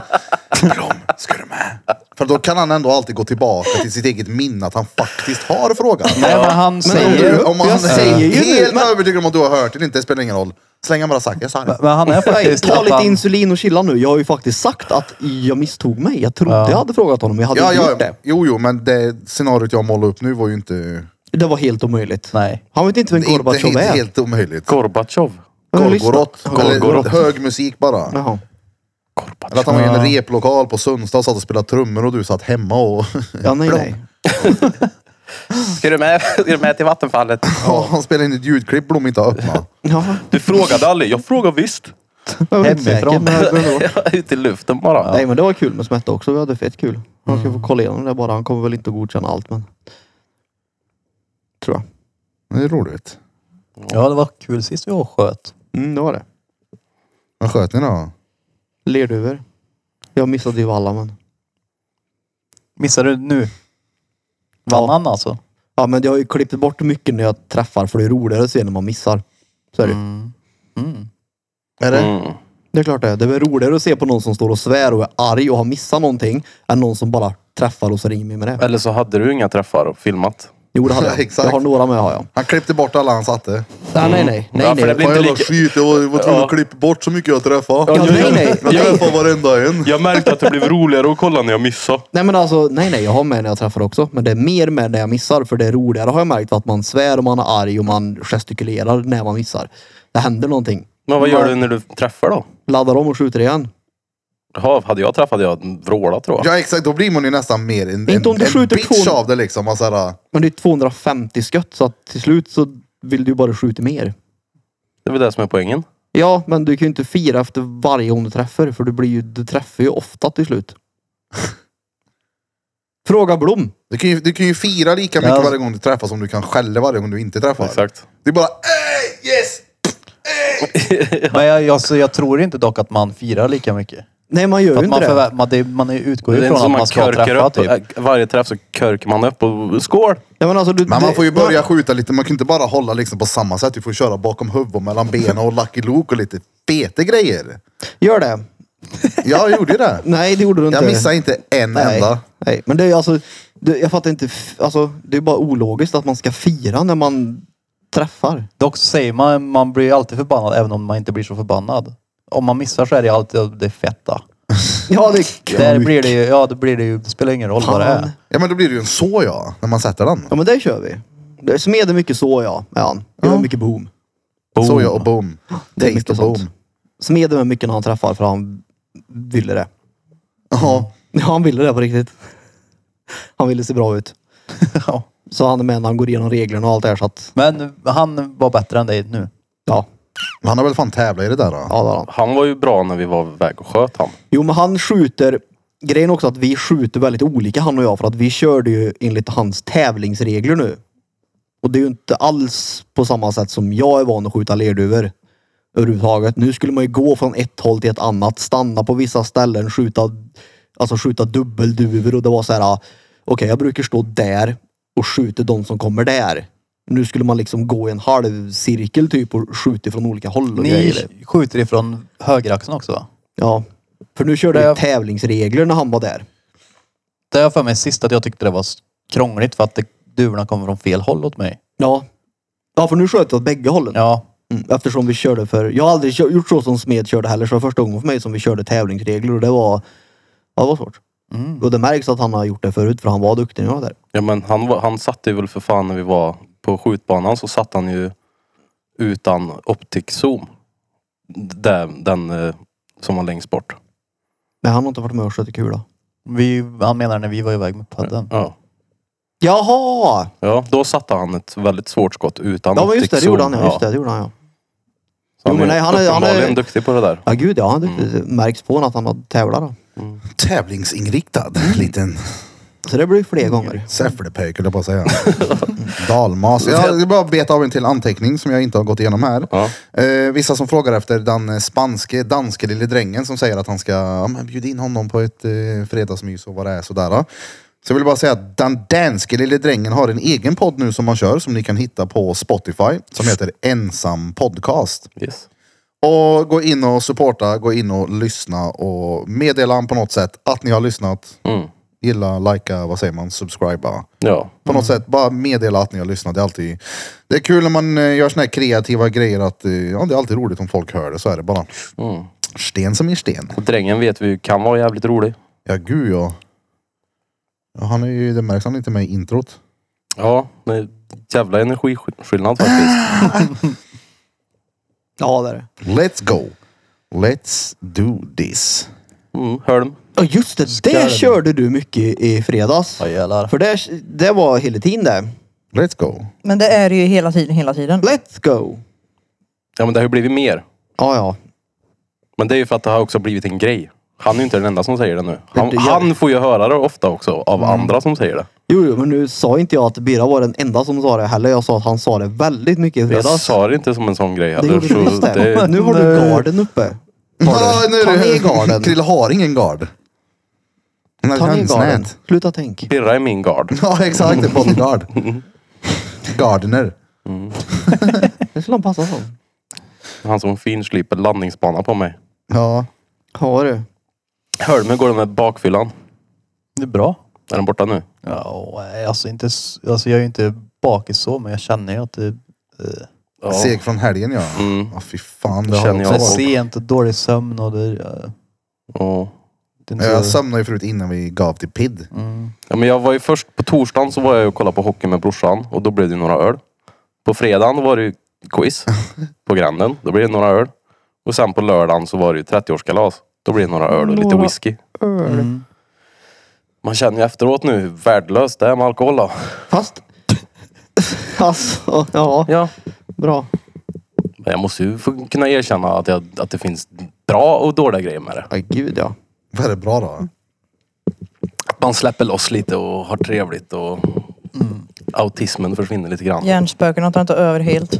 [SPEAKER 1] Blom, ska du med? För då kan han ändå alltid gå tillbaka till sitt eget minne att han faktiskt har frågat.
[SPEAKER 5] Nej, men han
[SPEAKER 1] Om
[SPEAKER 5] säger...
[SPEAKER 1] du, om han
[SPEAKER 2] jag säger ju
[SPEAKER 1] är
[SPEAKER 2] nu,
[SPEAKER 1] helt
[SPEAKER 2] men-
[SPEAKER 1] övertygad om att du har hört det eller inte, det spelar ingen roll. Släng han bara sagt, jag sa det.
[SPEAKER 5] Men han är
[SPEAKER 2] Nej,
[SPEAKER 5] faktiskt...
[SPEAKER 2] ta
[SPEAKER 5] att
[SPEAKER 2] lite
[SPEAKER 5] han,
[SPEAKER 2] insulin och chilla nu. Jag har ju faktiskt sagt att jag misstog mig. Jag trodde
[SPEAKER 5] Ja.
[SPEAKER 2] jag hade frågat honom, men jag hade
[SPEAKER 1] Ja,
[SPEAKER 2] inte
[SPEAKER 1] ja,
[SPEAKER 2] gjort det.
[SPEAKER 1] jo, jo, men det scenariot jag målade upp nu var ju inte,
[SPEAKER 2] Det var helt omöjligt.
[SPEAKER 5] nej.
[SPEAKER 2] Han vet inte vem
[SPEAKER 1] inte, inte,
[SPEAKER 2] Gorbatjov
[SPEAKER 1] inte
[SPEAKER 2] är.
[SPEAKER 1] helt omöjligt.
[SPEAKER 6] Gorbatjov.
[SPEAKER 2] Jag har lyssnat.
[SPEAKER 1] Gorgoroth, eller
[SPEAKER 6] Gorgoroth.
[SPEAKER 1] hög musik bara.
[SPEAKER 2] Jaha.
[SPEAKER 1] Eller att han var i en replokal på Sundsta och satt och spelade trummor och du satt hemma och...
[SPEAKER 2] Ja, nej, nej.
[SPEAKER 6] Ska du med, ska du med till Vattenfallet?
[SPEAKER 1] Ja, han spelade in ett ljudklipp Blom inte har öppnat.
[SPEAKER 2] Ja,
[SPEAKER 6] Du frågade aldrig. Jag frågade visst.
[SPEAKER 2] jag var inte
[SPEAKER 5] Hemifrån.
[SPEAKER 2] säker, men jag glömde bort.
[SPEAKER 6] Ut i luften bara.
[SPEAKER 2] Nej men det var kul med Smette också. Vi hade fett kul. Han ska få kolla igenom det bara. Han kommer väl inte att godkänna allt men... Tror jag.
[SPEAKER 1] Det är roligt.
[SPEAKER 5] Ja, det var kul sist vi var och sköt.
[SPEAKER 2] Mm, det var det.
[SPEAKER 1] Vad sköt ni då?
[SPEAKER 2] Lerduvor. Jag missade ju alla men...
[SPEAKER 5] Missade du nu? Vann
[SPEAKER 2] Ja.
[SPEAKER 5] han alltså?
[SPEAKER 2] Ja, men jag har ju klippt bort mycket när jag träffar för det är roligare att se när man missar. Så är det ju.
[SPEAKER 1] Är det?
[SPEAKER 6] Mm.
[SPEAKER 2] Det är klart det är. Det är väl roligare att se på någon som står och svär och är arg och har missat någonting än någon som bara träffar och så ringer mig med det.
[SPEAKER 6] Eller så hade du inga träffar och filmat.
[SPEAKER 2] Jo, det hade jag.
[SPEAKER 1] Exakt.
[SPEAKER 2] Jag har några med har jag. Mm.
[SPEAKER 1] Han klippte bort alla han satte.
[SPEAKER 2] Nej, nej, nej. nej,
[SPEAKER 6] Ja,
[SPEAKER 2] nej.
[SPEAKER 6] för det blir- inte
[SPEAKER 1] Fan, jävla
[SPEAKER 6] lika-
[SPEAKER 1] skit, jag var, jag var tvungen
[SPEAKER 6] Ja.
[SPEAKER 1] att klippa bort så mycket jag träffade.
[SPEAKER 2] Ja, nej, nej.
[SPEAKER 1] Jag träffade varenda en.
[SPEAKER 6] Jag märkte att det blev roligare att kolla när jag missade.
[SPEAKER 2] nej, men alltså, nej, nej. Jag har med när jag träffar också. Men det är mer med när jag missar. För det är roligare har jag märkt för att man svär och man är arg och man gestikulerar när man missar. Det händer någonting.
[SPEAKER 6] Men vad gör du när du träffar då?
[SPEAKER 2] Laddar om och skjuter igen.
[SPEAKER 6] Jaha, hade jag träffat hade jag vrålat tror jag.
[SPEAKER 1] Ja exakt, då blir man ju nästan mer en,
[SPEAKER 2] Inte om
[SPEAKER 1] en,
[SPEAKER 2] du
[SPEAKER 1] en
[SPEAKER 2] skjuter
[SPEAKER 1] bitch
[SPEAKER 2] två-
[SPEAKER 1] av det liksom. Man såhär,
[SPEAKER 2] Men det är 250 skott så att till slut så vill du ju bara skjuta mer.
[SPEAKER 6] Det är väl det som är poängen.
[SPEAKER 2] Ja, men du kan ju inte fira efter varje gång du träffar för du, blir ju, du träffar ju ofta till slut. Fråga Blom.
[SPEAKER 1] du, kan ju, du kan ju fira lika mycket
[SPEAKER 5] Ja.
[SPEAKER 1] varje gång du träffar som du kan skälla varje gång du inte träffar.
[SPEAKER 6] Exakt.
[SPEAKER 1] Det är bara "Ey, yes!
[SPEAKER 5] Men jag, jag, så jag tror inte dock att man firar lika mycket.
[SPEAKER 2] Nej, man gör
[SPEAKER 5] För
[SPEAKER 2] ju
[SPEAKER 5] att man,
[SPEAKER 2] inte det.
[SPEAKER 5] förvä- man, det, man utgår
[SPEAKER 6] Det är
[SPEAKER 5] ju från
[SPEAKER 6] inte som
[SPEAKER 5] att
[SPEAKER 6] man,
[SPEAKER 5] man ska
[SPEAKER 6] körkar
[SPEAKER 5] träffa
[SPEAKER 6] upp.
[SPEAKER 5] typ.
[SPEAKER 6] Typ. Varje träff så körkar man upp och skål!
[SPEAKER 2] Nej, men, alltså, du,
[SPEAKER 1] Men
[SPEAKER 2] det-
[SPEAKER 1] man får ju börja skjuta lite, man kan inte bara hålla liksom på samma sätt. Du får köra bakom huvudet och mellan benen och Lucky Luke och lite feta grejer.
[SPEAKER 2] Gör det.
[SPEAKER 1] Ja, jag gjorde ju det.
[SPEAKER 2] Nej, det gjorde du inte.
[SPEAKER 1] Jag missade inte en
[SPEAKER 2] Nej.
[SPEAKER 1] enda.
[SPEAKER 2] Nej, men det är ju alltså, det, jag fattar inte, f- alltså, det är bara ologiskt att man ska fira när man träffar.
[SPEAKER 5] Dock så säger man, man blir ju alltid förbannad även om man inte blir så förbannad. Om man missar så är det alltid det fetta.
[SPEAKER 2] Ja, det är kul.
[SPEAKER 5] Där blir det ju, ja då blir det ju, det spelar ingen roll vad det är.
[SPEAKER 2] Fan.
[SPEAKER 1] Ja men då blir det ju en så ja, när man sätter den.
[SPEAKER 2] Ja, men det kör vi. Det smeder mycket så ja, är han. Gör
[SPEAKER 1] Ja.
[SPEAKER 2] mycket boom.
[SPEAKER 1] Så ja och boom.
[SPEAKER 2] Det är
[SPEAKER 1] Taste
[SPEAKER 2] mycket
[SPEAKER 1] och
[SPEAKER 2] sånt.
[SPEAKER 1] boom.
[SPEAKER 2] Smeden är mycket när han träffar för han ville det. Mm.
[SPEAKER 1] Ja.
[SPEAKER 2] Ja, han ville det på riktigt. Han ville se bra ut.
[SPEAKER 5] Ja.
[SPEAKER 2] Så han är med när han går igenom reglerna och allt det här så att,
[SPEAKER 5] Men han var bättre än dig nu.
[SPEAKER 2] ja.
[SPEAKER 1] Han har väl fan tävlat i det där då?
[SPEAKER 2] Ja, det har han.
[SPEAKER 6] Han var ju bra när vi var väg och sköt han.
[SPEAKER 2] Jo, men han skjuter. Grejen är också att vi skjuter väldigt olika han och jag för att vi körde ju enligt hans tävlingsregler nu. Och det är ju inte alls på samma sätt som jag är van att skjuta lerduvor. Överhuvudtaget. Nu skulle man ju gå från ett håll till ett annat, stanna på vissa ställen, skjuta, alltså skjuta dubbelduvor och det var så här. ah, Okej, jag brukar stå där och skjuta de som kommer där. Nu skulle man liksom gå i en halv cirkel typ och skjuta från olika håll. Och
[SPEAKER 5] Ni
[SPEAKER 2] grejer.
[SPEAKER 5] skjuter ifrån högeraxeln också va?
[SPEAKER 2] Ja. För nu körde
[SPEAKER 5] Det-
[SPEAKER 2] vi tävlingsregler när han var där.
[SPEAKER 5] Det har jag för mig sist att jag tyckte det var s- krångligt för att det, duvorna kommer från fel håll åt mig.
[SPEAKER 2] Ja. Ja, för nu sköt jag åt bägge hållen.
[SPEAKER 5] Ja,
[SPEAKER 2] Mm, eftersom vi körde för... Jag har aldrig kö- gjort så som Smed körde heller, så det var första gången för mig som vi körde tävlingsregler och det var... Ja, det var svårt. Och det märks att han har gjort det förut, för han var duktig när jag var där.
[SPEAKER 6] Ja men han, var- han satte ju väl för fan när vi var på skjutbanan så satt han ju utan optikzoom. Den, den eh, som var längst bort.
[SPEAKER 2] Men han har inte varit med och skjutit kula.
[SPEAKER 5] vi, han menar när vi var iväg med padden.
[SPEAKER 6] Ja.
[SPEAKER 2] Jaha!
[SPEAKER 6] ja, då satte han ett väldigt svårt skott utan
[SPEAKER 2] Ja, men just det, det
[SPEAKER 6] optikzoom.
[SPEAKER 2] gjorde han. Ja. Just det, det gjorde han ja.
[SPEAKER 6] Så
[SPEAKER 2] Jo, men nej, han är- han är-
[SPEAKER 6] uppenbarligen duktig på det där.
[SPEAKER 2] Ja, Mm. gud ja. Han är duktig. Det märks på honom att han har tävlat då.
[SPEAKER 1] Tävlingsinriktad liten
[SPEAKER 2] Så det blir fler gånger.
[SPEAKER 1] säfflepöjk höll jag på att säga. Dalmas. Jag vill bara beta av en till anteckning som jag inte har gått igenom här.
[SPEAKER 6] Ja.
[SPEAKER 1] Eh, vissa som frågar efter den eh, spanske, danske lille drängen som säger att han ska ja, men bjuda in honom på ett eh, fredagsmys och vad det är sådär. då. Så jag vill bara säga att den danske lille drängen har en egen podd nu som han kör som ni kan hitta på Spotify som heter Ensam Podcast.
[SPEAKER 6] Yes.
[SPEAKER 1] Och gå in och supporta, gå in och lyssna och meddela han på något sätt att ni har lyssnat.
[SPEAKER 6] Mm.
[SPEAKER 1] Gilla, likea, vad säger man, subscriba.
[SPEAKER 6] Ja.
[SPEAKER 1] På något sätt, bara meddela att ni har lyssnat. Det är, alltid, det är kul när man eh, gör såna här kreativa grejer att eh, ja, det är alltid roligt om folk hör det. Så är det bara.
[SPEAKER 6] Mm.
[SPEAKER 1] Sten som är sten.
[SPEAKER 6] Och drängen vet vi ju kan vara jävligt rolig.
[SPEAKER 1] Ja, gud ja. ja han är ju, det märks han inte med i introt.
[SPEAKER 6] Ja, det är jävla energiskillnad faktiskt.
[SPEAKER 2] Ja, det är det.
[SPEAKER 1] Let's go. Let's do this.
[SPEAKER 6] Mm. Hölm.
[SPEAKER 2] Ja, just det. Det körde du mycket i fredags.
[SPEAKER 5] Ja jävlar.
[SPEAKER 2] För det, det var hela tiden det.
[SPEAKER 1] Let's go.
[SPEAKER 3] Men det är det ju hela tiden, hela tiden.
[SPEAKER 2] Let's go!
[SPEAKER 6] Ja men det har ju blivit mer.
[SPEAKER 2] Ja, ja.
[SPEAKER 6] Men det är ju för att det har också blivit en grej. Han är ju inte den enda som säger det nu.
[SPEAKER 2] Det Mm.
[SPEAKER 6] Han,
[SPEAKER 2] gör-
[SPEAKER 6] han får ju höra det ofta också av andra som säger det.
[SPEAKER 2] Jo, jo, men nu sa inte jag att Bira var den enda som sa det heller. Jag sa att han sa det väldigt mycket i
[SPEAKER 6] Jag
[SPEAKER 2] fredags.
[SPEAKER 6] sa det inte som en sån grej
[SPEAKER 2] det
[SPEAKER 6] heller.
[SPEAKER 2] gjorde du
[SPEAKER 6] Så
[SPEAKER 2] visst det.
[SPEAKER 6] det
[SPEAKER 2] Nu har du garden uppe.
[SPEAKER 1] Ja, nu
[SPEAKER 2] Ta ner
[SPEAKER 1] är det.
[SPEAKER 2] garden.
[SPEAKER 1] Krille har ingen gard. Han har
[SPEAKER 2] Ta ner garden.
[SPEAKER 1] hönsnät.
[SPEAKER 2] Sluta tänk.
[SPEAKER 6] pirrar i min gard.
[SPEAKER 1] Ja, exakt. En bodyguard. Gardiner.
[SPEAKER 2] Det skulle han passa som.
[SPEAKER 6] Han som finslipade landningsbana på mig.
[SPEAKER 1] Ja.
[SPEAKER 2] Ja du.
[SPEAKER 6] Hölme går den med bakfyllan.
[SPEAKER 5] Det är bra.
[SPEAKER 6] Är den borta nu?
[SPEAKER 5] Ja, alltså, inte, s- alltså jag är ju inte bakis så, men jag känner ju att det eh,
[SPEAKER 6] Ja.
[SPEAKER 1] Seg från helgen ja.
[SPEAKER 6] Mm.
[SPEAKER 1] Ja fy fan. Det har
[SPEAKER 6] Känner
[SPEAKER 1] jag
[SPEAKER 6] jag
[SPEAKER 5] för
[SPEAKER 1] också
[SPEAKER 6] också.
[SPEAKER 1] varit.
[SPEAKER 5] sent och dålig sömn och det, eh,
[SPEAKER 6] Ja.
[SPEAKER 5] det är inte...
[SPEAKER 1] Jag somnade ju förut innan vi gav till PID.
[SPEAKER 5] Alltså- Mm.
[SPEAKER 6] Ja, men jag var ju först på torsdagen så var jag ju och kollade på hockey med brorsan och då blev det ju några öl. På fredagen var det ju quiz på Granden. Då blev det några öl. Och sen på lördagen så var det ju 30-årskalas. Då blev det några öl och lite
[SPEAKER 2] Några
[SPEAKER 6] whisky.
[SPEAKER 5] Mm.
[SPEAKER 6] Man känner ju efteråt nu hur värdelöst det är med alkohol då.
[SPEAKER 2] Fast. alltså, ja.
[SPEAKER 6] Ja.
[SPEAKER 2] Bra.
[SPEAKER 6] Men jag måste ju få kunna erkänna att, jag, att det finns bra och dåliga grejer med det.
[SPEAKER 2] Ja, gud ja.
[SPEAKER 1] Vad är det bra
[SPEAKER 5] Mm.
[SPEAKER 1] då?
[SPEAKER 6] Att man släpper loss lite och har trevligt och autismen försvinner lite grann.
[SPEAKER 3] Hjärnspökena tar inte över helt.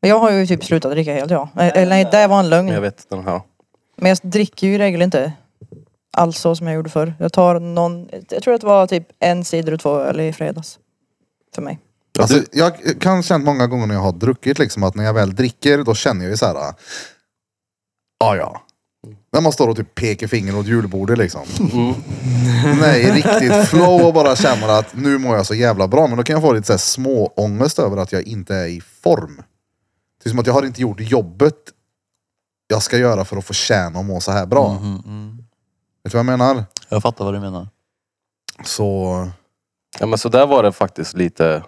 [SPEAKER 3] Men Jag har ju typ slutat dricka helt ja. Eh, Eller nej, det var en
[SPEAKER 6] Men Jag
[SPEAKER 3] lögn.
[SPEAKER 6] vet den här.
[SPEAKER 3] Men jag dricker ju i regel inte alls så som jag gjorde förr. Jag tar någon, jag tror att det var typ en cider och två öl i fredags. För mig.
[SPEAKER 1] Alltså, jag kan ha känt många gånger när jag har druckit liksom att när jag väl dricker då känner jag ju så här. ah, Ja ja.
[SPEAKER 5] Mm.
[SPEAKER 1] När man står och typ pekar finger åt julbordet liksom. Nej, riktigt flow och bara känner att nu mår jag så jävla bra. Men då kan jag få lite så här små ångest över att jag inte är i form. Det är som att jag har inte gjort jobbet jag ska göra för att förtjäna att må så här bra.
[SPEAKER 5] Mm, mm.
[SPEAKER 1] Vet du vad jag menar?
[SPEAKER 5] Jag fattar vad du menar.
[SPEAKER 1] Så
[SPEAKER 6] Ja men så där var det faktiskt lite.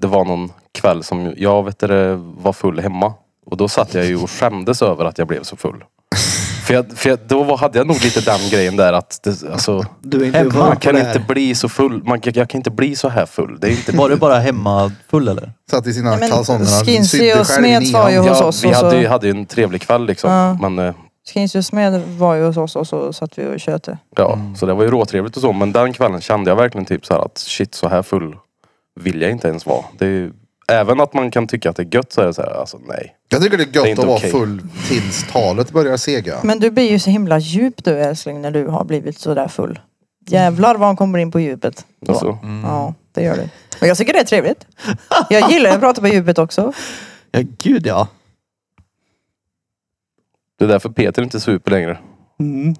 [SPEAKER 6] Det var någon kväll som jag vet det, var full hemma. Och då satt jag ju och skämdes över att jag blev så full. För, jag, för jag, då var- hade jag nog lite den grejen där att det, alltså,
[SPEAKER 2] Du är inte
[SPEAKER 5] Hemma
[SPEAKER 2] van
[SPEAKER 6] man
[SPEAKER 2] på
[SPEAKER 6] kan
[SPEAKER 2] det här.
[SPEAKER 6] inte bli så full. Man, kan- jag kan inte bli så här full. Det är inte
[SPEAKER 5] Var du bara hemma full eller?
[SPEAKER 1] satt i sina
[SPEAKER 3] Nej, men
[SPEAKER 1] kalsonger. Han
[SPEAKER 3] Skinzy
[SPEAKER 1] sydde
[SPEAKER 3] och
[SPEAKER 1] själv i
[SPEAKER 3] Smeds var ju-
[SPEAKER 1] nian.
[SPEAKER 3] hos
[SPEAKER 6] Ja,
[SPEAKER 3] oss
[SPEAKER 6] vi
[SPEAKER 3] och så-
[SPEAKER 6] hade ju, hade ju en trevlig kväll liksom.
[SPEAKER 3] Ja.
[SPEAKER 6] Men, eh,
[SPEAKER 3] Skins och Smed var ju hos oss och så satt vi och tjötade.
[SPEAKER 6] ja, Så det var ju råtrevligt och så. Men den kvällen kände jag verkligen typ så här att shit så här full vill jag inte ens vara. Det är ju, även att man kan tycka att det är gött så är det så här, alltså nej.
[SPEAKER 1] Jag tycker det är gött
[SPEAKER 6] Det är inte
[SPEAKER 1] att vara
[SPEAKER 6] okej.
[SPEAKER 1] full tills talet börjar sega.
[SPEAKER 3] Men du blir ju så himla djup du älskling när du har blivit så där full. Jävlar vad han kommer in på djupet. då.
[SPEAKER 6] Alltså.
[SPEAKER 3] Ja, det gör du. Men jag tycker det är trevligt. Jag gillar att prata på djupet också.
[SPEAKER 2] Ja, gud ja.
[SPEAKER 6] Det är därför Peter inte super längre.
[SPEAKER 2] Mm.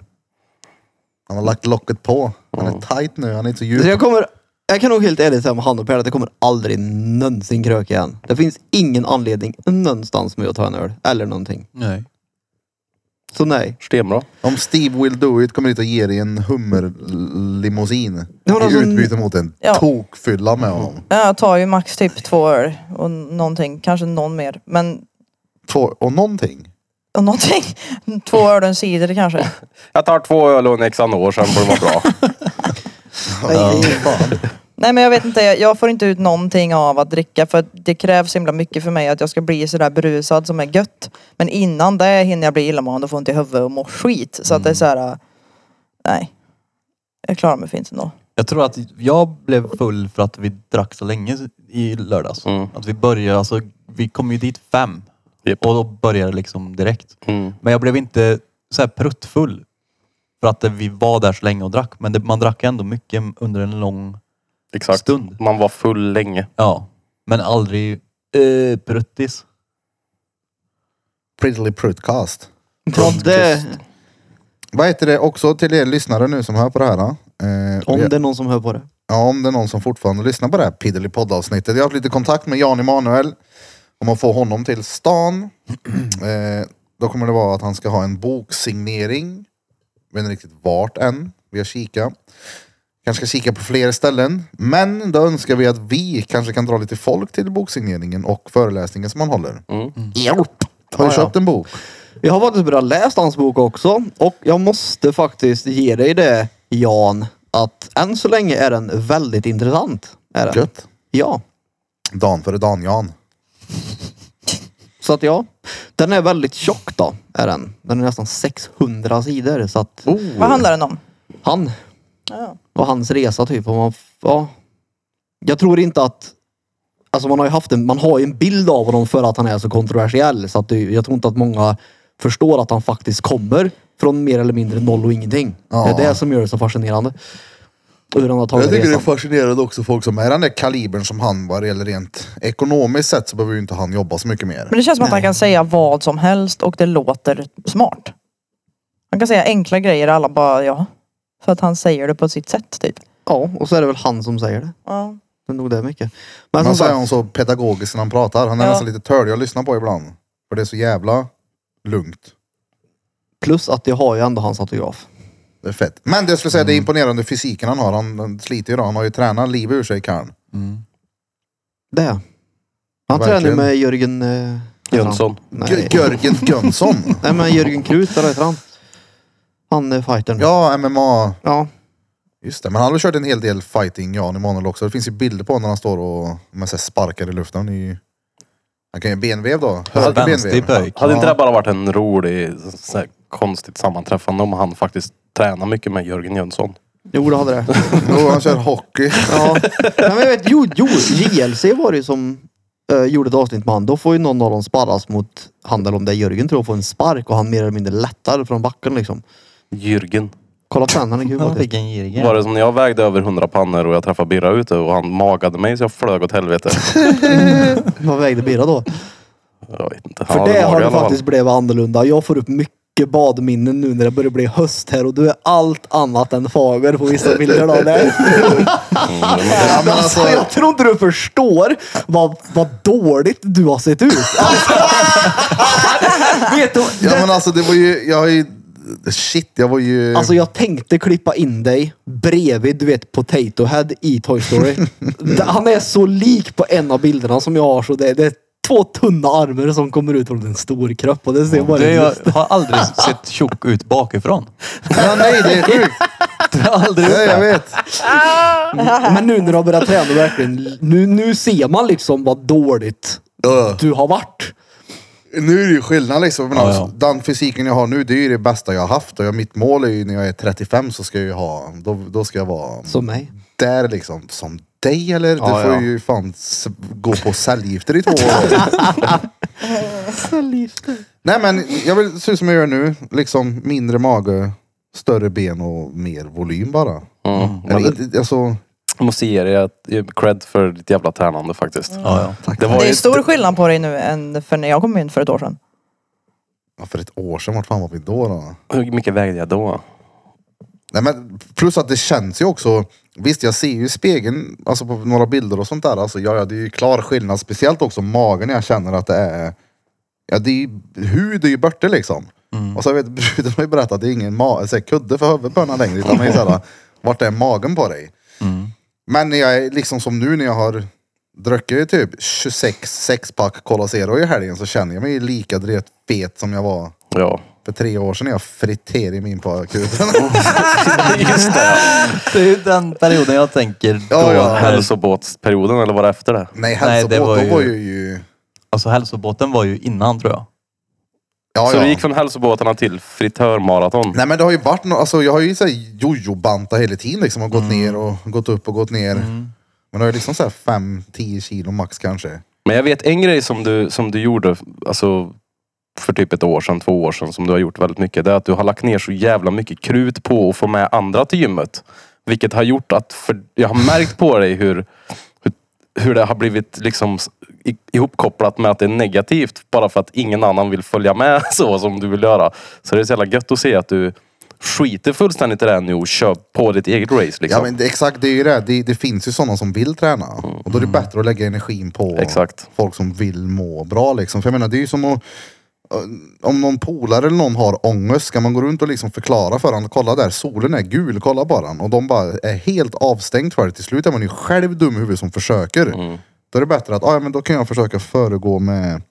[SPEAKER 1] Han har lagt locket på. Han är tight nu, han är inte så
[SPEAKER 2] Så
[SPEAKER 1] djup.
[SPEAKER 2] jag kommer... Jag kan nog helt ärligt säga med hand och pärl att jag kommer aldrig någonsin kröka igen. Det finns ingen anledning någonstans med att ta en öl eller någonting.
[SPEAKER 5] Nej.
[SPEAKER 2] Så nej.
[SPEAKER 6] Stenbra.
[SPEAKER 1] Om Steve Will Do It kommer hit och ger dig en hummerlimousin
[SPEAKER 2] Ja, men
[SPEAKER 1] i
[SPEAKER 2] alltså-
[SPEAKER 1] utbyte mot en
[SPEAKER 3] Ja.
[SPEAKER 1] tokfylla med honom.
[SPEAKER 3] Ja, Jag tar ju max typ två öl och någonting, kanske någon mer. Men
[SPEAKER 1] Två, och någonting.
[SPEAKER 3] och någonting. Två öl och en cider kanske.
[SPEAKER 6] Jag tar två öl och en Xanor, sen får det vara bra.
[SPEAKER 1] Ja. Fan.
[SPEAKER 3] Nej men jag vet inte, jag jag får inte ut någonting av att dricka för att det krävs så himla mycket för mig att jag ska bli sådär berusad som är gött. Men innan det hinner jag bli illamående och få ont i huvudet och må skit. Så att
[SPEAKER 2] Mm.
[SPEAKER 3] det är såhär, äh, nej. Jag klarar mig fint ändå.
[SPEAKER 5] Jag tror att jag blev full för att vi drack så länge i lördags.
[SPEAKER 6] Mm.
[SPEAKER 5] Att vi började, alltså vi kom ju dit fem.
[SPEAKER 6] Japp.
[SPEAKER 5] Och då började det liksom direkt.
[SPEAKER 6] Mm.
[SPEAKER 5] Men jag blev inte så här pruttfull. För att vi var där så länge och drack. Men det, man drack ändå mycket under en lång...
[SPEAKER 6] Exakt.
[SPEAKER 5] Stund.
[SPEAKER 6] Man var full länge.
[SPEAKER 5] Ja. Men aldrig eh, pruttis.
[SPEAKER 1] Priddly Prutcast.
[SPEAKER 2] Ja, det,
[SPEAKER 1] Vad heter det också till er lyssnare nu som hör på det här? Då? Eh,
[SPEAKER 2] om
[SPEAKER 1] ja,
[SPEAKER 2] det är någon som hör på det.
[SPEAKER 1] ja, om det är någon som fortfarande lyssnar på det här Piddly poddavsnittet. Jag har haft lite kontakt med Jan Emanuel. Om man får honom till stan. Eh, då kommer det vara att han ska ha en boksignering. Jag vet inte riktigt vart än. Vi har kikat. Kanske ska kika på fler ställen. Men då önskar vi att vi kanske kan dra lite folk till boksigneringen och föreläsningen som han håller.
[SPEAKER 6] Mm.
[SPEAKER 1] Hjälp! Har du
[SPEAKER 2] Ja, ja.
[SPEAKER 1] köpt en bok?
[SPEAKER 2] Jag har faktiskt börjat läsa hans bok också och jag måste faktiskt ge dig det Jan att än så länge är den väldigt intressant. Är den.
[SPEAKER 1] Gött.
[SPEAKER 2] Ja,
[SPEAKER 1] Dan före Dan-Jan.
[SPEAKER 2] så att ja. Den är väldigt tjock då. Är den. den är nästan 600 sidor så att
[SPEAKER 6] Oh,
[SPEAKER 3] Vad handlar den om?
[SPEAKER 2] han
[SPEAKER 3] Ja.
[SPEAKER 2] och hans resa typ. Och man, f- ja. Jag tror inte att Alltså man har ju haft en, man har ju en bild av honom för att han är så kontroversiell. Så att det, jag tror inte att många förstår att han faktiskt kommer från mer eller mindre noll och ingenting.
[SPEAKER 1] Ja.
[SPEAKER 2] Det är det som gör det så fascinerande. Hur han har tagit
[SPEAKER 1] Jag tycker det är
[SPEAKER 2] resan.
[SPEAKER 1] fascinerande också folk som är den där kalibern som han var eller rent ekonomiskt sett så behöver ju inte han jobba så mycket mer.
[SPEAKER 3] Men det känns som att han kan säga vad som helst och det låter smart. Han kan säga enkla grejer och alla bara ja. För att han säger det på sitt sätt typ.
[SPEAKER 2] Ja, och så är det väl han som säger det.
[SPEAKER 3] Ja.
[SPEAKER 2] Det är nog det mycket.
[SPEAKER 1] Men
[SPEAKER 2] Men som
[SPEAKER 1] så är
[SPEAKER 2] sagt,
[SPEAKER 1] han så pedagogisk när han pratar. Han är
[SPEAKER 3] Ja.
[SPEAKER 1] nästan lite törlig att lyssna på ibland. För det är så jävla lugnt.
[SPEAKER 2] plus att jag har ju ändå hans autograf.
[SPEAKER 1] Det är fett. Men det jag skulle säga, det
[SPEAKER 2] Mm.
[SPEAKER 1] är imponerande fysiken han har. Han han sliter ju då. Han har ju tränat livet ur sig karln.
[SPEAKER 2] Det. är. Han
[SPEAKER 1] Verkligen.
[SPEAKER 2] tränar ju med Jörgen... eh,
[SPEAKER 6] Jönsson.
[SPEAKER 2] Nej.
[SPEAKER 1] G- Görgen Jönsson.
[SPEAKER 2] Nej men Jörgen Krut, eller heter han? Han är fightern.
[SPEAKER 1] ja, MMA.
[SPEAKER 2] ja.
[SPEAKER 1] Just det, men han har väl kört en hel del fighting, Jan Emanuel också. Det finns ju bilder på honom när han står och med sig sparkar i luften. I... Han kan ju benvev då. Höger benvev.
[SPEAKER 5] Vänsterpöjk.
[SPEAKER 6] Hade inte
[SPEAKER 1] Ja.
[SPEAKER 6] det bara varit en rolig, så här, konstigt sammanträffande om han faktiskt tränar mycket med Jörgen Jönsson?
[SPEAKER 2] Jo det hade det.
[SPEAKER 1] Jo, han kör hockey.
[SPEAKER 2] Ja. Nej, men jag vet, jo, jo, JLC var det ju som eh, gjorde ett avsnitt med han. Då får ju någon av dem sparras mot han eller om det är Jörgen tror jag, får en spark och han mer eller mindre lättar från backen liksom.
[SPEAKER 6] Jörgen.
[SPEAKER 2] Kolla på den, han är kul
[SPEAKER 5] Ja,
[SPEAKER 2] faktiskt.
[SPEAKER 5] Vilken girig.
[SPEAKER 6] Var det som när jag vägde över 100 pannor och jag träffade Birra ute och han magade mig så jag flög åt helvete.
[SPEAKER 2] Vad vägde Birra då?
[SPEAKER 6] Jag vet inte. Han
[SPEAKER 2] För
[SPEAKER 6] hade
[SPEAKER 2] det
[SPEAKER 6] mage i
[SPEAKER 2] har det
[SPEAKER 6] alla fall.
[SPEAKER 2] faktiskt blivit annorlunda. Jag får upp mycket badminnen nu när det börjar bli höst här och du är allt annat än fager på vissa bilder. Då. Nej.
[SPEAKER 1] Ja, men
[SPEAKER 2] Alltså,
[SPEAKER 1] alltså,
[SPEAKER 2] jag tror inte du förstår vad, vad dåligt du har sett ut. Alltså, vet du,
[SPEAKER 1] ja,
[SPEAKER 2] det-
[SPEAKER 1] men alltså det var ju... Jag har ju shit, jag var ju...
[SPEAKER 2] Alltså jag tänkte klippa in dig bredvid, du vet, Potato Head i Toy Story. Det- Han är så lik på en av bilderna som jag har så det, det är två tunna armar som kommer ut från en stor kropp och det ser bara
[SPEAKER 5] Du,
[SPEAKER 2] ut.
[SPEAKER 5] jag har aldrig sett tjock ut bakifrån.
[SPEAKER 1] ja, nej, det är sjukt.
[SPEAKER 5] Du har aldrig
[SPEAKER 1] Ja,
[SPEAKER 5] gjort
[SPEAKER 1] jag
[SPEAKER 5] det.
[SPEAKER 1] vet.
[SPEAKER 2] Men nu när du har börjat träna verkligen, nu, nu ser man liksom vad dåligt
[SPEAKER 1] Ugh.
[SPEAKER 2] du har varit.
[SPEAKER 1] Nu är det ju skillnad liksom. Men
[SPEAKER 5] Ja,
[SPEAKER 1] alltså,
[SPEAKER 5] ja.
[SPEAKER 1] Den fysiken jag har nu, det är ju det bästa jag har haft. Och jag, mitt mål är ju när jag är 35 så ska jag ju ha, då, då ska jag vara
[SPEAKER 2] Som mig.
[SPEAKER 1] där liksom. Som dig eller?
[SPEAKER 5] Ja,
[SPEAKER 1] du får
[SPEAKER 5] ja.
[SPEAKER 1] ju fan s- gå på cellgifter i två år. Nej men jag vill se ut som jag gör nu. Liksom mindre mage, större ben och mer volym bara.
[SPEAKER 6] Mm.
[SPEAKER 1] Eller,
[SPEAKER 6] Men
[SPEAKER 1] inte- alltså,
[SPEAKER 6] Jag måste ge dig att- ge cred för ditt jävla tränande faktiskt.
[SPEAKER 5] Ja, ja. Tack.
[SPEAKER 6] Det var
[SPEAKER 3] Det
[SPEAKER 6] ju-
[SPEAKER 3] är stor skillnad på dig nu än för när jag kom in för ett år sedan.
[SPEAKER 1] ja, för ett år sedan, vart fan var vi då? då?
[SPEAKER 6] Hur mycket vägde jag då?
[SPEAKER 1] Nej, men plus att det känns ju också. Visst, jag ser ju i spegeln, alltså på några bilder och sånt där. Alltså, ja, ja, det är ju klar skillnad. Speciellt också magen. Jag känner att det är... Ja, det är ju, hud är ju borta liksom. Och så vet bruden har ju berättat att det är ingen ma- så här, kudde för huvudet på henne längre. Utan man är såhär, vart är magen på dig? Men när jag är liksom som nu när jag har druckit typ 26 sexpack Cola Zero i helgen så känner jag mig lika dret fet som jag var
[SPEAKER 6] Ja.
[SPEAKER 1] för tre år sedan när jag friterade min på akuten.
[SPEAKER 5] Det är ju den perioden jag tänker då.
[SPEAKER 1] Ja, ja.
[SPEAKER 5] när-
[SPEAKER 6] Hälsobåtsperioden eller var det efter det?
[SPEAKER 1] Nej,
[SPEAKER 5] Nej,
[SPEAKER 1] hälsobåt,
[SPEAKER 5] det var
[SPEAKER 1] då
[SPEAKER 5] ju-
[SPEAKER 1] var ju... ju...
[SPEAKER 5] Alltså hälsobåten var ju innan tror jag.
[SPEAKER 1] Ja,
[SPEAKER 6] Så
[SPEAKER 1] ja.
[SPEAKER 6] du gick från hälsobåtarna till fritörmaraton?
[SPEAKER 1] Nej men det har ju varit något, alltså jag har ju såhär jojo-bantat hela tiden liksom. Har gått ner och gått upp och gått ner. Men det har ju liksom såhär 5-10 kilo max kanske.
[SPEAKER 6] Men jag vet en grej som du, som du gjorde alltså, för typ ett år sedan, två år sedan, som du har gjort väldigt mycket. Det är att du har lagt ner så jävla mycket krut på att få med andra till gymmet. Vilket har gjort att, för, jag har märkt på dig hur, hur, hur det har blivit liksom s- i- ihopkopplat med att det är negativt. Bara för att ingen annan vill följa med så som du vill göra. Så det är så jävla gött att se att du skiter fullständigt i det här nu och kör på ditt eget race. Liksom.
[SPEAKER 1] Ja men det, exakt, det är ju det. det. Det finns ju sådana som vill träna. Och då är det bättre att lägga energin på
[SPEAKER 6] Exakt.
[SPEAKER 1] folk som vill må bra liksom. För jag menar det är ju som att eh, om någon polare eller någon har ångest, ska man gå runt och liksom förklara för honom, kolla där, solen är gul, kolla bara den. Och de bara är helt avstängd för det. Till slut är man ju själv dum i huvudet som försöker. Då är det bättre att, ah, ja men då kan jag försöka föregå med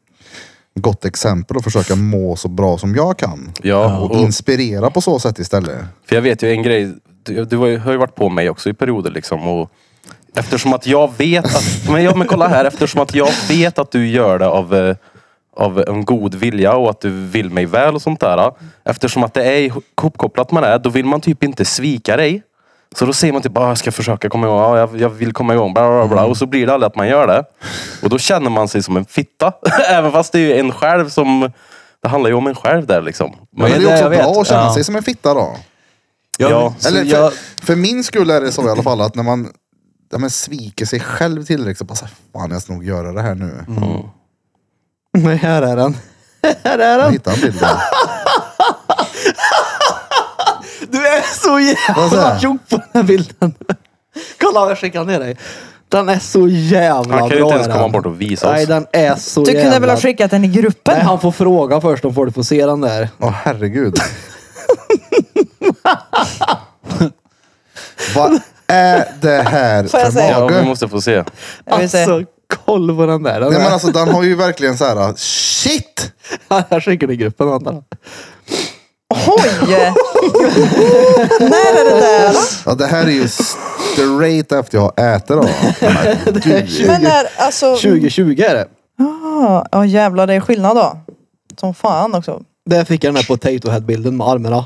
[SPEAKER 1] gott exempel och försöka må så bra som jag kan.
[SPEAKER 6] Ja,
[SPEAKER 1] och,
[SPEAKER 6] och-
[SPEAKER 1] inspirera på så sätt istället.
[SPEAKER 6] För jag vet ju en grej, du, du har ju- har ju varit på mig också i perioder liksom. Och eftersom att jag vet att, men, ja, men kolla här, eftersom att jag vet att du gör det av, eh, av en god vilja och att du vill mig väl och sånt där. Eftersom att det är ihopkopplat med det, här, då vill man typ inte svika dig. Så då säger man typ, ah, jag ska försöka komma igång, ah, jag, jag vill komma igång, bla, bla, bla. Och så blir det aldrig att man gör det. Och då känner man sig som en fitta. Även fast det är ju en själv som, det handlar ju om en själv där liksom.
[SPEAKER 1] Men
[SPEAKER 6] Men
[SPEAKER 1] det är
[SPEAKER 5] det
[SPEAKER 1] också
[SPEAKER 5] jag vet.
[SPEAKER 1] bra att känna
[SPEAKER 5] Ja.
[SPEAKER 1] sig som en fitta då.
[SPEAKER 5] Jag,
[SPEAKER 6] Ja.
[SPEAKER 5] så
[SPEAKER 1] Eller för,
[SPEAKER 5] jag,
[SPEAKER 1] För min skull är det så i alla fall att när man, ja, men sviker sig själv tillräckligt så bara så här, fan jag ska nog göra det här nu.
[SPEAKER 6] Mm.
[SPEAKER 2] Nej, här är den. här är
[SPEAKER 1] Jag
[SPEAKER 2] den.
[SPEAKER 1] hittade en bild där.
[SPEAKER 2] Du är så
[SPEAKER 1] Vad sa
[SPEAKER 2] jävla
[SPEAKER 1] jag?
[SPEAKER 2] tjock på den här bilden. Kolla, jag skickar ner dig. Den är så jävla
[SPEAKER 6] Han kan ju
[SPEAKER 2] bra.
[SPEAKER 6] inte ens
[SPEAKER 2] är
[SPEAKER 6] komma
[SPEAKER 2] den.
[SPEAKER 6] bort och visa oss.
[SPEAKER 2] Nej, den är så
[SPEAKER 3] Du
[SPEAKER 2] jävla...
[SPEAKER 3] kunde väl ha skickat den i gruppen?
[SPEAKER 2] Nej, han får fråga först om folk får se den där.
[SPEAKER 1] Åh herregud. Vad är det här
[SPEAKER 3] Får jag
[SPEAKER 1] för
[SPEAKER 3] säga?
[SPEAKER 6] Ja, vi
[SPEAKER 1] mage?
[SPEAKER 6] måste få se.
[SPEAKER 3] Jag vill säga.
[SPEAKER 2] Alltså, koll på den där. Den
[SPEAKER 1] Nej men
[SPEAKER 2] är-
[SPEAKER 1] alltså den har ju verkligen så här. shit!
[SPEAKER 2] Jag skickar den i gruppen. Vänta.
[SPEAKER 3] Oj! När är det där?
[SPEAKER 1] Ja det här är ju straight efter jag äter då. Men gud.
[SPEAKER 3] Men när, alltså...
[SPEAKER 2] 2020 är det.
[SPEAKER 3] Ja, ja, jävlar det är skillnad då. Som fan också.
[SPEAKER 2] Där fick jag den här potato head-bilden med armarna.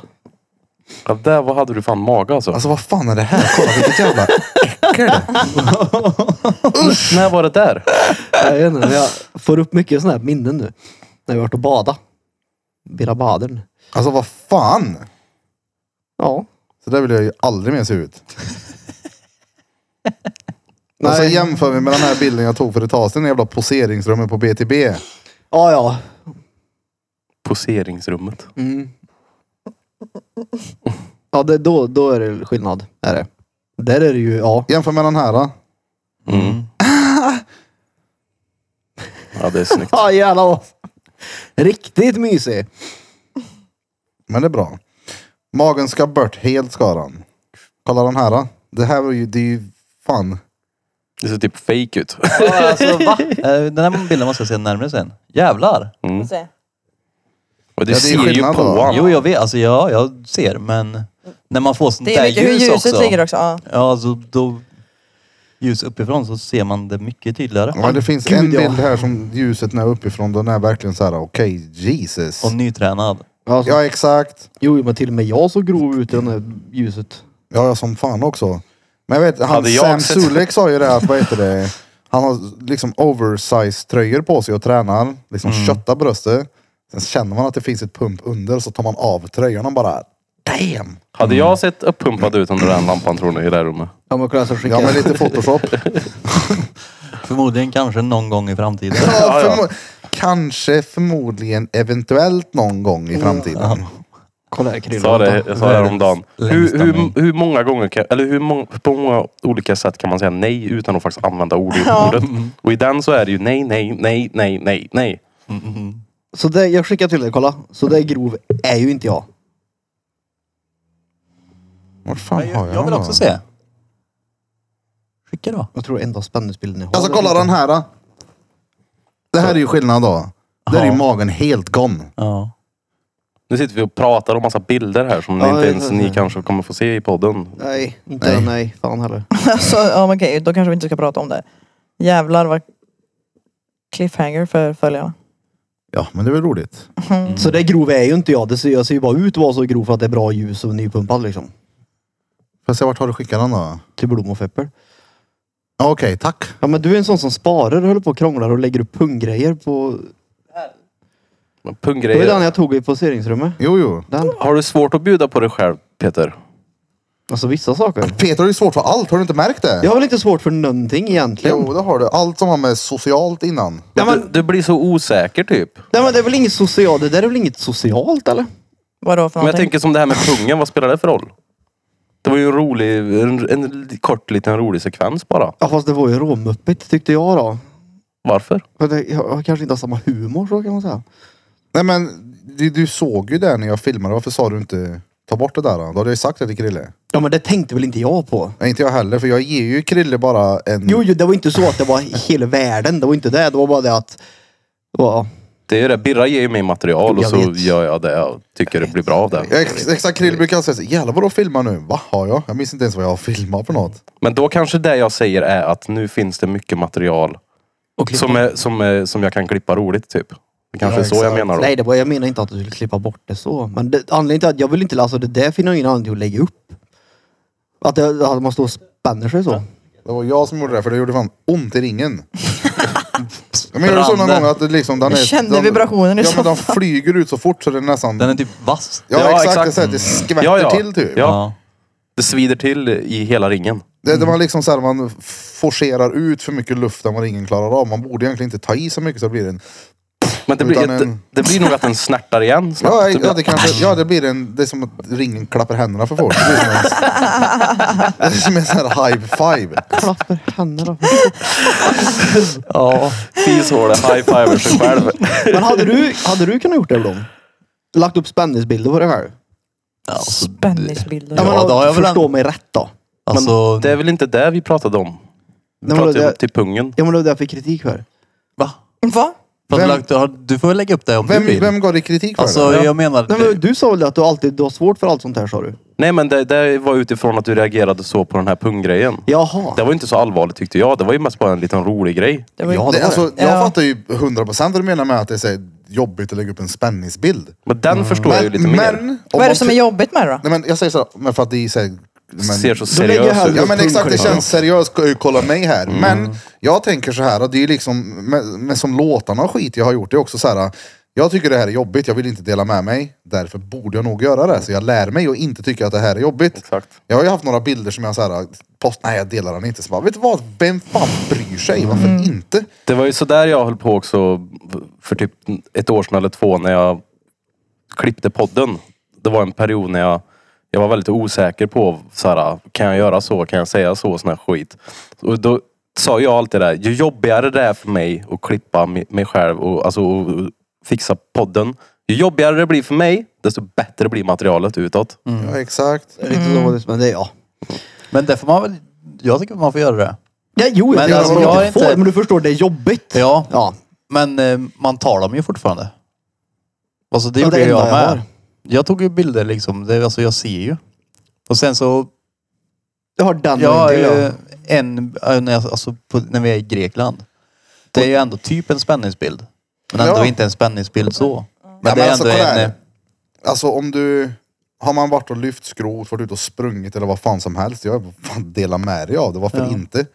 [SPEAKER 6] Ja, där vad hade du fan mage alltså.
[SPEAKER 1] Alltså vad fan är det här? Kolla vilket jävla äckel.
[SPEAKER 6] När var det där?
[SPEAKER 2] Jag vet inte, men jag får upp mycket sådana här minnen nu. När vi varit och bada. Bila badern.
[SPEAKER 1] Alltså vad fan?
[SPEAKER 2] Ja.
[SPEAKER 1] Så där vill jag ju aldrig mer se ut. Alltså jämför vi med den här bilden jag tog för ett tag sedan, jävla poseringsrummet på BTB.
[SPEAKER 2] Ja, ja.
[SPEAKER 6] Poseringsrummet.
[SPEAKER 2] Mm. ja det, då, då är det skillnad. Är det. Där är det ju, ja.
[SPEAKER 1] Jämför med den här. Då.
[SPEAKER 6] Ja, det är snyggt.
[SPEAKER 2] Ja, jävlar vad. Riktigt mysig.
[SPEAKER 1] Men det är bra. Magen ska bort, helt ska den. Kolla den här. Då. Det här var ju, det är ju fan.
[SPEAKER 6] Det ser typ fake ut.
[SPEAKER 5] Ja, alltså, va? Eh, Den här bilden måste jag se närmare sen. Jävlar!
[SPEAKER 6] Och du
[SPEAKER 1] Ja, det är
[SPEAKER 6] ser ju
[SPEAKER 1] skillnad
[SPEAKER 6] på
[SPEAKER 1] då.
[SPEAKER 6] honom.
[SPEAKER 5] Jo, jag vet. Alltså, ja, jag ser. Men när man får sånt
[SPEAKER 3] Det är
[SPEAKER 5] där
[SPEAKER 3] mycket hur
[SPEAKER 5] ljus
[SPEAKER 3] ljuset
[SPEAKER 5] också.
[SPEAKER 3] ligger också. Ja.
[SPEAKER 5] Ja, alltså, då, ljus uppifrån så ser man det mycket tydligare.
[SPEAKER 1] Ja, det finns
[SPEAKER 2] Gud,
[SPEAKER 1] en
[SPEAKER 2] ja.
[SPEAKER 1] bild här som ljuset när uppifrån. Den är verkligen så här, okej, Jesus.
[SPEAKER 5] Och nytränad.
[SPEAKER 2] Alltså,
[SPEAKER 1] Ja exakt.
[SPEAKER 2] Jo, men till och med jag såg grov ut i det här ljuset.
[SPEAKER 1] Ja, jag som fan också. Men jag vet, han,
[SPEAKER 6] Hade jag
[SPEAKER 1] Sam
[SPEAKER 6] sett-
[SPEAKER 1] Sulek sa ju det att, vad heter det? Han har liksom oversize tröjor på sig och tränar. Liksom köttar bröstet. Sen känner man att det finns ett pump under så tar man av tröjan och bara damn.
[SPEAKER 6] Hade jag sett uppumpad ut under den lampan tror ni i det här rummet?
[SPEAKER 2] Ja, men kolla så skickar
[SPEAKER 1] Ja
[SPEAKER 2] jag.
[SPEAKER 1] men lite photoshop.
[SPEAKER 5] Förmodligen kanske någon gång i framtiden.
[SPEAKER 1] ja, förmo- Kanske förmodligen eventuellt någon gång i framtiden.
[SPEAKER 2] Kolla här
[SPEAKER 6] Jag
[SPEAKER 2] Krille.
[SPEAKER 6] sa det,
[SPEAKER 2] vänta.
[SPEAKER 6] jag sa det häromdagen. Hur,
[SPEAKER 5] Längsta mig.
[SPEAKER 6] hur, hur många gånger, kan, eller hur många, på många olika sätt kan man säga nej utan att faktiskt använda ord i
[SPEAKER 3] Ja.
[SPEAKER 6] ordet? Och i den så är det ju nej, nej, nej, nej, nej, nej.
[SPEAKER 5] Mm,
[SPEAKER 2] Så det, jag skickar till dig, kolla. Så det är grov är ju inte jag.
[SPEAKER 1] Var fan
[SPEAKER 5] Men
[SPEAKER 1] har
[SPEAKER 5] jag,
[SPEAKER 1] jag,
[SPEAKER 5] jag vill
[SPEAKER 1] den
[SPEAKER 5] också
[SPEAKER 1] då?
[SPEAKER 5] se. Skicka då.
[SPEAKER 2] Jag tror enda spänningsbilden jag har.
[SPEAKER 1] Alltså kolla den här. Då. Det här är ju skillnad då. Där är ju
[SPEAKER 5] Ja.
[SPEAKER 1] magen helt gone.
[SPEAKER 5] Ja.
[SPEAKER 6] Nu sitter vi och pratar om massa bilder här som
[SPEAKER 2] Ja,
[SPEAKER 6] inte
[SPEAKER 2] det-
[SPEAKER 6] ens ni kanske kommer få se i podden.
[SPEAKER 2] Nej, inte
[SPEAKER 1] Nej.
[SPEAKER 2] nej. nej. Fan heller.
[SPEAKER 3] Alltså, ja, men okej, då kanske vi inte ska prata om det. Jävlar vad cliffhanger för följarna.
[SPEAKER 1] Ja men det är väl roligt.
[SPEAKER 2] Så det grov är ju inte jag. Det ser, jag ser ju bara ut att vara så grov för att det är bra ljus och nypumpad liksom.
[SPEAKER 1] Får jag se vart har du skickat den då?
[SPEAKER 2] Till blom och feppel.
[SPEAKER 1] Ja, Okej, tack.
[SPEAKER 2] Ja men du är en sån som sparar och håller på och krånglar och lägger upp punggrejer på...
[SPEAKER 6] Men
[SPEAKER 2] Det var ju den
[SPEAKER 6] Punggrejer.
[SPEAKER 2] jag tog i poseringsrummet.
[SPEAKER 1] Jo, jo.
[SPEAKER 2] Den.
[SPEAKER 6] Har du svårt att bjuda på dig själv, Peter?
[SPEAKER 2] Alltså vissa saker.
[SPEAKER 1] Peter har ju svårt för allt, har du inte märkt det?
[SPEAKER 2] Jag har väl inte svårt för någonting egentligen.
[SPEAKER 1] Jo, det har du. Allt som har med socialt innan.
[SPEAKER 2] Nej, men,
[SPEAKER 6] Du, du blir så osäker typ.
[SPEAKER 2] nej men det är väl inget socialt. Det där är väl inget socialt eller?
[SPEAKER 3] Vadå för
[SPEAKER 6] Men jag
[SPEAKER 3] någonting?
[SPEAKER 6] tänker som det här med pungen, vad spelar det för roll? Det var ju en rolig, en, en kort liten rolig sekvens bara.
[SPEAKER 2] Ja fast det var ju råmuppigt tyckte jag då.
[SPEAKER 6] Varför?
[SPEAKER 2] Men det, jag, jag kanske inte har samma humor så kan man säga.
[SPEAKER 1] Nej men, du, du såg ju det när jag filmade. Varför sa du inte ta bort det där då? Då hade jag ju sagt det till Krille.
[SPEAKER 2] Ja men det tänkte väl inte jag på.
[SPEAKER 1] Nej, inte jag heller, för jag ger ju Krille bara en...
[SPEAKER 2] Jo, jo det var inte så att det var hela världen. Det var inte det. Det var bara det att... Ja,
[SPEAKER 6] Det är ju det, Birra ger ju mig material och
[SPEAKER 2] Jag
[SPEAKER 6] så
[SPEAKER 2] vet.
[SPEAKER 6] gör jag det och tycker det blir bra av det.
[SPEAKER 1] Ja, ex, exakt, Krille brukar säga så, jävlar vad du filmar nu. Vad har jag? Jag minns inte ens vad jag har filmat för något.
[SPEAKER 6] Men då kanske det jag säger är att nu finns det mycket material som, är, som, är, som jag kan klippa roligt typ. Det kanske
[SPEAKER 1] Ja,
[SPEAKER 6] är så
[SPEAKER 1] exakt.
[SPEAKER 6] jag menar då.
[SPEAKER 2] Nej, det var, jag menar inte att du skulle klippa bort det så. Men det, anledningen till att jag vill inte... Alltså det där finner jag ingen anledning till att lägga upp. Att, det, att man står och spänner sig så.
[SPEAKER 1] Det var jag som gjorde det, för det gjorde fan ont i ringen. Men gör det så någon gång att det liksom, den är,
[SPEAKER 3] Jag kände
[SPEAKER 1] den,
[SPEAKER 3] vibrationen i
[SPEAKER 1] Ja men den
[SPEAKER 3] soffan.
[SPEAKER 1] flyger ut så fort så det är nästan...
[SPEAKER 5] Den är typ vass.
[SPEAKER 1] Ja,
[SPEAKER 6] Ja,
[SPEAKER 1] exakt,
[SPEAKER 6] exakt.
[SPEAKER 1] Det, är så här, att det skvätter
[SPEAKER 6] Ja, ja.
[SPEAKER 1] till typ.
[SPEAKER 6] Ja. Det svider till i hela ringen.
[SPEAKER 1] Det, det var liksom så här, man forcerar ut för mycket luft än vad ringen klarar av. Man borde egentligen inte ta i så mycket så det blir en...
[SPEAKER 6] Men det blir,
[SPEAKER 1] Utan
[SPEAKER 6] ett,
[SPEAKER 1] en-
[SPEAKER 6] det blir nog att den snärtar igen snabbt.
[SPEAKER 1] Ja, ja, det, kanske, ja det blir en... Det är som att ringen klappar händerna för folk. Det blir som en, det är som en sån här high five.
[SPEAKER 2] Klapper händerna.
[SPEAKER 6] Ja. Fishålet high-fivar sig själv.
[SPEAKER 2] Men hade du, hade du kunnat gjort det Blom? Lagt upp spänningsbilder på dig själv?
[SPEAKER 3] Spänningsbilder.
[SPEAKER 5] Ja,
[SPEAKER 2] men,
[SPEAKER 5] det har jag väl
[SPEAKER 2] Förstå
[SPEAKER 5] en-
[SPEAKER 2] mig rätt då.
[SPEAKER 5] Alltså,
[SPEAKER 6] Det är väl inte det vi pratade om? Vi
[SPEAKER 2] Nej, men
[SPEAKER 6] pratade
[SPEAKER 2] det-
[SPEAKER 6] om till pungen.
[SPEAKER 2] Ja men det var det jag fick kritik för.
[SPEAKER 5] va?
[SPEAKER 3] Va?
[SPEAKER 5] För att
[SPEAKER 1] Vem-
[SPEAKER 5] lagt- har- Du får lägga upp det om
[SPEAKER 1] Vem,
[SPEAKER 5] du vill.
[SPEAKER 1] vem gav dig kritik för
[SPEAKER 5] alltså,
[SPEAKER 1] det?
[SPEAKER 5] jag menar...
[SPEAKER 2] Nej, men du sa väl det att du alltid du har svårt för allt sånt här sa du?
[SPEAKER 6] Nej men det, det var utifrån att du reagerade så på den här punggrejen.
[SPEAKER 2] Jaha.
[SPEAKER 6] Det var ju inte så allvarligt tyckte jag. Det var ju mest bara en liten rolig grej.
[SPEAKER 3] Det var ju-
[SPEAKER 2] Ja,
[SPEAKER 1] Det, alltså, jag
[SPEAKER 3] Ja.
[SPEAKER 1] fattar ju 100% vad du menar med att det är så här jobbigt att lägga upp en spänningsbild.
[SPEAKER 6] Men
[SPEAKER 2] Mm.
[SPEAKER 6] den förstår jag ju lite mer.
[SPEAKER 1] om
[SPEAKER 3] Vad är
[SPEAKER 1] man
[SPEAKER 3] det som är
[SPEAKER 1] ty-
[SPEAKER 3] jobbigt med det då?
[SPEAKER 1] Nej men jag säger så här, men för att det är så här, men,
[SPEAKER 6] Ser så
[SPEAKER 2] lägger jag
[SPEAKER 6] seriös
[SPEAKER 2] hellre-
[SPEAKER 6] ut.
[SPEAKER 1] Ja men exakt, det
[SPEAKER 2] Punkt.
[SPEAKER 1] känns seriöst. K- Kolla mig här. Men jag tänker så här, att det är liksom, med, med som låtarna och skit jag har gjort, det är också så här. Jag tycker det här är jobbigt, jag vill inte dela med mig. Därför borde jag nog göra det. Så jag lär mig att inte tycka att det här är jobbigt.
[SPEAKER 6] Exakt.
[SPEAKER 1] Jag har ju haft några bilder som jag så här, post, nej jag delar den inte. Så bara, vet du vad, vem fan bryr sig? Varför inte?
[SPEAKER 6] Det var ju sådär jag höll på också för typ ett år sedan eller två när jag klippte podden. Det var en period när jag, jag var väldigt osäker på så här, kan jag göra så, kan jag säga så, sån här skit. Och då sa jag alltid det här, ju jobbigare det är för mig att klippa mi- mig själv och, alltså, och och fixa podden. Ju jobbigare det blir för mig, desto bättre blir materialet utåt.
[SPEAKER 1] Ja exakt.
[SPEAKER 2] Lite dåligt men det ja.
[SPEAKER 5] Men det får man väl... Jag tycker man får göra det.
[SPEAKER 2] Ja jo jag
[SPEAKER 5] Men
[SPEAKER 2] men,
[SPEAKER 5] alltså,
[SPEAKER 2] jag
[SPEAKER 5] jag har
[SPEAKER 2] får,
[SPEAKER 5] inte-
[SPEAKER 2] men du förstår det är jobbigt.
[SPEAKER 5] Ja,
[SPEAKER 2] Ja.
[SPEAKER 5] men eh, man tar dem ju fortfarande. Alltså det
[SPEAKER 2] Ja,
[SPEAKER 5] gjorde
[SPEAKER 2] det
[SPEAKER 5] ju jag
[SPEAKER 2] enda jag
[SPEAKER 5] med.
[SPEAKER 2] har.
[SPEAKER 5] Jag tog ju bilder liksom. Det, alltså jag ser ju. Och sen så
[SPEAKER 2] Jag har den
[SPEAKER 5] Jag har
[SPEAKER 2] och en till,
[SPEAKER 5] ju en, eh, när jag- alltså, på, när vi är i Grekland. Det är ju ändå typ en spänningsbild. Men ändå
[SPEAKER 1] Ja.
[SPEAKER 5] inte en spänningsbild så. Men
[SPEAKER 1] Nej,
[SPEAKER 5] det är
[SPEAKER 1] alltså,
[SPEAKER 5] ändå
[SPEAKER 1] kolla
[SPEAKER 5] en...
[SPEAKER 1] här.
[SPEAKER 5] eh,
[SPEAKER 1] Alltså om du, har man varit och lyft skrot, varit ute och sprungit eller vad fan som helst. Jag vill fan dela med dig av det, varför inte?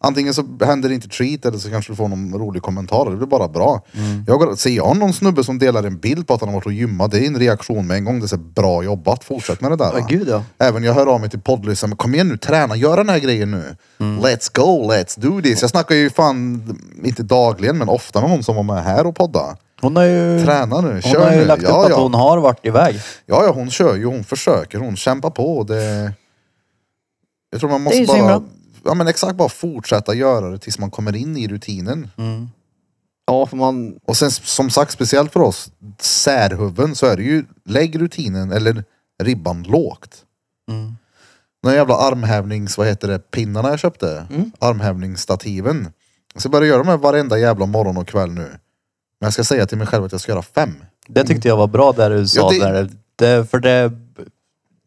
[SPEAKER 1] Antingen så händer det inte treat eller så kanske du får någon rolig kommentar. Det blir bara bra.
[SPEAKER 5] Mm.
[SPEAKER 1] Jag går, ser jag någon snubbe som delar en bild på att han har varit och gymmat, det är en reaktion med en gång. Det är så här, bra jobbat, fortsätt med det där.
[SPEAKER 2] Ja, gud, ja.
[SPEAKER 1] Även jag hör av mig till poddlyssnare, men kom igen nu, träna, gör den här grejen nu.
[SPEAKER 5] Mm.
[SPEAKER 1] Let's go, let's do this. Jag snackar ju fan, inte dagligen, men ofta med någon som var med här och podda.
[SPEAKER 5] Hon har ju,
[SPEAKER 1] Träna nu,
[SPEAKER 5] Mm. hon
[SPEAKER 1] kör
[SPEAKER 5] har ju
[SPEAKER 1] nu.
[SPEAKER 5] lagt upp
[SPEAKER 1] Ja,
[SPEAKER 5] att
[SPEAKER 1] ja.
[SPEAKER 5] hon har varit iväg.
[SPEAKER 1] Ja, ja, hon kör ju, hon försöker, hon kämpar på. och Det... Jag tror man
[SPEAKER 3] är
[SPEAKER 1] måste
[SPEAKER 3] ju så himla-
[SPEAKER 1] bara... Ja men exakt, bara fortsätta göra det tills man kommer in i rutinen.
[SPEAKER 3] Mm.
[SPEAKER 2] Ja för man...
[SPEAKER 1] Och sen som sagt, speciellt för oss särhuvuden så är det ju, lägg rutinen eller ribban lågt.
[SPEAKER 5] Mm.
[SPEAKER 1] Den jävla armhävnings, vad heter det, pinnarna jag köpte,
[SPEAKER 3] Mm.
[SPEAKER 1] armhävningsstativen. Jag ska börja göra de här varenda jävla morgon och kväll nu. Men jag ska säga till mig själv att jag ska göra fem.
[SPEAKER 5] Det tyckte jag var bra där du sa.
[SPEAKER 1] det-
[SPEAKER 5] Där, det, för det...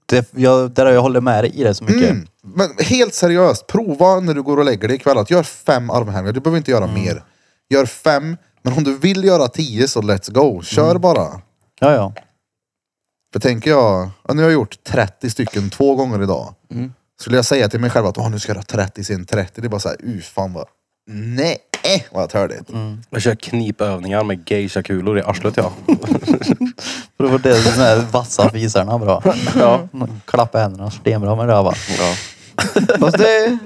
[SPEAKER 5] det jag, där har jag håller med dig i det så mycket.
[SPEAKER 1] Mm. Men helt seriöst, prova när du går och lägger dig ikväll att gör fem armhävningar. Du behöver inte göra mer. Gör fem, men om du vill göra tio så let's go. Kör bara.
[SPEAKER 5] Ja, ja.
[SPEAKER 1] För tänker jag, ja, nu har jag gjort 30 stycken två gånger idag. Skulle jag säga till mig själv att "Åh, nu ska jag göra 30 sen 30, det är bara såhär, uh fan vad, nej, vad törligt.
[SPEAKER 6] Jag kör knipövningar med geisha-kulor i arslet ja.
[SPEAKER 5] För det var det som är vassa fisarna bra. Ja. Klappa händerna stenbra med röva.
[SPEAKER 6] ja.
[SPEAKER 2] Fast det,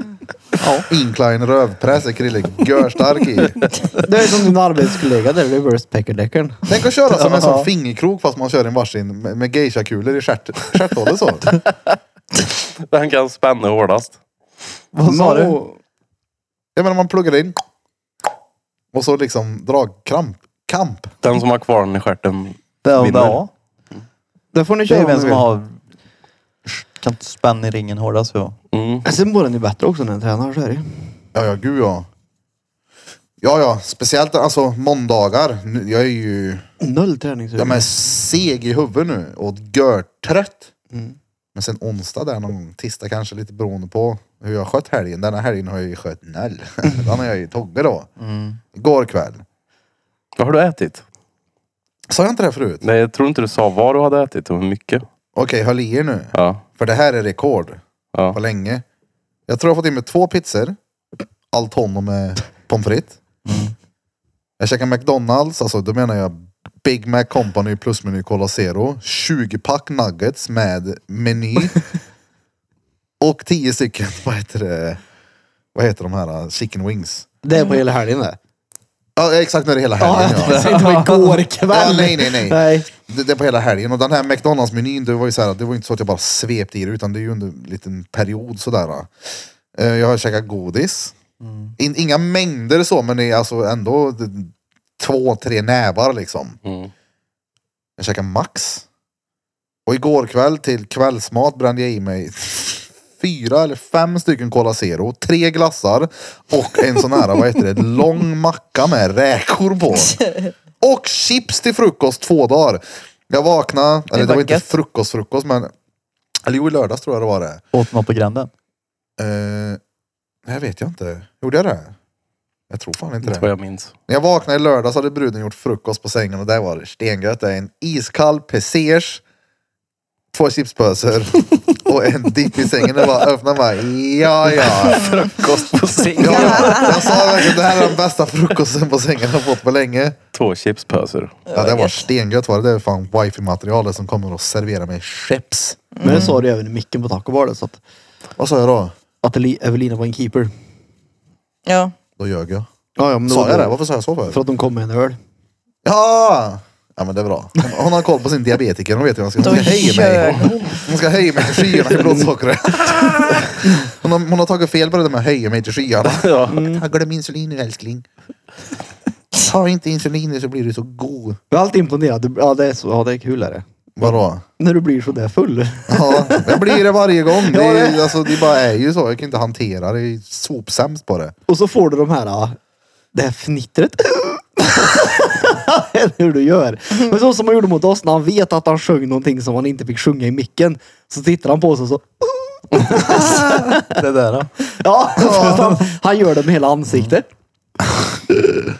[SPEAKER 1] Incline rövpress är Krille görstark i.
[SPEAKER 2] det är som din arbetskollega där, reverse peckerdeckern.
[SPEAKER 1] Tänk att köra som en
[SPEAKER 5] Ja.
[SPEAKER 1] sån fingerkrok fast man kör en varsin med, med geisha-kulor i stjärt- stjärthålet så.
[SPEAKER 6] Den kan spänna hårdast.
[SPEAKER 5] Vad sa du?
[SPEAKER 1] Jag menar man pluggar in. Och så liksom dragkramp. Kamp.
[SPEAKER 6] Den som har kvar den i stjärten
[SPEAKER 5] Ja,
[SPEAKER 6] vinner.
[SPEAKER 5] ja.
[SPEAKER 2] Det får ni
[SPEAKER 5] Det är
[SPEAKER 2] köra
[SPEAKER 5] ju vem
[SPEAKER 2] om ni
[SPEAKER 5] som
[SPEAKER 2] vill.
[SPEAKER 5] har... Kan inte spänna i ringen hårdast. så.
[SPEAKER 6] Mm.
[SPEAKER 2] Sen mår den ju bättre också när den tränar, så är det ju.
[SPEAKER 1] Ja, ja, gud ja. Ja, ja, speciellt alltså måndagar. Nu- Jag är ju
[SPEAKER 2] Noll träning.
[SPEAKER 1] jag är seg i huvudet nu och görtrött. Men sen onsdag där någon gång, tisdag kanske lite beroende på hur jag har skött helgen. Denna helgen har jag ju skött noll. Den har jag ju tagit då. Igår kväll.
[SPEAKER 6] Vad har du ätit?
[SPEAKER 1] Sa jag inte det här förut?
[SPEAKER 6] Nej, jag tror inte du sa vad du hade ätit och hur mycket.
[SPEAKER 1] Okej, håll i er nu.
[SPEAKER 6] Ja.
[SPEAKER 1] För det här är rekord.
[SPEAKER 6] Ja.
[SPEAKER 1] På länge. Jag tror jag har fått in mig två pizzor. Allt honom med pommes frites.
[SPEAKER 6] Mm.
[SPEAKER 1] Jag käkar McDonalds, alltså då menar jag Big Mac Company plusmeny Cola Zero. 20 pack nuggets med meny. och tio stycken, vad heter det? Vad heter de här? Chicken wings.
[SPEAKER 2] Det är på hela helgen det.
[SPEAKER 1] Ja, exakt när det är hela
[SPEAKER 2] Ja,
[SPEAKER 1] helgen. Ja,
[SPEAKER 2] jag tänkte på igår
[SPEAKER 1] ja,
[SPEAKER 2] kväll.
[SPEAKER 1] nej, nej, nej.
[SPEAKER 2] nej.
[SPEAKER 1] Det, det är på hela helgen. Och den här McDonalds-menyn, det var ju så här, det var ju inte så att jag bara svepte i det, utan det är ju under en liten period sådär. Eh, Jag har käkat godis. In, inga mängder så, men det är alltså ändå det- två, tre nävar liksom.
[SPEAKER 6] Mm.
[SPEAKER 1] Jag käkade max. Och igår kväll till kvällsmat brände jag i mig fyra eller fem stycken Cola Zero, tre glassar och en sån här, vad heter det, lång macka med räkor på. Och chips till frukost två dagar. Jag vaknade, eller det var inte
[SPEAKER 5] gött.
[SPEAKER 1] frukost frukost men, eller jo i lördags tror jag det var det.
[SPEAKER 5] Åt något på gränden.
[SPEAKER 1] Eh, nej vet jag inte. Gjorde jag det? Jag tror fan inte
[SPEAKER 6] Inte
[SPEAKER 1] det.
[SPEAKER 6] vad jag minns.
[SPEAKER 1] När jag vaknade i lördags hade bruden gjort frukost på sängen och där var det stengött. Det är en iskall pesers, två chipspåsar och en dipp i sängen. Det bara öppna bara, ja ja.
[SPEAKER 6] Frukost på sängen.
[SPEAKER 1] ja, ja. Jag sa verkligen det här är den bästa frukosten på sängen jag har fått på länge.
[SPEAKER 6] Två chipspöser.
[SPEAKER 1] Ja det var stengött var det. Det är fan wifi-materialet som kommer och serverar mig chips.
[SPEAKER 2] Men det sa du även i micken på taco bar. Så att,
[SPEAKER 1] Vad sa jag då?
[SPEAKER 2] att Eli- Evelina var en keeper.
[SPEAKER 8] Ja.
[SPEAKER 1] Då ljög jag.
[SPEAKER 2] Ja, ja, men
[SPEAKER 1] Sa
[SPEAKER 2] var
[SPEAKER 1] jag det? Varför sa jag så för?
[SPEAKER 2] För att de kom med en öl.
[SPEAKER 1] Ja! Ja men det är bra. Hon- Hon har koll på sin diabetiker. Hon vet hur hon ska, hon
[SPEAKER 8] Då
[SPEAKER 1] ska höja
[SPEAKER 8] kör
[SPEAKER 1] mig. Hon ska höja mig till skyarna i blodsockret. Hon har, hon har tagit fel på det där med att höja mig till skyarna.
[SPEAKER 6] Ja.
[SPEAKER 1] Mm. Glöm insulin nu älskling. Ta inte insulin nu så blir du så god.
[SPEAKER 2] Jag är alltid imponerad. Du- Ja, det är, så, ja, det är kul är det.
[SPEAKER 1] Vadå?
[SPEAKER 2] När du blir så där full.
[SPEAKER 1] Ja, jag blir det varje gång. Det,
[SPEAKER 2] Ja,
[SPEAKER 1] är,
[SPEAKER 2] det-
[SPEAKER 1] alltså, det bara är ju så. Jag kan inte hantera det. Jag är sopsämst på det.
[SPEAKER 2] Och så får du de här, ah, det här fnittret. Eller hur du gör. Men så som han gjorde mot oss när han vet att han sjöng någonting som han inte fick sjunga i micken. Så tittar han på oss och så.
[SPEAKER 5] Det där då.
[SPEAKER 2] Ja, han, han gör det med hela ansiktet.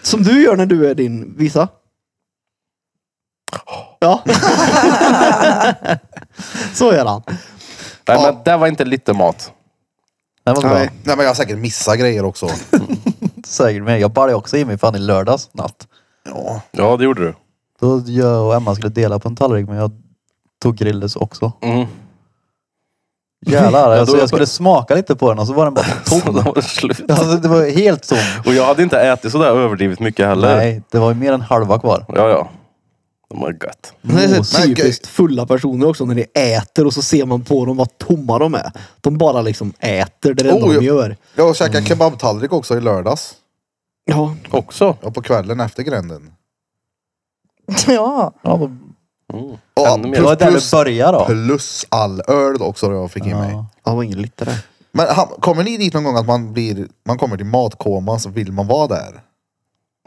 [SPEAKER 2] Som du gör när du är din, visa. Ja. så gör han.
[SPEAKER 6] Nej,
[SPEAKER 1] Ja.
[SPEAKER 6] men det var inte lite mat.
[SPEAKER 5] Det var bra.
[SPEAKER 2] Nej.
[SPEAKER 1] Nej men jag har säkert missat grejer också.
[SPEAKER 5] Säkert med. Jag bar ju också i mig fan i lördags natt.
[SPEAKER 1] Ja.
[SPEAKER 6] Ja, det gjorde du.
[SPEAKER 5] Då jag och Emma skulle dela på en tallrik men jag tog Grilldes också.
[SPEAKER 6] Mm.
[SPEAKER 5] Jävlar.
[SPEAKER 6] då
[SPEAKER 5] alltså,
[SPEAKER 6] var
[SPEAKER 5] jag
[SPEAKER 6] jag på-
[SPEAKER 5] skulle smaka lite på den och så var den bara
[SPEAKER 6] Så
[SPEAKER 5] tom.
[SPEAKER 6] det var slut.
[SPEAKER 5] Alltså, det var helt tom.
[SPEAKER 6] Och jag hade inte ätit sådär överdrivet mycket heller.
[SPEAKER 5] Nej, det var ju mer än halva kvar.
[SPEAKER 6] Ja, ja. De var gött.
[SPEAKER 2] Det är så
[SPEAKER 1] Nej,
[SPEAKER 2] typiskt fulla personer också när de äter och så ser man på dem vad tomma de är. De bara liksom äter, det är det enda
[SPEAKER 1] Oh,
[SPEAKER 2] de
[SPEAKER 1] ja.
[SPEAKER 2] gör.
[SPEAKER 1] Jag käkade
[SPEAKER 5] Mm.
[SPEAKER 1] kebabtallrik också i lördags.
[SPEAKER 2] Ja,
[SPEAKER 6] Också.
[SPEAKER 1] Ja, på kvällen efter gränden.
[SPEAKER 8] ja.
[SPEAKER 5] Ja, då,
[SPEAKER 1] Ja,
[SPEAKER 6] Ännu mer.
[SPEAKER 5] det var där
[SPEAKER 1] plus-
[SPEAKER 5] du började då.
[SPEAKER 1] Plus all öl också då jag fick i mig.
[SPEAKER 5] Ja. Mm,
[SPEAKER 2] det var ingen lyttare.
[SPEAKER 1] Men han, kommer ni dit någon gång att man blir, man kommer till matkoma så vill man vara där?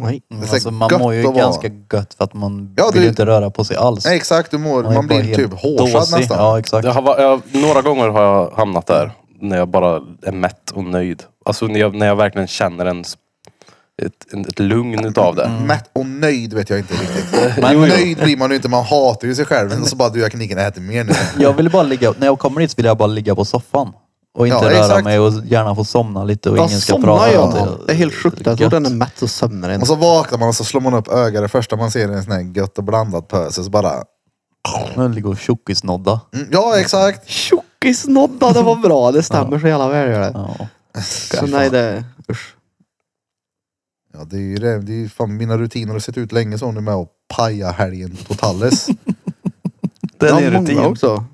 [SPEAKER 2] Nej.
[SPEAKER 5] Mm,
[SPEAKER 1] Det är så
[SPEAKER 5] Alltså, man
[SPEAKER 1] gött
[SPEAKER 5] mår ju
[SPEAKER 1] att vara.
[SPEAKER 5] ganska gött för att man
[SPEAKER 1] Ja,
[SPEAKER 5] vill
[SPEAKER 1] det-
[SPEAKER 5] ju inte röra på sig alls.
[SPEAKER 1] Nej exakt, du mår,
[SPEAKER 5] Man är
[SPEAKER 1] man
[SPEAKER 5] bara
[SPEAKER 1] blir
[SPEAKER 5] helt
[SPEAKER 1] typ hårsad
[SPEAKER 5] dåsig.
[SPEAKER 1] nästan.
[SPEAKER 5] Ja, exakt.
[SPEAKER 6] Jag har, va- jag, några gånger har jag hamnat där. När jag bara är mätt och nöjd. Alltså när jag, när jag verkligen känner en, s- ett, en, ett lugn utav det.
[SPEAKER 5] Mm.
[SPEAKER 1] Mätt och nöjd vet jag inte riktigt.
[SPEAKER 6] Men-
[SPEAKER 1] Men nöjd blir man ju inte, man hatar ju sig själv. Och så bara du jag kan lika gärna äta mer nu.
[SPEAKER 5] Jag vill bara ligga, när jag kommer dit så vill jag bara ligga på soffan. Och inte
[SPEAKER 1] Ja,
[SPEAKER 5] röra
[SPEAKER 1] exakt.
[SPEAKER 5] mig och gärna få somna lite och
[SPEAKER 2] Jag
[SPEAKER 5] ingen ska
[SPEAKER 2] somnar
[SPEAKER 5] prata om
[SPEAKER 2] jag.
[SPEAKER 5] det.
[SPEAKER 2] Det är helt fruktansvärt.
[SPEAKER 5] Gött.
[SPEAKER 2] Den är mätt och sömnar en.
[SPEAKER 1] Och så vaknar man och så slår man upp ögat. Det första man ser är en sån här gött och blandat pöse. Så bara,
[SPEAKER 5] Nu ligger och tjockisnodda.
[SPEAKER 1] mm, ja exakt.
[SPEAKER 2] Tjockisnodda, det var bra. Det stämmer så jävla väl. Gör det.
[SPEAKER 5] Ja.
[SPEAKER 2] Så nej, det... Usch.
[SPEAKER 1] Ja, det är ju det. det är ju fan, mina rutiner har sett ut länge så nu med att paja helgen totalt.
[SPEAKER 5] Den
[SPEAKER 2] Ja,
[SPEAKER 5] är
[SPEAKER 2] många
[SPEAKER 5] rutin.
[SPEAKER 2] också.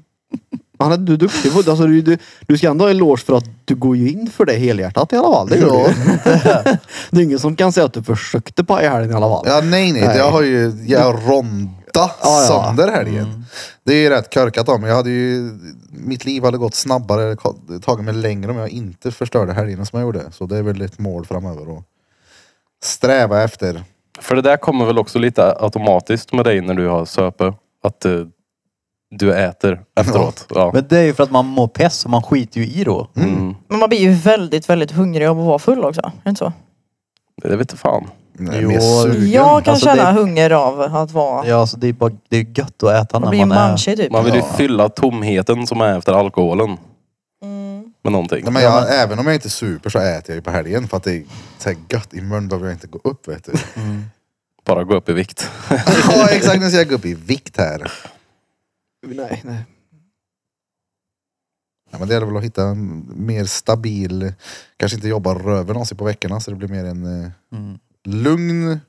[SPEAKER 2] Han är, du är duktig på det. Alltså, du, du, du ska ändå ha eloge för att du går ju in för det helhjärtat i alla fall. Det, gör du ju. det är ingen som kan säga att du försökte paja helgen i alla fall.
[SPEAKER 1] Ja, nej, nej.
[SPEAKER 2] Nej.
[SPEAKER 1] Jag har ju jag ronda
[SPEAKER 2] ja.
[SPEAKER 1] sönder helgen. Det är ju rätt körkat av mig. Jag hade ju, mitt liv hade gått snabbare, ka- tagit mig längre om jag inte förstörde helgen som jag gjorde. Så det är väl ett mål framöver att sträva efter.
[SPEAKER 6] För det där kommer väl också lite automatiskt med dig när du har söpe. Att eh, du äter efteråt. Ja.
[SPEAKER 5] Men det är ju för att man mår piss och man skiter ju i då.
[SPEAKER 6] Mm.
[SPEAKER 8] Men man blir ju väldigt, väldigt hungrig av att vara full också. Är det inte så?
[SPEAKER 6] Det vet du fan.
[SPEAKER 1] Nej,
[SPEAKER 5] Jo,
[SPEAKER 1] mer sugen.
[SPEAKER 8] Jag kan
[SPEAKER 5] Alltså,
[SPEAKER 8] känna
[SPEAKER 5] det-
[SPEAKER 8] hunger av att vara...
[SPEAKER 5] Ja, så det är bara, det är gött att äta
[SPEAKER 8] Man
[SPEAKER 5] när
[SPEAKER 8] blir en
[SPEAKER 5] man är...
[SPEAKER 8] banshee typ.
[SPEAKER 6] Man vill ju
[SPEAKER 1] Ja.
[SPEAKER 6] fylla tomheten som är efter alkoholen.
[SPEAKER 3] Mm.
[SPEAKER 6] Med någonting.
[SPEAKER 1] Nej, men jag, även om jag inte super så äter jag ju på helgen för att det är så här gött. Imorgon behöver jag inte gå upp vet du.
[SPEAKER 5] Mm.
[SPEAKER 6] Bara gå upp i vikt.
[SPEAKER 1] ja exakt, nu ska jag gå upp i vikt här.
[SPEAKER 2] Nej, nej.
[SPEAKER 1] Ja, men det är väl att hitta en mer stabil, kanske inte jobba röven av sig på veckorna så det blir mer en eh,
[SPEAKER 5] Mm.
[SPEAKER 1] lugn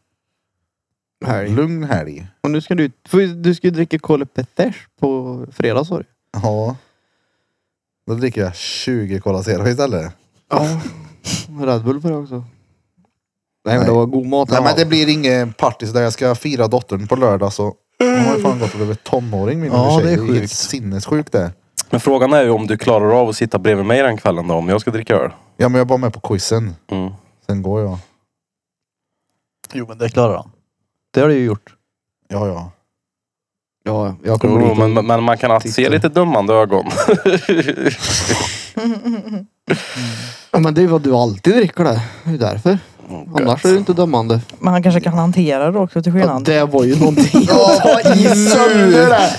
[SPEAKER 2] Helg.
[SPEAKER 1] Lugn helg.
[SPEAKER 2] Och nu ska du, för du ska ju dricka Kolopetesh på fredag sa du.
[SPEAKER 1] Ja. Då dricker jag 20 Cola Zero istället.
[SPEAKER 2] Ja. Red Bull på det också. Nej men
[SPEAKER 1] Nej.
[SPEAKER 2] det var god mat.
[SPEAKER 1] Nej men det blir inget party så där jag ska fira dottern på lördag så hon har ju fan gått och blivit tonåring min
[SPEAKER 5] Ja,
[SPEAKER 1] lilla tjej.
[SPEAKER 5] det är
[SPEAKER 1] helt
[SPEAKER 5] sjukt.
[SPEAKER 1] sinnessjukt det.
[SPEAKER 6] Men frågan är ju om du klarar av att sitta bredvid mig den kvällen då, om jag ska dricka öl.
[SPEAKER 1] Ja men jag var med på quizen.
[SPEAKER 6] Mm.
[SPEAKER 1] Sen går jag.
[SPEAKER 5] Jo men det klarar han. Det har du ju gjort.
[SPEAKER 1] Ja ja.
[SPEAKER 2] Ja, jag kommer
[SPEAKER 6] Jo,
[SPEAKER 2] dit och-
[SPEAKER 6] men, men man kan alltid se
[SPEAKER 2] Titta.
[SPEAKER 6] lite dömande ögon.
[SPEAKER 2] Ja, men det är vad du alltid dricker det. Det är därför. Annars är du inte dömande.
[SPEAKER 3] Men han kanske kan hantera det också till
[SPEAKER 2] Ja,
[SPEAKER 3] skillnad.
[SPEAKER 2] det var ju någonting.
[SPEAKER 1] Ja vad i sönder det!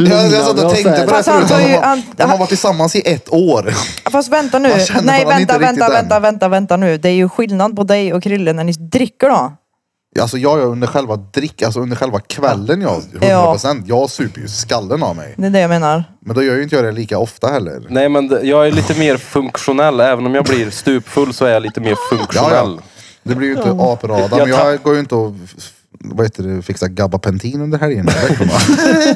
[SPEAKER 1] Jag, jag satt och tänkte på det
[SPEAKER 3] Fast
[SPEAKER 1] förut.
[SPEAKER 3] han tar ju-
[SPEAKER 1] De har,
[SPEAKER 3] han-
[SPEAKER 1] de har
[SPEAKER 3] han-
[SPEAKER 1] varit tillsammans i ett år.
[SPEAKER 3] Fast vänta nu.
[SPEAKER 1] Man känner
[SPEAKER 3] Nej
[SPEAKER 1] varandra
[SPEAKER 3] vänta,
[SPEAKER 1] inte riktigt
[SPEAKER 3] vänta,
[SPEAKER 1] än.
[SPEAKER 3] vänta, vänta, vänta nu. Det är ju skillnad på dig och Krille när ni dricker då.
[SPEAKER 1] Alltså jag gör under själva drick, alltså under själva kvällen jag, 100%. Jag super ju skallen av mig.
[SPEAKER 3] Det är det jag menar.
[SPEAKER 1] Men då gör ju inte jag det lika ofta heller.
[SPEAKER 6] Nej men det- jag är lite mer funktionell. Även om jag blir stupfull så är jag lite mer
[SPEAKER 1] Ja,
[SPEAKER 6] funktionell.
[SPEAKER 1] ja. Det blir ju inte aprada.
[SPEAKER 6] Jag
[SPEAKER 1] Men jag
[SPEAKER 6] tapp-
[SPEAKER 1] går ju inte och vad heter det, fixa gabapentin under helgen. veckorna.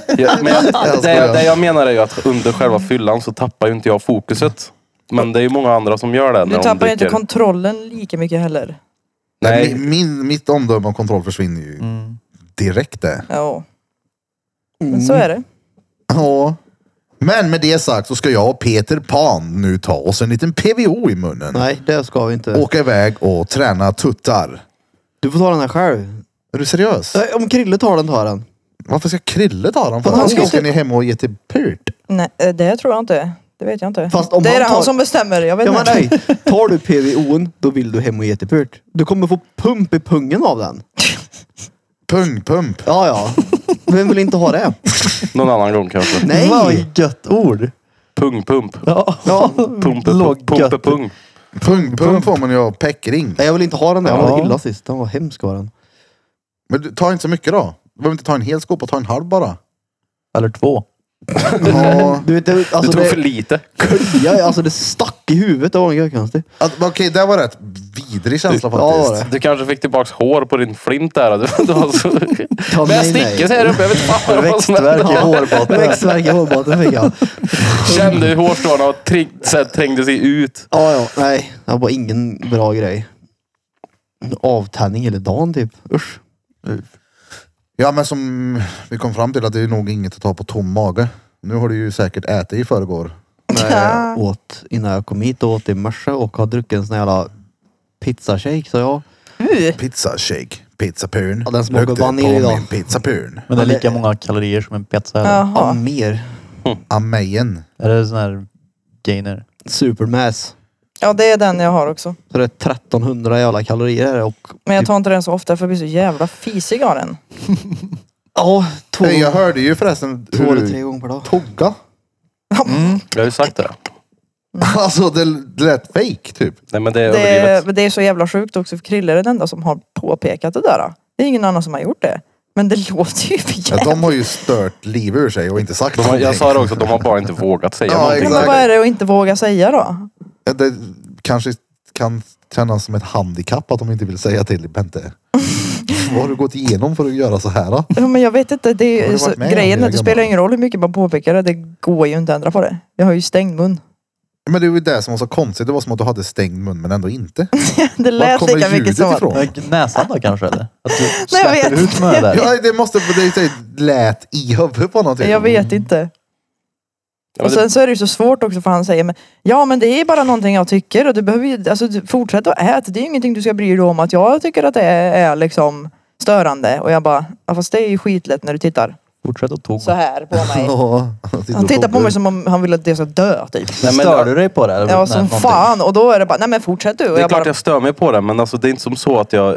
[SPEAKER 6] Ja, men jag, det,
[SPEAKER 1] skojar.
[SPEAKER 6] jag, det jag menar är ju att under själva fyllan så tappar ju inte jag fokuset. Men det är ju många andra som gör det när
[SPEAKER 3] Du
[SPEAKER 6] de
[SPEAKER 3] tappar ju inte
[SPEAKER 6] dricker.
[SPEAKER 3] kontrollen lika mycket heller.
[SPEAKER 1] Nej.
[SPEAKER 6] Nej,
[SPEAKER 1] Min, min, mitt omdöme och kontroll försvinner ju direkt det.
[SPEAKER 3] Ja. Men
[SPEAKER 1] Mm.
[SPEAKER 3] så är det.
[SPEAKER 1] Ja. Men med det sagt så ska jag och Peter Pan nu ta oss en liten PVO i munnen.
[SPEAKER 2] Nej, det ska vi inte.
[SPEAKER 1] Åka iväg och träna tuttar.
[SPEAKER 2] Du får ta den här själv.
[SPEAKER 1] Är du seriös?
[SPEAKER 2] Nej, Om Krille tar den, tar den.
[SPEAKER 1] Varför ska Krille ta dem? För
[SPEAKER 2] Han
[SPEAKER 1] han
[SPEAKER 2] ska ju
[SPEAKER 1] ska
[SPEAKER 2] se-
[SPEAKER 1] ni hem och ge till Purt.
[SPEAKER 3] Nej, eh, det tror jag inte. Det vet jag inte.
[SPEAKER 2] Fast om
[SPEAKER 3] det är
[SPEAKER 2] han
[SPEAKER 3] det
[SPEAKER 2] tar-
[SPEAKER 3] han som bestämmer. Jag vet
[SPEAKER 2] Ja, men
[SPEAKER 3] inte.
[SPEAKER 2] nej. Tar du PVO'n, då vill du hem och getepurt. Du kommer få pump i pungen av den.
[SPEAKER 1] Pung, pump.
[SPEAKER 2] Ja, ja. Vem vill inte ha det?
[SPEAKER 6] någon annan gång kanske.
[SPEAKER 2] Nej.
[SPEAKER 5] Vad gött ord.
[SPEAKER 6] Pung, pump.
[SPEAKER 5] Ja.
[SPEAKER 6] Pumpe,
[SPEAKER 5] Låg
[SPEAKER 6] pump, pumpe,
[SPEAKER 5] gött.
[SPEAKER 6] pung.
[SPEAKER 1] Pung, pung får man ju av peckring.
[SPEAKER 2] Nej, jag vill inte ha den där. Han var
[SPEAKER 5] Ja.
[SPEAKER 2] illa sist. Han var hemsk var den.
[SPEAKER 1] Men du, ta inte så mycket då. Du behöver inte ta en hel skopa, ta en halv bara.
[SPEAKER 5] Eller två.
[SPEAKER 1] Ja.
[SPEAKER 2] Du vet, det-
[SPEAKER 6] Du
[SPEAKER 2] alltså
[SPEAKER 6] tog för
[SPEAKER 2] det
[SPEAKER 6] lite.
[SPEAKER 2] kliade, alltså det stack i huvudet. Det var en grej konstigt.
[SPEAKER 1] Att- Okej, det var rätt vidrig känsla
[SPEAKER 2] Ja, det var
[SPEAKER 1] faktiskt.
[SPEAKER 2] det.
[SPEAKER 6] Du kanske fick tillbaks hår på din flint där. Du, du har så...
[SPEAKER 2] Ta
[SPEAKER 6] Men jag
[SPEAKER 2] mig, nej.
[SPEAKER 6] sticker så här uppe. Jag vet fan vad som
[SPEAKER 5] Växtverk i
[SPEAKER 6] händer.
[SPEAKER 5] hårbotten.
[SPEAKER 2] Växtvärk i hårbotten fick jag.
[SPEAKER 6] Kände hur hårstråna och träng, så här, trängde sig ut.
[SPEAKER 2] Ja, ja. Nej, det var ingen bra grej. Avtänning hela dagen typ. Usch.
[SPEAKER 1] Ja, men som vi kom fram till att det är nog inget att ta på tom mage. Nu har du ju säkert ätit i förrgår.
[SPEAKER 2] Nej,
[SPEAKER 1] Ah.
[SPEAKER 2] jag åt innan jag kom hit och åt i morse och har druckit en sån jävla pizzashake så jag.
[SPEAKER 3] Uh,
[SPEAKER 1] Pizza shake, pizza purn.
[SPEAKER 2] Ja, den smakar
[SPEAKER 1] Luktar
[SPEAKER 2] vanilj
[SPEAKER 1] på
[SPEAKER 2] idag.
[SPEAKER 1] min Pizza purn.
[SPEAKER 5] Men det är lika många kalorier som en pizza. Eller?
[SPEAKER 2] Ja,
[SPEAKER 3] Jaha.
[SPEAKER 2] mer.
[SPEAKER 1] Amejen.
[SPEAKER 5] Är det sån här gainer?
[SPEAKER 2] Supermass.
[SPEAKER 3] Ja, det är den jag har också.
[SPEAKER 2] Så det är 1300 jävla kalorier här och
[SPEAKER 3] Men
[SPEAKER 1] Typ.
[SPEAKER 3] jag tar inte den så ofta för jag blir så jävla fisig av den.
[SPEAKER 2] ja, två,
[SPEAKER 1] Hey, jag hörde ju förresten
[SPEAKER 2] två
[SPEAKER 1] hur
[SPEAKER 2] eller tre
[SPEAKER 1] du
[SPEAKER 2] gånger per dag.
[SPEAKER 1] togga.
[SPEAKER 6] Jag har ju sagt det.
[SPEAKER 1] Alltså det lät fake typ.
[SPEAKER 6] Nej men det är
[SPEAKER 3] Det,
[SPEAKER 6] överdrivet.
[SPEAKER 3] men det är så jävla sjukt också för Krille är den enda som har påpekat det där. Det är ingen annan som har gjort det. Men det låter ju för
[SPEAKER 1] Ja,
[SPEAKER 3] jävligt.
[SPEAKER 1] de har ju stört liv ur sig och inte sagt
[SPEAKER 6] De har, jag
[SPEAKER 1] någonting.
[SPEAKER 6] sa det också, de har bara inte vågat säga
[SPEAKER 1] Ja,
[SPEAKER 6] någonting.
[SPEAKER 3] Men
[SPEAKER 1] exakt.
[SPEAKER 3] vad är det att inte våga säga då?
[SPEAKER 1] Ja, Det kanske kan kännas som ett handikapp att de inte vill säga till Bente. Vad har du gått igenom för att göra så här? Då?
[SPEAKER 3] Ja, Men jag vet inte. Det
[SPEAKER 1] Har
[SPEAKER 3] är
[SPEAKER 1] du
[SPEAKER 3] ju
[SPEAKER 1] varit
[SPEAKER 3] så,
[SPEAKER 1] med om
[SPEAKER 3] grejen är
[SPEAKER 1] det,
[SPEAKER 3] att det spelar
[SPEAKER 1] gumman?
[SPEAKER 3] ingen roll hur mycket man påpekar det. Det går ju inte att ändra på det. Jag har ju stängd mun.
[SPEAKER 1] Men det var ju det som var så konstigt. Det var som att du hade stängd mun men ändå inte.
[SPEAKER 3] Det
[SPEAKER 1] Var
[SPEAKER 3] lät
[SPEAKER 1] kommer
[SPEAKER 3] lika
[SPEAKER 1] ljudet
[SPEAKER 3] mycket som att...
[SPEAKER 1] ifrån?
[SPEAKER 5] Men Näsan då kanske eller? Att du
[SPEAKER 3] Nej, jag
[SPEAKER 5] släpper
[SPEAKER 3] vet
[SPEAKER 5] ut med det där?
[SPEAKER 1] Ja, det måste det det lät i huvudet på typ någonting.
[SPEAKER 3] Jag vet inte.
[SPEAKER 6] Ja,
[SPEAKER 3] Och
[SPEAKER 6] men det-
[SPEAKER 3] sen så är det ju så svårt också för han säger men, Ja men det är bara någonting jag tycker och du behöver ju alltså, du- fortsätta att äta. Det är ju ingenting du ska bry dig om att jag tycker att det är, är liksom störande. Och jag bara, ja, fast det är ju skitlätt när du tittar
[SPEAKER 5] Fortsätt att tog.
[SPEAKER 3] så här på mig.
[SPEAKER 1] Ja,
[SPEAKER 3] Han tittar på mig som om han vill att jag ska dö typ.
[SPEAKER 5] Nej, men Stör du dig på det? eller?
[SPEAKER 3] Ja
[SPEAKER 5] Nej,
[SPEAKER 3] som
[SPEAKER 5] någonting.
[SPEAKER 3] fan och då är det bara, nej men fortsätt du. Och
[SPEAKER 6] Det är
[SPEAKER 3] jag,
[SPEAKER 6] klart
[SPEAKER 3] bara,
[SPEAKER 6] jag stör mig på det, men alltså, det är inte som så att jag...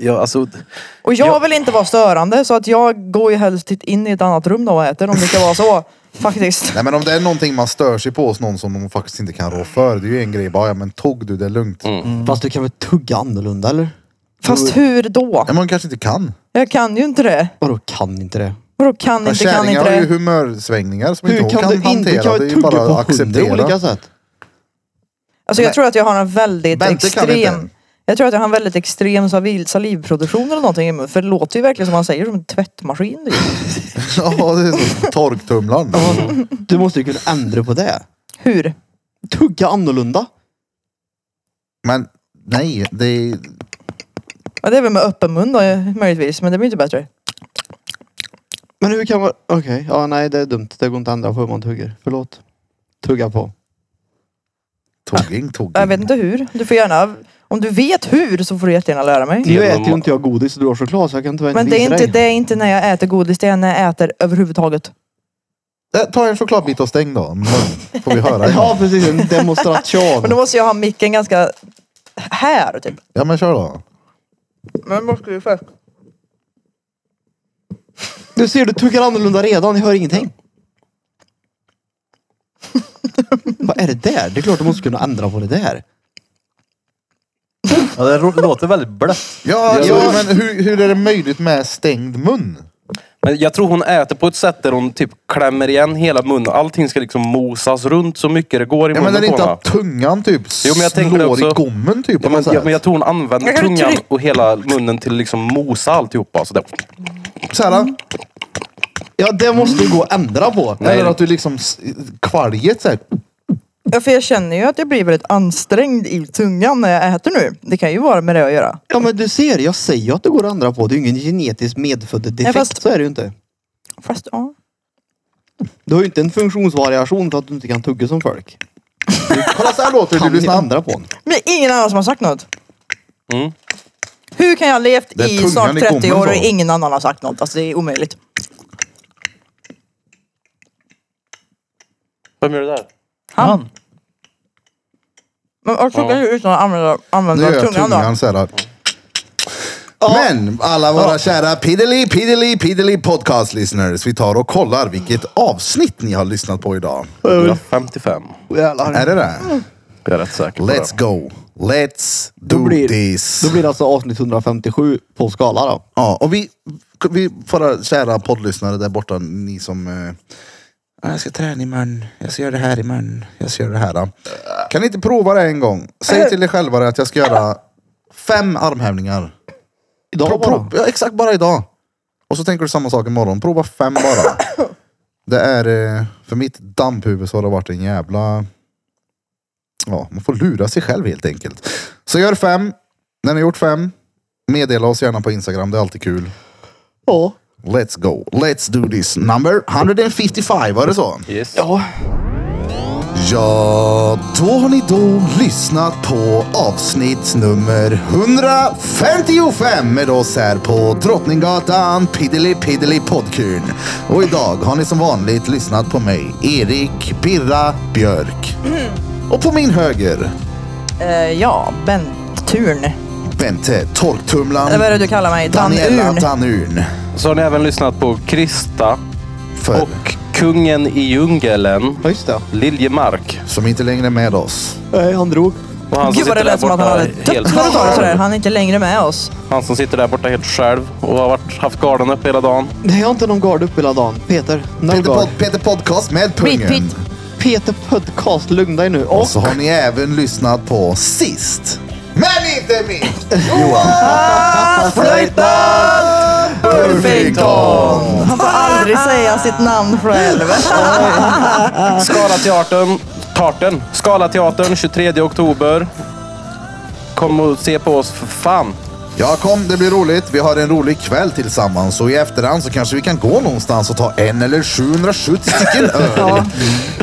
[SPEAKER 6] jag alltså,
[SPEAKER 3] och jag vill inte vara störande så att jag går ju helst in i ett annat rum då och äter om det ska vara så. Faktiskt.
[SPEAKER 1] Nej men om det är någonting man stör sig på hos någon som de faktiskt inte kan rå för. Det är ju en grej bara, ja men tog du det är lugnt.
[SPEAKER 6] Mm.
[SPEAKER 2] Fast du kan väl tugga annorlunda eller?
[SPEAKER 3] Fast hur då?
[SPEAKER 1] Nej men man kanske inte kan.
[SPEAKER 3] Jag kan ju inte det.
[SPEAKER 2] Vadå kan inte det?
[SPEAKER 3] Vadå kan
[SPEAKER 1] Men
[SPEAKER 3] inte, kan
[SPEAKER 1] kärringar
[SPEAKER 3] inte
[SPEAKER 1] har ju
[SPEAKER 3] det?
[SPEAKER 1] humörsvängningar som
[SPEAKER 2] Hur
[SPEAKER 1] inte hon
[SPEAKER 2] kan,
[SPEAKER 1] kan
[SPEAKER 2] du inte
[SPEAKER 1] hantera.
[SPEAKER 2] kan
[SPEAKER 1] Det är
[SPEAKER 2] du
[SPEAKER 1] ju
[SPEAKER 2] tugga
[SPEAKER 1] bara
[SPEAKER 2] på
[SPEAKER 1] att
[SPEAKER 2] hundra olika
[SPEAKER 1] acceptera.
[SPEAKER 2] sätt?
[SPEAKER 3] Alltså jag tror att jag har en väldigt
[SPEAKER 1] Bente kan
[SPEAKER 3] extrem...
[SPEAKER 1] inte.
[SPEAKER 3] Jag tror att jag har en väldigt extrem salivproduktion salivproduktion eller någonting i munnen. För det låter ju verkligen som han säger, som en tvättmaskin. typ.
[SPEAKER 1] Ja, det är som torktumlaren.
[SPEAKER 2] Du måste ju kunna ändra på det.
[SPEAKER 3] Hur?
[SPEAKER 2] Tugga annorlunda.
[SPEAKER 1] Men nej, det är...
[SPEAKER 3] Ja, det är väl med öppen mun då möjligtvis, men det blir inte bättre.
[SPEAKER 2] Men hur kan man... Okej, ja nej det är dumt. Det går inte att ändra på hur man tuggar. Förlåt. Tugga på.
[SPEAKER 1] Tugging, tugging.
[SPEAKER 3] Jag vet inte hur. Du får gärna... Om du vet hur så får du jättegärna lära mig.
[SPEAKER 2] Nu
[SPEAKER 6] Genom-
[SPEAKER 2] äter ju inte jag godis och du har choklad så jag kan tyvärr inte
[SPEAKER 3] Men det är,
[SPEAKER 2] visa
[SPEAKER 3] inte, det
[SPEAKER 2] dig.
[SPEAKER 3] är inte när jag äter godis, det är när jag äter överhuvudtaget.
[SPEAKER 1] Eh, Ta en chokladbit och stäng då. Men Får vi höra.
[SPEAKER 2] Ja precis, en
[SPEAKER 3] Men då
[SPEAKER 2] demonstration.
[SPEAKER 3] måste jag ha micken ganska här typ.
[SPEAKER 1] Ja men kör då.
[SPEAKER 3] Men måste ju först.
[SPEAKER 2] Du ser, du tuggar annorlunda redan. Jag hör ingenting. Vad är det där? Det är klart du måste kunna ändra på det där.
[SPEAKER 9] Ja, det ro- låter väldigt blött.
[SPEAKER 1] Ja,
[SPEAKER 6] Ja,
[SPEAKER 1] ja men hur, hur är det möjligt med stängd mun?
[SPEAKER 6] Men jag tror hon äter på ett sätt där hon typ klämmer igen hela munnen. Allting ska liksom mosas runt så mycket det går i
[SPEAKER 1] Ja men är
[SPEAKER 6] munnen
[SPEAKER 1] det
[SPEAKER 6] på
[SPEAKER 1] inte
[SPEAKER 6] henne.
[SPEAKER 1] att tungan typ
[SPEAKER 6] Jo, men jag tänker
[SPEAKER 1] slår i
[SPEAKER 6] också-
[SPEAKER 1] gommen typ på
[SPEAKER 6] Ja, men,
[SPEAKER 1] något
[SPEAKER 6] ja,
[SPEAKER 1] sätt?
[SPEAKER 6] men jag tror hon använder
[SPEAKER 3] Jag kan inte
[SPEAKER 6] tungan
[SPEAKER 3] tryck-
[SPEAKER 6] och hela munnen till liksom mosa alltihopa. Så där.
[SPEAKER 1] Såhär,
[SPEAKER 2] Ja, det måste ju gå att ändra på.
[SPEAKER 6] Nej.
[SPEAKER 1] eller att du liksom s- kvalget såhär.
[SPEAKER 3] Ja, för jag känner ju att jag blir väldigt ansträngd i tungan när jag äter nu. Det kan ju vara med det att göra.
[SPEAKER 2] Ja, men du ser, jag säger ju att det går att ändra på. Det är ju ingen genetiskt medfödd defekt.
[SPEAKER 3] fast-
[SPEAKER 2] Så är det ju inte.
[SPEAKER 3] Fast ja.
[SPEAKER 2] Du har ju inte en funktionsvariation för att du inte kan tugga som folk.
[SPEAKER 1] Kolla såhär låter det.
[SPEAKER 2] Kan
[SPEAKER 1] Du
[SPEAKER 2] du
[SPEAKER 1] lyssnar andra.
[SPEAKER 2] ändra på den?
[SPEAKER 3] Men det är ingen annan som har sagt något.
[SPEAKER 6] Mm.
[SPEAKER 3] Hur kan jag ha levt
[SPEAKER 1] Det är
[SPEAKER 3] i
[SPEAKER 1] tungan
[SPEAKER 3] snart
[SPEAKER 1] i
[SPEAKER 3] 30 år och
[SPEAKER 1] gommen då.
[SPEAKER 3] ingen annan har sagt något? Alltså det är omöjligt.
[SPEAKER 6] Vem gör det där?
[SPEAKER 3] Han. Men jag tuggar ju utan att använda,
[SPEAKER 1] Nu
[SPEAKER 3] använda
[SPEAKER 1] gör jag
[SPEAKER 3] tungan, då.
[SPEAKER 1] tungan såhär. Men alla våra kära piddly piddly piddly podcast listeners. Vi tar och kollar vilket avsnitt ni har lyssnat på idag.
[SPEAKER 6] 155.
[SPEAKER 1] Är det det?
[SPEAKER 6] Jag är rätt säker på
[SPEAKER 1] Let's
[SPEAKER 6] det.
[SPEAKER 1] go. Let's
[SPEAKER 2] Då
[SPEAKER 1] do
[SPEAKER 2] blir-
[SPEAKER 1] this.
[SPEAKER 2] Då blir det alltså avsnitt 157 på skala då.
[SPEAKER 1] Ja, och vi, vi våra kära poddlyssnare där borta, ni som... Eh, "Ah, jag ska träna imorgon, jag ska göra det här imorgon, jag ska göra det här. då." Kan ni inte prova det en gång?
[SPEAKER 2] Äh.
[SPEAKER 1] Säg till er själva att jag ska göra fem armhävningar.
[SPEAKER 2] Idag
[SPEAKER 1] Pro- pro-
[SPEAKER 2] bara.
[SPEAKER 1] ja, exakt, bara idag. Och så tänker du samma sak imorgon. Prova fem bara. Det är, eh, för mitt damphuvud så har det varit en jävla... Ja, man får lura sig själv helt enkelt. Så gör fem. När ni har gjort fem, meddela oss gärna på Instagram. Det är alltid kul.
[SPEAKER 2] Ja.
[SPEAKER 1] Let's go. Let's do this. Number 155, var det så?
[SPEAKER 6] Yes.
[SPEAKER 2] Ja.
[SPEAKER 1] Ja, då har ni då lyssnat på avsnitt nummer 155 med oss här på Drottninggatan Piddly Piddly Podkurn. Och idag har ni som vanligt lyssnat på mig, Erik Birra Björk.
[SPEAKER 3] Mm.
[SPEAKER 1] Och på min höger,
[SPEAKER 3] Eh, ja, Benturn.
[SPEAKER 1] Bente
[SPEAKER 3] Eller vad är
[SPEAKER 1] Torktumlaren
[SPEAKER 3] det du kallar mig?
[SPEAKER 1] Daniela
[SPEAKER 3] Tandurn.
[SPEAKER 1] Tanurn.
[SPEAKER 6] Så har ni även lyssnat på Krista
[SPEAKER 1] För,
[SPEAKER 6] och Kungen i djungeln,
[SPEAKER 2] Ja, just det.
[SPEAKER 6] Liljemark.
[SPEAKER 1] som inte längre är med oss.
[SPEAKER 2] Nej, han drog.
[SPEAKER 6] Och han,
[SPEAKER 3] Gud vad det lät som att han hade dött
[SPEAKER 6] helt,
[SPEAKER 3] när du sa det sådär. Han är inte längre med oss.
[SPEAKER 6] han som sitter där borta helt själv och har varit, haft garden uppe hela dagen.
[SPEAKER 2] Nej, jag har inte någon gard upp hela dagen. Peter. No
[SPEAKER 1] Peter,
[SPEAKER 2] guard.
[SPEAKER 1] Pod- Peter Podcast med pungen.
[SPEAKER 3] pit.
[SPEAKER 2] Peter Podcast, lugna dig nu. Alltså,
[SPEAKER 1] Och
[SPEAKER 2] Och
[SPEAKER 1] så har ni även lyssnat på sist, men inte minst, Johan Burfington.
[SPEAKER 3] Han får aldrig säga sitt namn själv.
[SPEAKER 6] Skala teatern, tarten. Skala teatern 23 oktober. Kom och se på oss för fan.
[SPEAKER 1] Ja, kom, det blir roligt. Vi har en rolig kväll tillsammans och i efterhand så kanske vi kan gå någonstans och ta en eller 770 stycken öl.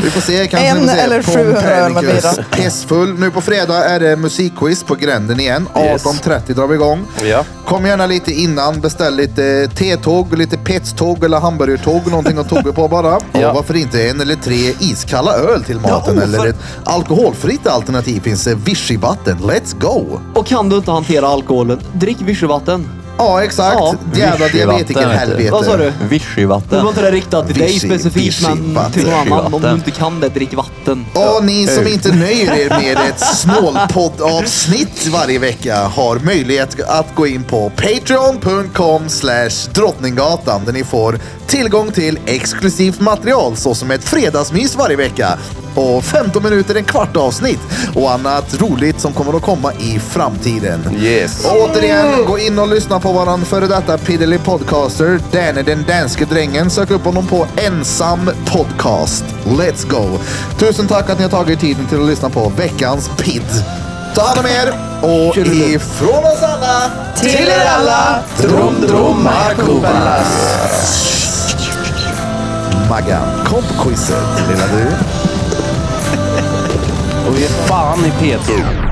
[SPEAKER 1] Vi får se, kanske
[SPEAKER 3] En
[SPEAKER 1] vi får se.
[SPEAKER 3] eller
[SPEAKER 1] Tom
[SPEAKER 3] 700 öl med
[SPEAKER 1] Pernicus.
[SPEAKER 3] bira.
[SPEAKER 1] Pissfull. Nu på fredag är det musikquiz på Gränden igen.
[SPEAKER 6] Yes.
[SPEAKER 1] 18.30 drar vi igång.
[SPEAKER 6] Ja.
[SPEAKER 1] Kom gärna lite innan, beställ lite T-tåg, lite petståg eller hamburgertåg, någonting att tugga på bara.
[SPEAKER 6] Ja.
[SPEAKER 1] Och varför inte en eller tre iskalla öl till maten
[SPEAKER 2] Ja, oh,
[SPEAKER 1] eller
[SPEAKER 2] för-
[SPEAKER 1] ett alkoholfritt alternativ finns det Vichy-vatten. Let's go!
[SPEAKER 2] Och kan du inte hantera alkoholen, drick vichyvatten.
[SPEAKER 1] Ja, exakt.
[SPEAKER 2] Ja.
[SPEAKER 1] Jävla
[SPEAKER 5] Vichy-vatten,
[SPEAKER 1] diabetiker
[SPEAKER 5] vet du.
[SPEAKER 1] helvete.
[SPEAKER 2] Vad sa du? Det
[SPEAKER 5] Vichyvatten.
[SPEAKER 2] var inte det riktat till dig
[SPEAKER 1] Vichy-
[SPEAKER 2] specifikt, men
[SPEAKER 1] Vichy-vatten.
[SPEAKER 2] till någon annan. Om du
[SPEAKER 5] Vichy-vatten.
[SPEAKER 2] inte kan det, drick vatten.
[SPEAKER 1] Och ni som inte nöjer er med ett snålpoddavsnitt varje vecka har möjlighet att gå in på patreon.com slash drottninggatan där ni får tillgång till exklusivt material såsom ett fredagsmys varje vecka och 15 minuter, en kvart avsnitt och annat roligt som kommer att komma i framtiden.
[SPEAKER 6] Yes.
[SPEAKER 1] Och återigen, gå in och lyssna på våran före detta Piddly Podcaster, Danne den danske drängen. Sök upp honom på Ensam Podcast. Let's go! Tusen tack att ni har tagit tiden till att lyssna på veckans pidd. Ta hand om er och ifrån oss alla till er alla, Drom Drom Markobalas. Maggan, kom på quizet lilla du.
[SPEAKER 6] Och vi är fan i P2.